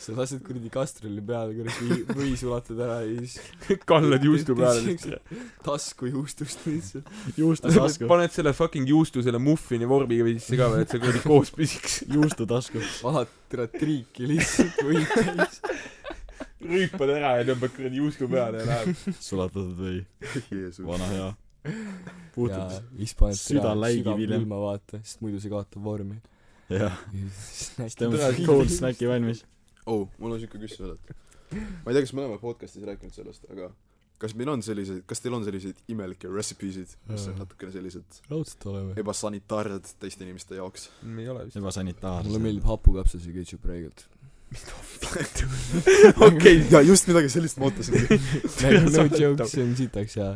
[SPEAKER 8] sa lased kuradi kastrulli peale kuradi või sulatad ära ja siis
[SPEAKER 6] kallad juustu peale lihtsalt .
[SPEAKER 8] tasku juustust lihtsalt .
[SPEAKER 5] juustu tasku ,
[SPEAKER 6] paned selle fucking juustu selle muffini vormiga või sisse ka veel , et see kuradi koos püsiks .
[SPEAKER 5] juustu tasku .
[SPEAKER 8] vahad tere triiki lihtsalt võid täis .
[SPEAKER 6] rüüpad ära ja tõmbad kuradi juustu peale ja läheb .
[SPEAKER 5] sulatatud vei ,
[SPEAKER 7] Jeesus
[SPEAKER 5] vana
[SPEAKER 8] ja
[SPEAKER 5] hea . puhtalt ,
[SPEAKER 8] siis paned
[SPEAKER 5] süda
[SPEAKER 8] tere
[SPEAKER 5] läigib hiljem.
[SPEAKER 8] sügavpilma vaata , sest muidu see kaotab vormi .
[SPEAKER 5] jah . siis
[SPEAKER 8] snäkk .
[SPEAKER 5] teeme selle cold snäki valmis .
[SPEAKER 7] oh mul on siuke küsimus ma ei tea kas me oleme podcastis rääkinud sellest aga kas meil on selliseid kas teil on selliseid imelikke recipe'sid mis on natukene sellised
[SPEAKER 8] raudselt oleme .
[SPEAKER 7] ebasanitaarsed teiste inimeste jaoks
[SPEAKER 6] ei ole vist .
[SPEAKER 5] ebasanitaarne
[SPEAKER 8] mulle . meeldib hapukapsas ja ketšup reegelt .
[SPEAKER 7] okei jaa just midagi sellist ma ootasin
[SPEAKER 8] no joke , see on sitaks hea .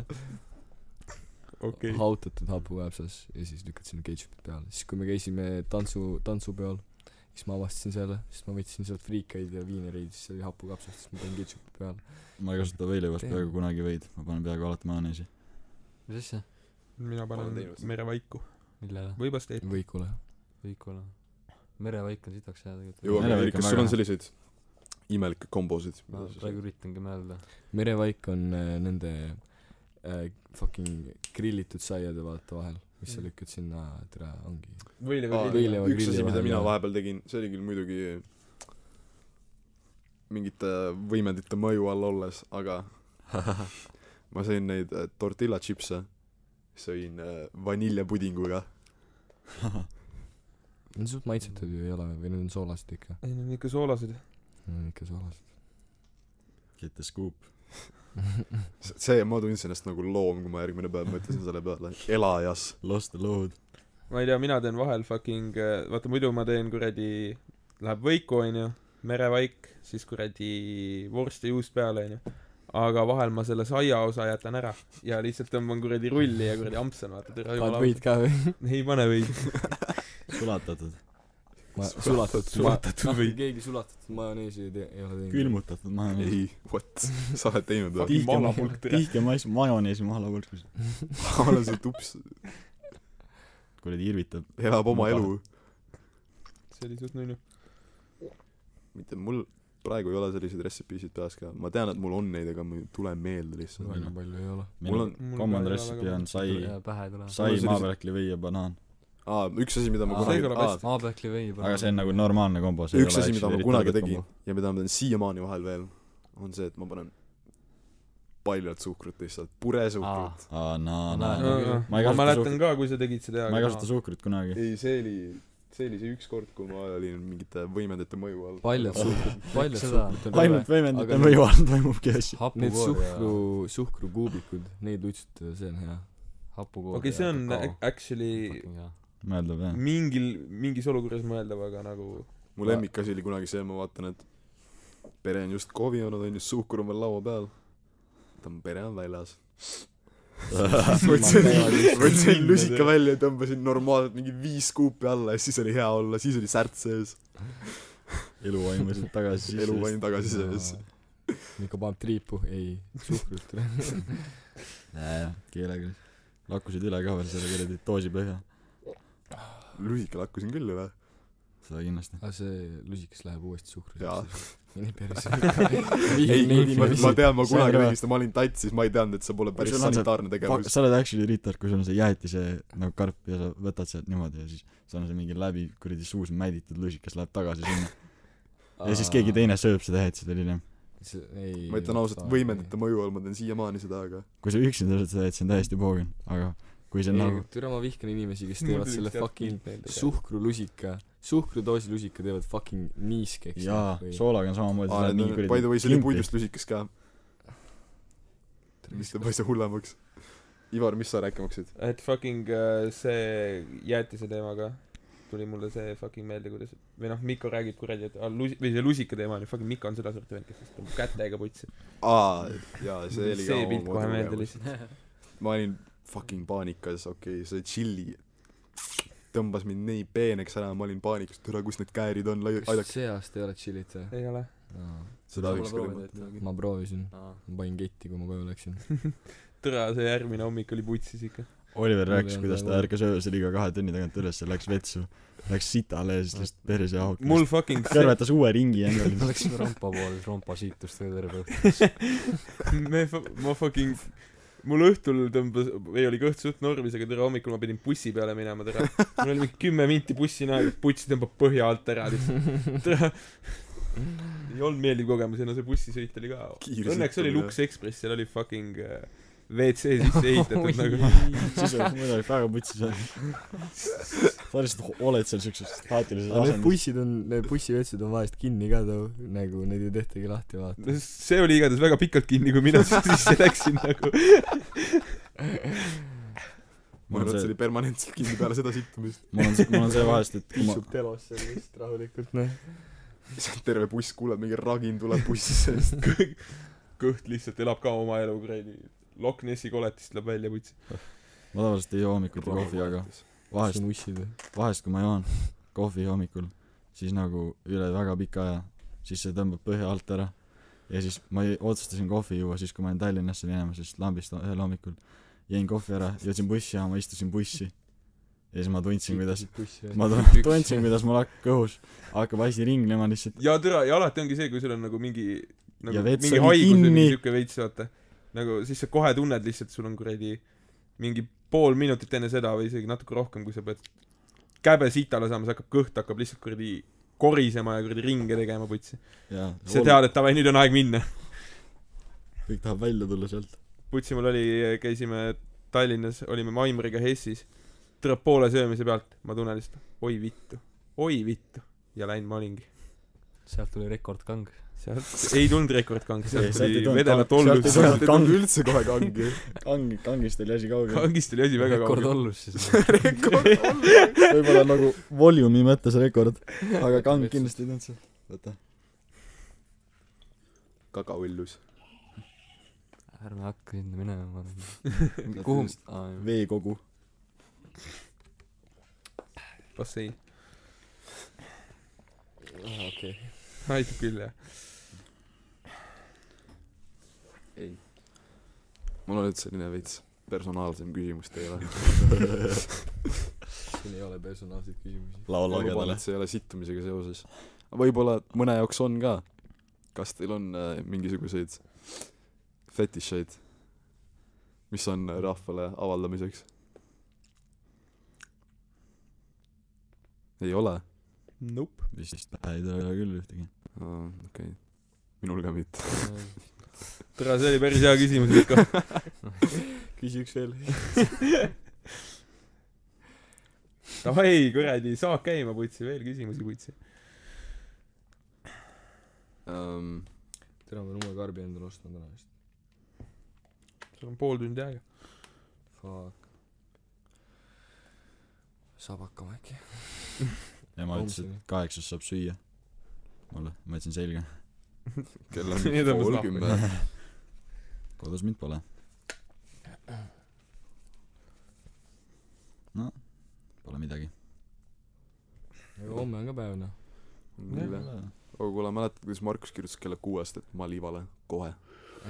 [SPEAKER 6] okei .
[SPEAKER 8] hautatud hapukapsas ja siis lükkad sinna ketšupit peale , siis kui me käisime tantsu , tantsupeol , siis ma avastasin selle , siis ma võtsin sealt friikaid ja viinereid , siis oli hapukapsast , siis ma panin ketšupi peale .
[SPEAKER 5] ma ei kasuta veilivast
[SPEAKER 8] Tea.
[SPEAKER 5] peaaegu kunagi veid , ma panen peaaegu alati majoneesi .
[SPEAKER 4] mis asja ?
[SPEAKER 6] mina
[SPEAKER 7] Palun
[SPEAKER 6] panen
[SPEAKER 7] teie otsa.
[SPEAKER 6] merevaiku
[SPEAKER 4] millele ?
[SPEAKER 6] või pasteeti .
[SPEAKER 8] võikule .
[SPEAKER 4] Võikule . merevaik on sitaks hea tegelikult .
[SPEAKER 7] jõuame
[SPEAKER 5] Merevõik
[SPEAKER 7] Erik
[SPEAKER 5] on
[SPEAKER 7] kas
[SPEAKER 5] väga
[SPEAKER 7] sul on
[SPEAKER 5] hea.
[SPEAKER 7] selliseid imelikke kombosid
[SPEAKER 4] ma
[SPEAKER 7] mida sa
[SPEAKER 4] praegu
[SPEAKER 7] sööd?
[SPEAKER 4] üritangi mõelda .
[SPEAKER 8] merevaik on äh, nende äh, fucking grillitud saiade vaata vahel , mis
[SPEAKER 10] Mm.
[SPEAKER 8] sa lükkad sinna , tere , ongi .
[SPEAKER 6] võileiva
[SPEAKER 7] Aa,
[SPEAKER 8] Võileiva
[SPEAKER 7] üks
[SPEAKER 8] grilli
[SPEAKER 7] asi mida
[SPEAKER 8] vahel,
[SPEAKER 7] mina
[SPEAKER 8] jah.
[SPEAKER 7] vahepeal tegin see oli küll muidugi mingite võimendite mõju all olles , aga ma sõin neid äh, tortilla chips'e , sõin äh, vaniljepudinguga .
[SPEAKER 10] Need on suht maitsetud ju ei ole või need on soolased ikka
[SPEAKER 6] ei , need on ikka soolased .
[SPEAKER 10] Need on ikka soolased
[SPEAKER 5] Get the scoop .
[SPEAKER 7] see , ma tundsin ennast nagu loom , kui ma järgmine päev mõtlesin selle peale , elajas .
[SPEAKER 5] Lost the load .
[SPEAKER 6] ma ei tea , mina teen vahel fucking , vaata muidu ma teen kuradi , läheb võiku , onju , merevaik , siis kuradi vorst ja juust peale , onju . aga vahel ma selle saia osa jätan ära ja lihtsalt tõmban kuradi rulli ja kuradi ampsan , vaata , tere
[SPEAKER 10] paned võid ka või
[SPEAKER 6] ei pane võid .
[SPEAKER 5] sulatatud ,
[SPEAKER 10] ma sulatud
[SPEAKER 6] sulatatud
[SPEAKER 10] või
[SPEAKER 6] võid.
[SPEAKER 10] keegi sulatatud majoneesi ei tee ei ole teinud
[SPEAKER 5] külmutatud
[SPEAKER 6] Mm.
[SPEAKER 5] majonees .
[SPEAKER 7] ei , what , sa oled teinud või ?
[SPEAKER 6] Fucking mahlapulk , tere .
[SPEAKER 5] tihke mais- , majoneesi mahlapulkus .
[SPEAKER 7] ma olen see tups ,
[SPEAKER 5] kuradi irvitab .
[SPEAKER 7] elab oma elu .
[SPEAKER 6] see oli suht nunnu .
[SPEAKER 7] mitte mul praegu ei ole selliseid retsipiisid peas ka , ma tean , et mul on neid , aga mul ei tule meelde lihtsalt .
[SPEAKER 10] väga palju ei ole
[SPEAKER 5] meil on common recipe on sai ,
[SPEAKER 4] pähe tuleb
[SPEAKER 5] sai
[SPEAKER 7] Mul on ,
[SPEAKER 5] maapähkli või ja banaan .
[SPEAKER 7] aa , üks asi , mida ma
[SPEAKER 6] Aa, see kõlab
[SPEAKER 7] kunagi ,
[SPEAKER 6] hästi.
[SPEAKER 4] maapõhkli veib
[SPEAKER 5] aga see on nagu normaalne kombo .
[SPEAKER 7] üks asi , mida ma kunagi tegin . ja mida ma teen siiamaani vahel veel , on see , et ma panen paljalt suhkrut lihtsalt , puresuhkrut .
[SPEAKER 5] aa ,
[SPEAKER 4] Ma
[SPEAKER 5] naa ,
[SPEAKER 4] näen.
[SPEAKER 5] naa . Ma
[SPEAKER 6] ma
[SPEAKER 5] ei
[SPEAKER 6] ei
[SPEAKER 5] kasuta
[SPEAKER 6] mäletan ka , kui sa tegid seda ,
[SPEAKER 5] ma ei kasuta suhkrut kunagi .
[SPEAKER 7] ei , see oli , see oli see üks kord , kui ma olin mingite võimendite mõju all .
[SPEAKER 4] paljalt suhkrut , paljalt seda
[SPEAKER 5] ainult võimendite
[SPEAKER 10] aga-
[SPEAKER 5] mõju all toimubki asju .
[SPEAKER 10] Need
[SPEAKER 4] hapukoor
[SPEAKER 10] suhkru
[SPEAKER 4] ja ,
[SPEAKER 10] suhkrukuubikud , neid lutsutada , see on hea .
[SPEAKER 4] hapukoor
[SPEAKER 6] okei , see
[SPEAKER 4] ja
[SPEAKER 6] on
[SPEAKER 4] kakao.
[SPEAKER 6] ac- actually
[SPEAKER 4] Fucking hea.
[SPEAKER 5] mõeldab jah .
[SPEAKER 6] mingil , mingis olukorras mõeldav , aga nagu
[SPEAKER 7] mu lemmikasi oli kunagi see , ma vaatan , et pere on just kohvi joonud , on ju , suhkur on veel laua peal . võtan , pere on väljas . võtsin , võtsin lusika välja ja tõmbasin normaalselt mingi viis kuupi alla ja siis oli hea olla , siis oli särt sees ,
[SPEAKER 5] elu vaimusid tagasi sisse .
[SPEAKER 7] elu panin tagasi sees .
[SPEAKER 10] Mikko paneb triipu , ei , suhkrut .
[SPEAKER 5] jajah , keelega . lakkusid üle ka veel selle kuradi doosi põhja .
[SPEAKER 7] lusika lakkusin küll üle .
[SPEAKER 5] seda kindlasti .
[SPEAKER 10] aga Ah, see lusikas läheb uuesti suhkru
[SPEAKER 7] Jaa. .
[SPEAKER 10] mine perse .
[SPEAKER 7] ei , ma , ma tean ,
[SPEAKER 5] See
[SPEAKER 7] ma
[SPEAKER 5] on
[SPEAKER 7] kunagi
[SPEAKER 5] ka-
[SPEAKER 7] mingist , ma olin tatsis , ma ei teadnud , et see pole päris
[SPEAKER 5] sul on see-
[SPEAKER 7] sanitaarne tegevus .
[SPEAKER 5] sa oled actually retard , kui sul on see jäätise nagu karp ja sa võtad sealt niimoodi ja siis sul on see mingi läbi kuradi suus mäditud lusikas läheb tagasi sinna . ja siis keegi . teine sööb seda jäätist veel hiljem .
[SPEAKER 10] ei .
[SPEAKER 7] ma ütlen ausalt , võimendite . mõju all ma teen siiamaani seda , aga
[SPEAKER 5] kui sa üksinda sööd seda jäätist , see on täiesti poogen , aga kui see on nagu
[SPEAKER 10] ei , türa , ma vihkan inimesi , kes teevad selle fucking
[SPEAKER 6] suht-
[SPEAKER 10] suhkrulusika , suhkrudoosi lusika teevad fucking niiskeks .
[SPEAKER 5] jaa , soolaga on samamoodi , see
[SPEAKER 7] Aa,
[SPEAKER 5] läheb
[SPEAKER 7] need
[SPEAKER 5] nii
[SPEAKER 7] on- by the way ,
[SPEAKER 5] kuradi
[SPEAKER 7] see oli puidust lusikas ka , mis teeb asja hullemaks . Ivar , mis sa rääkima hakkasid ?
[SPEAKER 6] et fucking äh, see jäätise teemaga tuli mulle see fucking meelde , kuidas või noh , Mikko räägib kuradi , et aa, lusi- või see lusika teema on ju , fucking Mikko on sedasorti vend , kes tõmbab kätega putsi .
[SPEAKER 7] aa , jaa , see oli ka
[SPEAKER 6] see pilt kohe meelde . lihtsalt .
[SPEAKER 7] ma olin fucking paanikas , okei okay, , see tšilli tõmbas mind nii peeneks ära , ma olin paanikas , et ära , kus need käärid on , aidake .
[SPEAKER 10] see aasta ei ole tšillit või ?
[SPEAKER 6] ei ole .
[SPEAKER 7] seda
[SPEAKER 4] Pole
[SPEAKER 7] võiks küll
[SPEAKER 4] proovida,
[SPEAKER 7] mõelda .
[SPEAKER 4] et midagi-
[SPEAKER 10] ma proovisin ,
[SPEAKER 4] Aa.
[SPEAKER 10] ma panin ketti , kui ma koju läksin .
[SPEAKER 6] tere , see järgmine hommik oli putsis ikka .
[SPEAKER 5] Oliver
[SPEAKER 10] Mul
[SPEAKER 5] rääkis
[SPEAKER 10] ei , olnud
[SPEAKER 5] kuidas ta
[SPEAKER 10] väga-
[SPEAKER 5] ärkas öösel iga kahe tunni tagant üles ja läks vetsu . Läks sitale ja siis lihtsalt perse haukas .
[SPEAKER 6] mul fucking see ,
[SPEAKER 5] kõrvetas uue ringi endale .
[SPEAKER 4] Läksime rampa poole , siis rampa siitus tõi terve õhtu .
[SPEAKER 6] me , ma fucking , mul õhtul tõmbas , või oli kõht suht normis , aga tere hommikul ma pidin bussi peale minema , tere . mul oli mingi kümme minti bussini aega , putsi tõmbab põhja alt ära lihtsalt . tere . ei olnud meeldiv kogemus , ei no see bussisõit oli ka .
[SPEAKER 7] Kiire
[SPEAKER 6] õnneks
[SPEAKER 7] sõit
[SPEAKER 6] oli
[SPEAKER 7] oli,
[SPEAKER 6] Lux Express , seal oli fucking äh, WC sisse ehitatud nagu .
[SPEAKER 5] siis oleks muidu oleks väga putsis olnud . sa lihtsalt oled seal siukses staatilises
[SPEAKER 10] aga need
[SPEAKER 5] asendis .
[SPEAKER 10] bussid on , need bussivetsud on vahest kinni ka too , nagu neid ei tehtagi lahti vaata .
[SPEAKER 6] see oli igatahes väga pikalt kinni , kui mina sinna sisse läksin nagu .
[SPEAKER 7] ma arvan , et see oli permanentselt kinni peale seda sittumist .
[SPEAKER 5] mul on see , mul on see vahest , et kui ma ,
[SPEAKER 10] telos seal vist rahulikult , noh .
[SPEAKER 7] terve buss kuuleb , mingi ragin tuleb bussi seest .
[SPEAKER 6] kõht lihtsalt elab ka oma elu kuradi . Loch Nessi koletist tuleb välja putsi .
[SPEAKER 5] ma tavaliselt ei joo hommikuti kohvi , aga
[SPEAKER 10] see
[SPEAKER 5] vahest ,
[SPEAKER 10] on ussid või ?
[SPEAKER 5] vahest kui ma joon kohvi hommikul , siis nagu üle väga pika aja , siis see tõmbab põhja alt ära . ja siis ma ei, otsustasin kohvi juua siis , kui ma olin Tallinnasse minemas , siis lambist ühel hommikul jõin kohvi ära , jõudsin bussijaama , istusin bussi . ja siis ma tundsin , kuidas , ma tun- tundsin , kuidas mul hakk- , kõhus hakkab asi ringlema lihtsalt .
[SPEAKER 6] ja tere , ja alati ongi see , kui sul on nagu mingi nagu
[SPEAKER 5] Ja vets
[SPEAKER 6] mingi
[SPEAKER 5] oli
[SPEAKER 6] haigus või mingi
[SPEAKER 5] kinni.
[SPEAKER 6] siuke veits , vaata . nagu siis sa kohe tunned lihtsalt , sul on kuradi mingi pool minutit enne seda või isegi natuke rohkem , kui sa pead käbe sitale saama , see hakkab , kõht hakkab lihtsalt kuradi korisema ja kuradi ringe tegema putsi .
[SPEAKER 5] jaa .
[SPEAKER 6] sa tead , et davai , nüüd on aeg minna .
[SPEAKER 5] kõik tahab välja tulla sealt .
[SPEAKER 6] putsi mul oli , käisime Tallinnas , olime Maimriga Hessis , tuleb poole söömise pealt , ma tunnen lihtsalt oi vittu , oi vittu ja läinud ma olingi .
[SPEAKER 4] sealt tuli rekordkang .
[SPEAKER 6] sealt ei tulnud rekordkang ,
[SPEAKER 5] Ei,
[SPEAKER 6] sealt
[SPEAKER 5] sealt ei
[SPEAKER 6] tuli
[SPEAKER 5] tulnud
[SPEAKER 6] vedelat
[SPEAKER 5] kang- sealt ei
[SPEAKER 6] ollust .
[SPEAKER 5] tulnud
[SPEAKER 7] sealt ei tulnud üldse kohe kangi .
[SPEAKER 5] kang , kangist oli asi kaugel .
[SPEAKER 6] kangist oli asi väga
[SPEAKER 4] rekord
[SPEAKER 6] kaugel .
[SPEAKER 4] ollus siis .
[SPEAKER 5] võib-olla nagu volüümi mõttes rekord , aga kang kindlasti ei tulnud sealt . oota ,
[SPEAKER 7] kakaõllus .
[SPEAKER 4] ärme hakka sinna minema , ma arvan . kuhu ?
[SPEAKER 5] veekogu .
[SPEAKER 6] bassein . Ah,
[SPEAKER 10] okei okay. .
[SPEAKER 6] aitab küll jah .
[SPEAKER 7] mul on nüüd selline veits personaalsem küsimus teile .
[SPEAKER 10] siin ei ole personaalseid küsimusi .
[SPEAKER 7] ma luban ,
[SPEAKER 5] laulalagedale
[SPEAKER 7] et . see ei ole sittumisega seoses . võib-olla mõne jaoks on ka . kas teil on äh, mingisuguseid fetišeid , mis on äh, rahvale avaldamiseks ? ei ole ?
[SPEAKER 6] Nope .
[SPEAKER 5] vist ei tule küll ühtegi .
[SPEAKER 7] okei . minul ka mitte .
[SPEAKER 6] tere , see oli päris hea küsimus , Mikko .
[SPEAKER 10] küsi üks veel .
[SPEAKER 6] davai , kuradi , saak käima , putsi , veel küsimusi , putsi .
[SPEAKER 7] Um,
[SPEAKER 10] täna ma olen uue karbi endale ostnud täna vist .
[SPEAKER 6] sul on pool tundi aega .
[SPEAKER 10] Fuck . saab hakkama äkki .
[SPEAKER 5] ema ütles , et kaheksast saab süüa . mulle , ma ütlesin selge .
[SPEAKER 7] kell on
[SPEAKER 6] Nüüd on
[SPEAKER 7] pool
[SPEAKER 6] vist
[SPEAKER 7] kümme .
[SPEAKER 5] kodus mind pole . no , pole midagi .
[SPEAKER 10] aga homme on ka päev noh .
[SPEAKER 7] aga kuule , mäletad , kuidas Markus kirjutas kella kuuest , et ma liivale kohe ?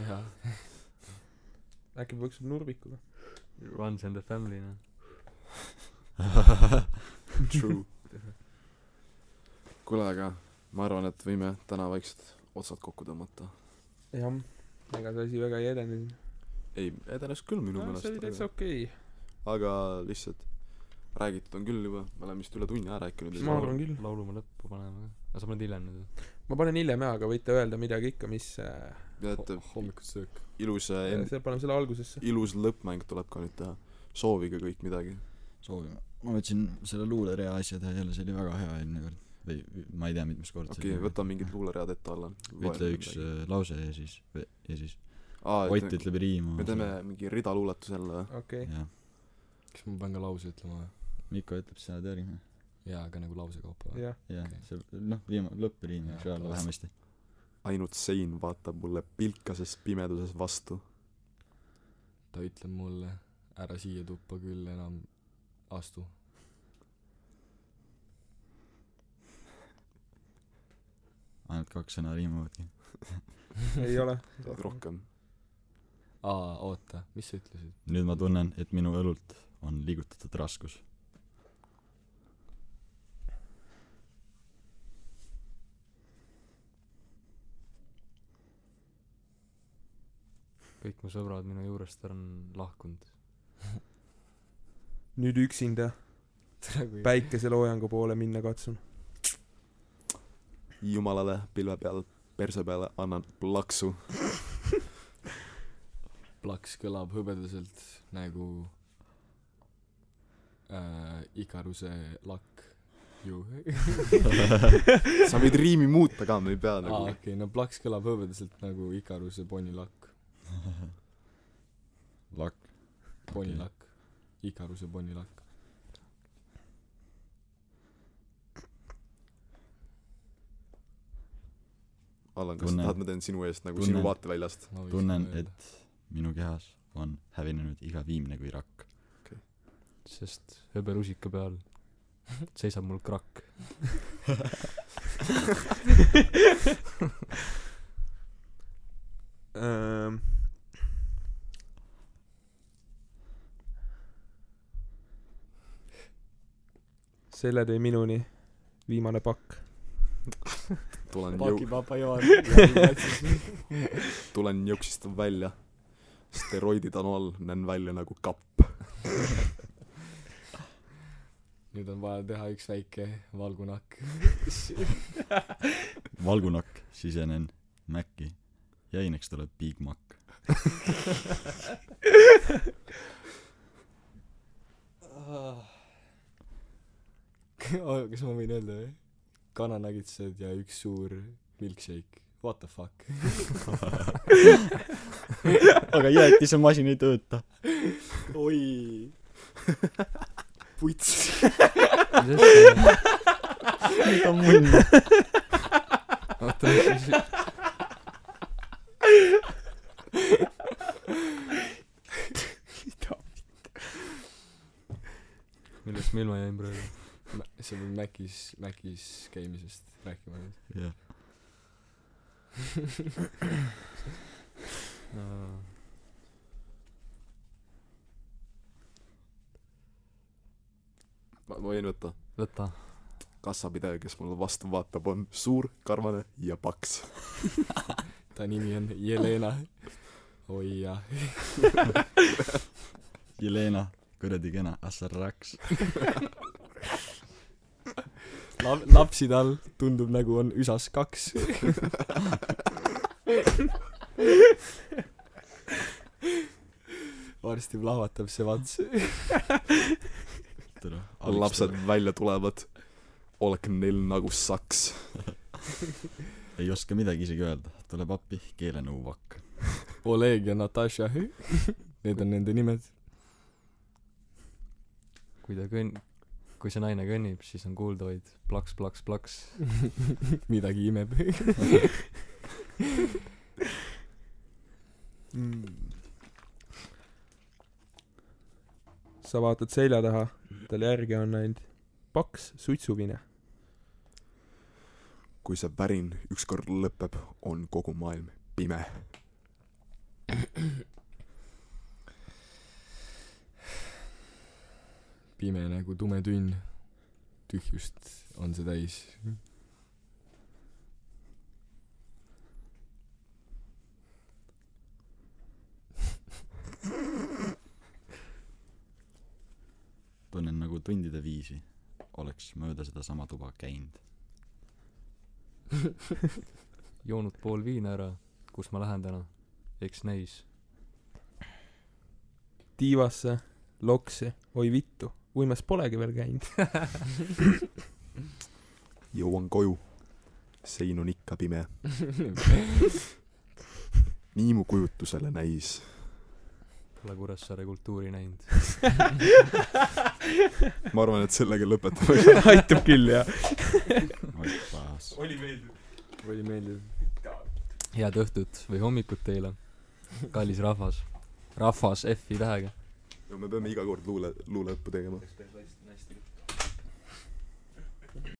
[SPEAKER 10] jaa .
[SPEAKER 6] äkki peaks nurmikuga .
[SPEAKER 4] Runs and the family , noh .
[SPEAKER 7] True kuule , aga ma arvan , et võime täna vaikselt otsad kokku tõmmata .
[SPEAKER 6] jah , ega see asi väga ei edenenud .
[SPEAKER 7] ei , edenes küll minu
[SPEAKER 6] no see oli
[SPEAKER 7] meelest
[SPEAKER 6] täitsa , okei
[SPEAKER 7] aga lihtsalt räägitud on küll juba , me oleme vist üle tunni ära rääkinud .
[SPEAKER 6] Ma arvan küll.
[SPEAKER 4] laulu ma lõppu paneme ka . aga sa paned hiljem nüüd või ?
[SPEAKER 6] okay. . ma panen hiljem jaa , aga võite öelda midagi ikka , mis äh, ,
[SPEAKER 7] ja et
[SPEAKER 10] hommikust söök .
[SPEAKER 7] ilus ,
[SPEAKER 6] see paneme selle algusesse .
[SPEAKER 7] ilus lõppmäng tuleb ka nüüd teha . soovige kõik midagi .
[SPEAKER 5] soovime . ma võtsin selle luulerea asja teha jälle , see oli väga hea eelmine kord . või või ma ei tea , mitmes kord see
[SPEAKER 7] okei okay, ,
[SPEAKER 5] oli.
[SPEAKER 7] võta mingid luuleread ette alla .
[SPEAKER 5] ütle üks äh, lause ja siis , ja siis Ott
[SPEAKER 7] eh, Ott .
[SPEAKER 5] ütleb riimu .
[SPEAKER 7] me teeme mingi rida luuletuse jälle . eh?
[SPEAKER 6] okei okay. ,
[SPEAKER 5] jah ,
[SPEAKER 10] kas ma pean ka lause ütlema või ?
[SPEAKER 5] Mikko ütleb sõnad järgmine .
[SPEAKER 10] jaa , aga nagu lause kaupa või ?
[SPEAKER 6] jah .
[SPEAKER 5] jah , see noh , viima- , lõppriim võiks öelda vähemasti .
[SPEAKER 7] ainult sein vaatab mulle pilkases pimeduses vastu .
[SPEAKER 10] ta ütleb mulle , ära siia tuppa küll enam astu .
[SPEAKER 5] ainult kaks sõna riimuvadki .
[SPEAKER 6] ei ole .
[SPEAKER 7] rohkem .
[SPEAKER 10] aa , oota , mis sa ütlesid ?
[SPEAKER 5] nüüd ma tunnen , et minu õlult on liigutatud raskus .
[SPEAKER 4] kõik mu sõbrad minu juurest on lahkunud .
[SPEAKER 6] nüüd üksinda
[SPEAKER 4] Nagu
[SPEAKER 6] päikeseloojangu poole minna katsun .
[SPEAKER 7] jumalale pilve peal , perse peale annan plaksu .
[SPEAKER 10] plaks kõlab hõbedaselt nagu äh, ikaruse lakk ju
[SPEAKER 7] sa võid riimi muuta ka , me ei pea
[SPEAKER 10] aa
[SPEAKER 7] nagu
[SPEAKER 10] okei . okay, no plaks kõlab hõbedaselt nagu ikaruse ponnilakk
[SPEAKER 5] lakk .
[SPEAKER 10] ponnilakk ikaruse ponnilakk
[SPEAKER 7] Allan , kas sa
[SPEAKER 5] Tunnen-
[SPEAKER 7] tahad , ma teen sinu eest nagu
[SPEAKER 5] tunnen-
[SPEAKER 7] sinu vaateväljast ?
[SPEAKER 10] ma võiks
[SPEAKER 5] tunnen ,
[SPEAKER 10] seda öelda.
[SPEAKER 5] et minu kehas on hävinenud iga viimne kui rakk .
[SPEAKER 4] sest hõbelusika peal seisab mul krakk .
[SPEAKER 6] Ehm. selle tõi minuni viimane pakk .
[SPEAKER 7] tulen jõu- ,
[SPEAKER 10] pakipapa Joar
[SPEAKER 7] tulen jõuksist välja . steroidid on all , näen välja nagu kapp .
[SPEAKER 8] nüüd on vaja teha üks väike valgunakk .
[SPEAKER 5] valgunakk , sisenen Maci ja eineks tuleb Big Mac .
[SPEAKER 8] Ah. Oh, kas ma võin öelda või ? kananagitsed ja üks suur milkshake . What the fuck ?
[SPEAKER 5] aga jäätise masin ei tööta .
[SPEAKER 8] oi . puts .
[SPEAKER 4] mis asja ,
[SPEAKER 5] ta on munn .
[SPEAKER 4] oota , mis , millest ma ilma jäin praegu ?
[SPEAKER 8] see on Macis , Macis käimisest rääkima nüüd .
[SPEAKER 5] jah ,
[SPEAKER 7] ma ma võin võtta
[SPEAKER 4] võta .
[SPEAKER 7] kassapidaja kes mulle vastu vaatab on suur karvane ja paks
[SPEAKER 8] ta nimi on Jelena . oi jah .
[SPEAKER 5] Jelena , kuradi kena , assarraks .
[SPEAKER 8] Lap- , lapsi tal tundub nagu on üsas kaks . varsti plahvatab see vats .
[SPEAKER 5] tere .
[SPEAKER 7] lapsed . välja tulevad olge neil nagu saks
[SPEAKER 5] ei oska midagi isegi öelda , tuleb appi keelenõuvakk .
[SPEAKER 8] Oleg ja Natasha . Need on nende nimed .
[SPEAKER 4] kui ta kõnn- , kui see naine kõnnib , siis on kuulda vaid plaks , plaks , plaks .
[SPEAKER 8] midagi imeb .
[SPEAKER 6] sa vaatad selja taha , tal järgi on ainult paks suitsuvine .
[SPEAKER 7] kui see värin ükskord lõpeb on kogu maailm pime
[SPEAKER 8] pime nagu tume tünn . tühjust on see täis .
[SPEAKER 5] tunnen nagu tundide viisi oleks mööda sedasama tuba käinud .
[SPEAKER 4] joonud pool viina ära , kus ma lähen täna , eks näis .
[SPEAKER 6] tiivasse , loksi , oi vittu , uimas polegi veel käinud .
[SPEAKER 7] jõuan koju sein on ikka pime nii mu kujutusele näis
[SPEAKER 4] Pole Kuressaare kultuuri näinud .
[SPEAKER 7] ma arvan et sellega lõpetame
[SPEAKER 6] aitab küll , jah .
[SPEAKER 5] oi paas .
[SPEAKER 8] oli meeldiv .
[SPEAKER 4] head õhtut või hommikut teile , kallis rahvas . rahvas F-i tähega .
[SPEAKER 7] no me peame iga kord luule luuleõppu tegema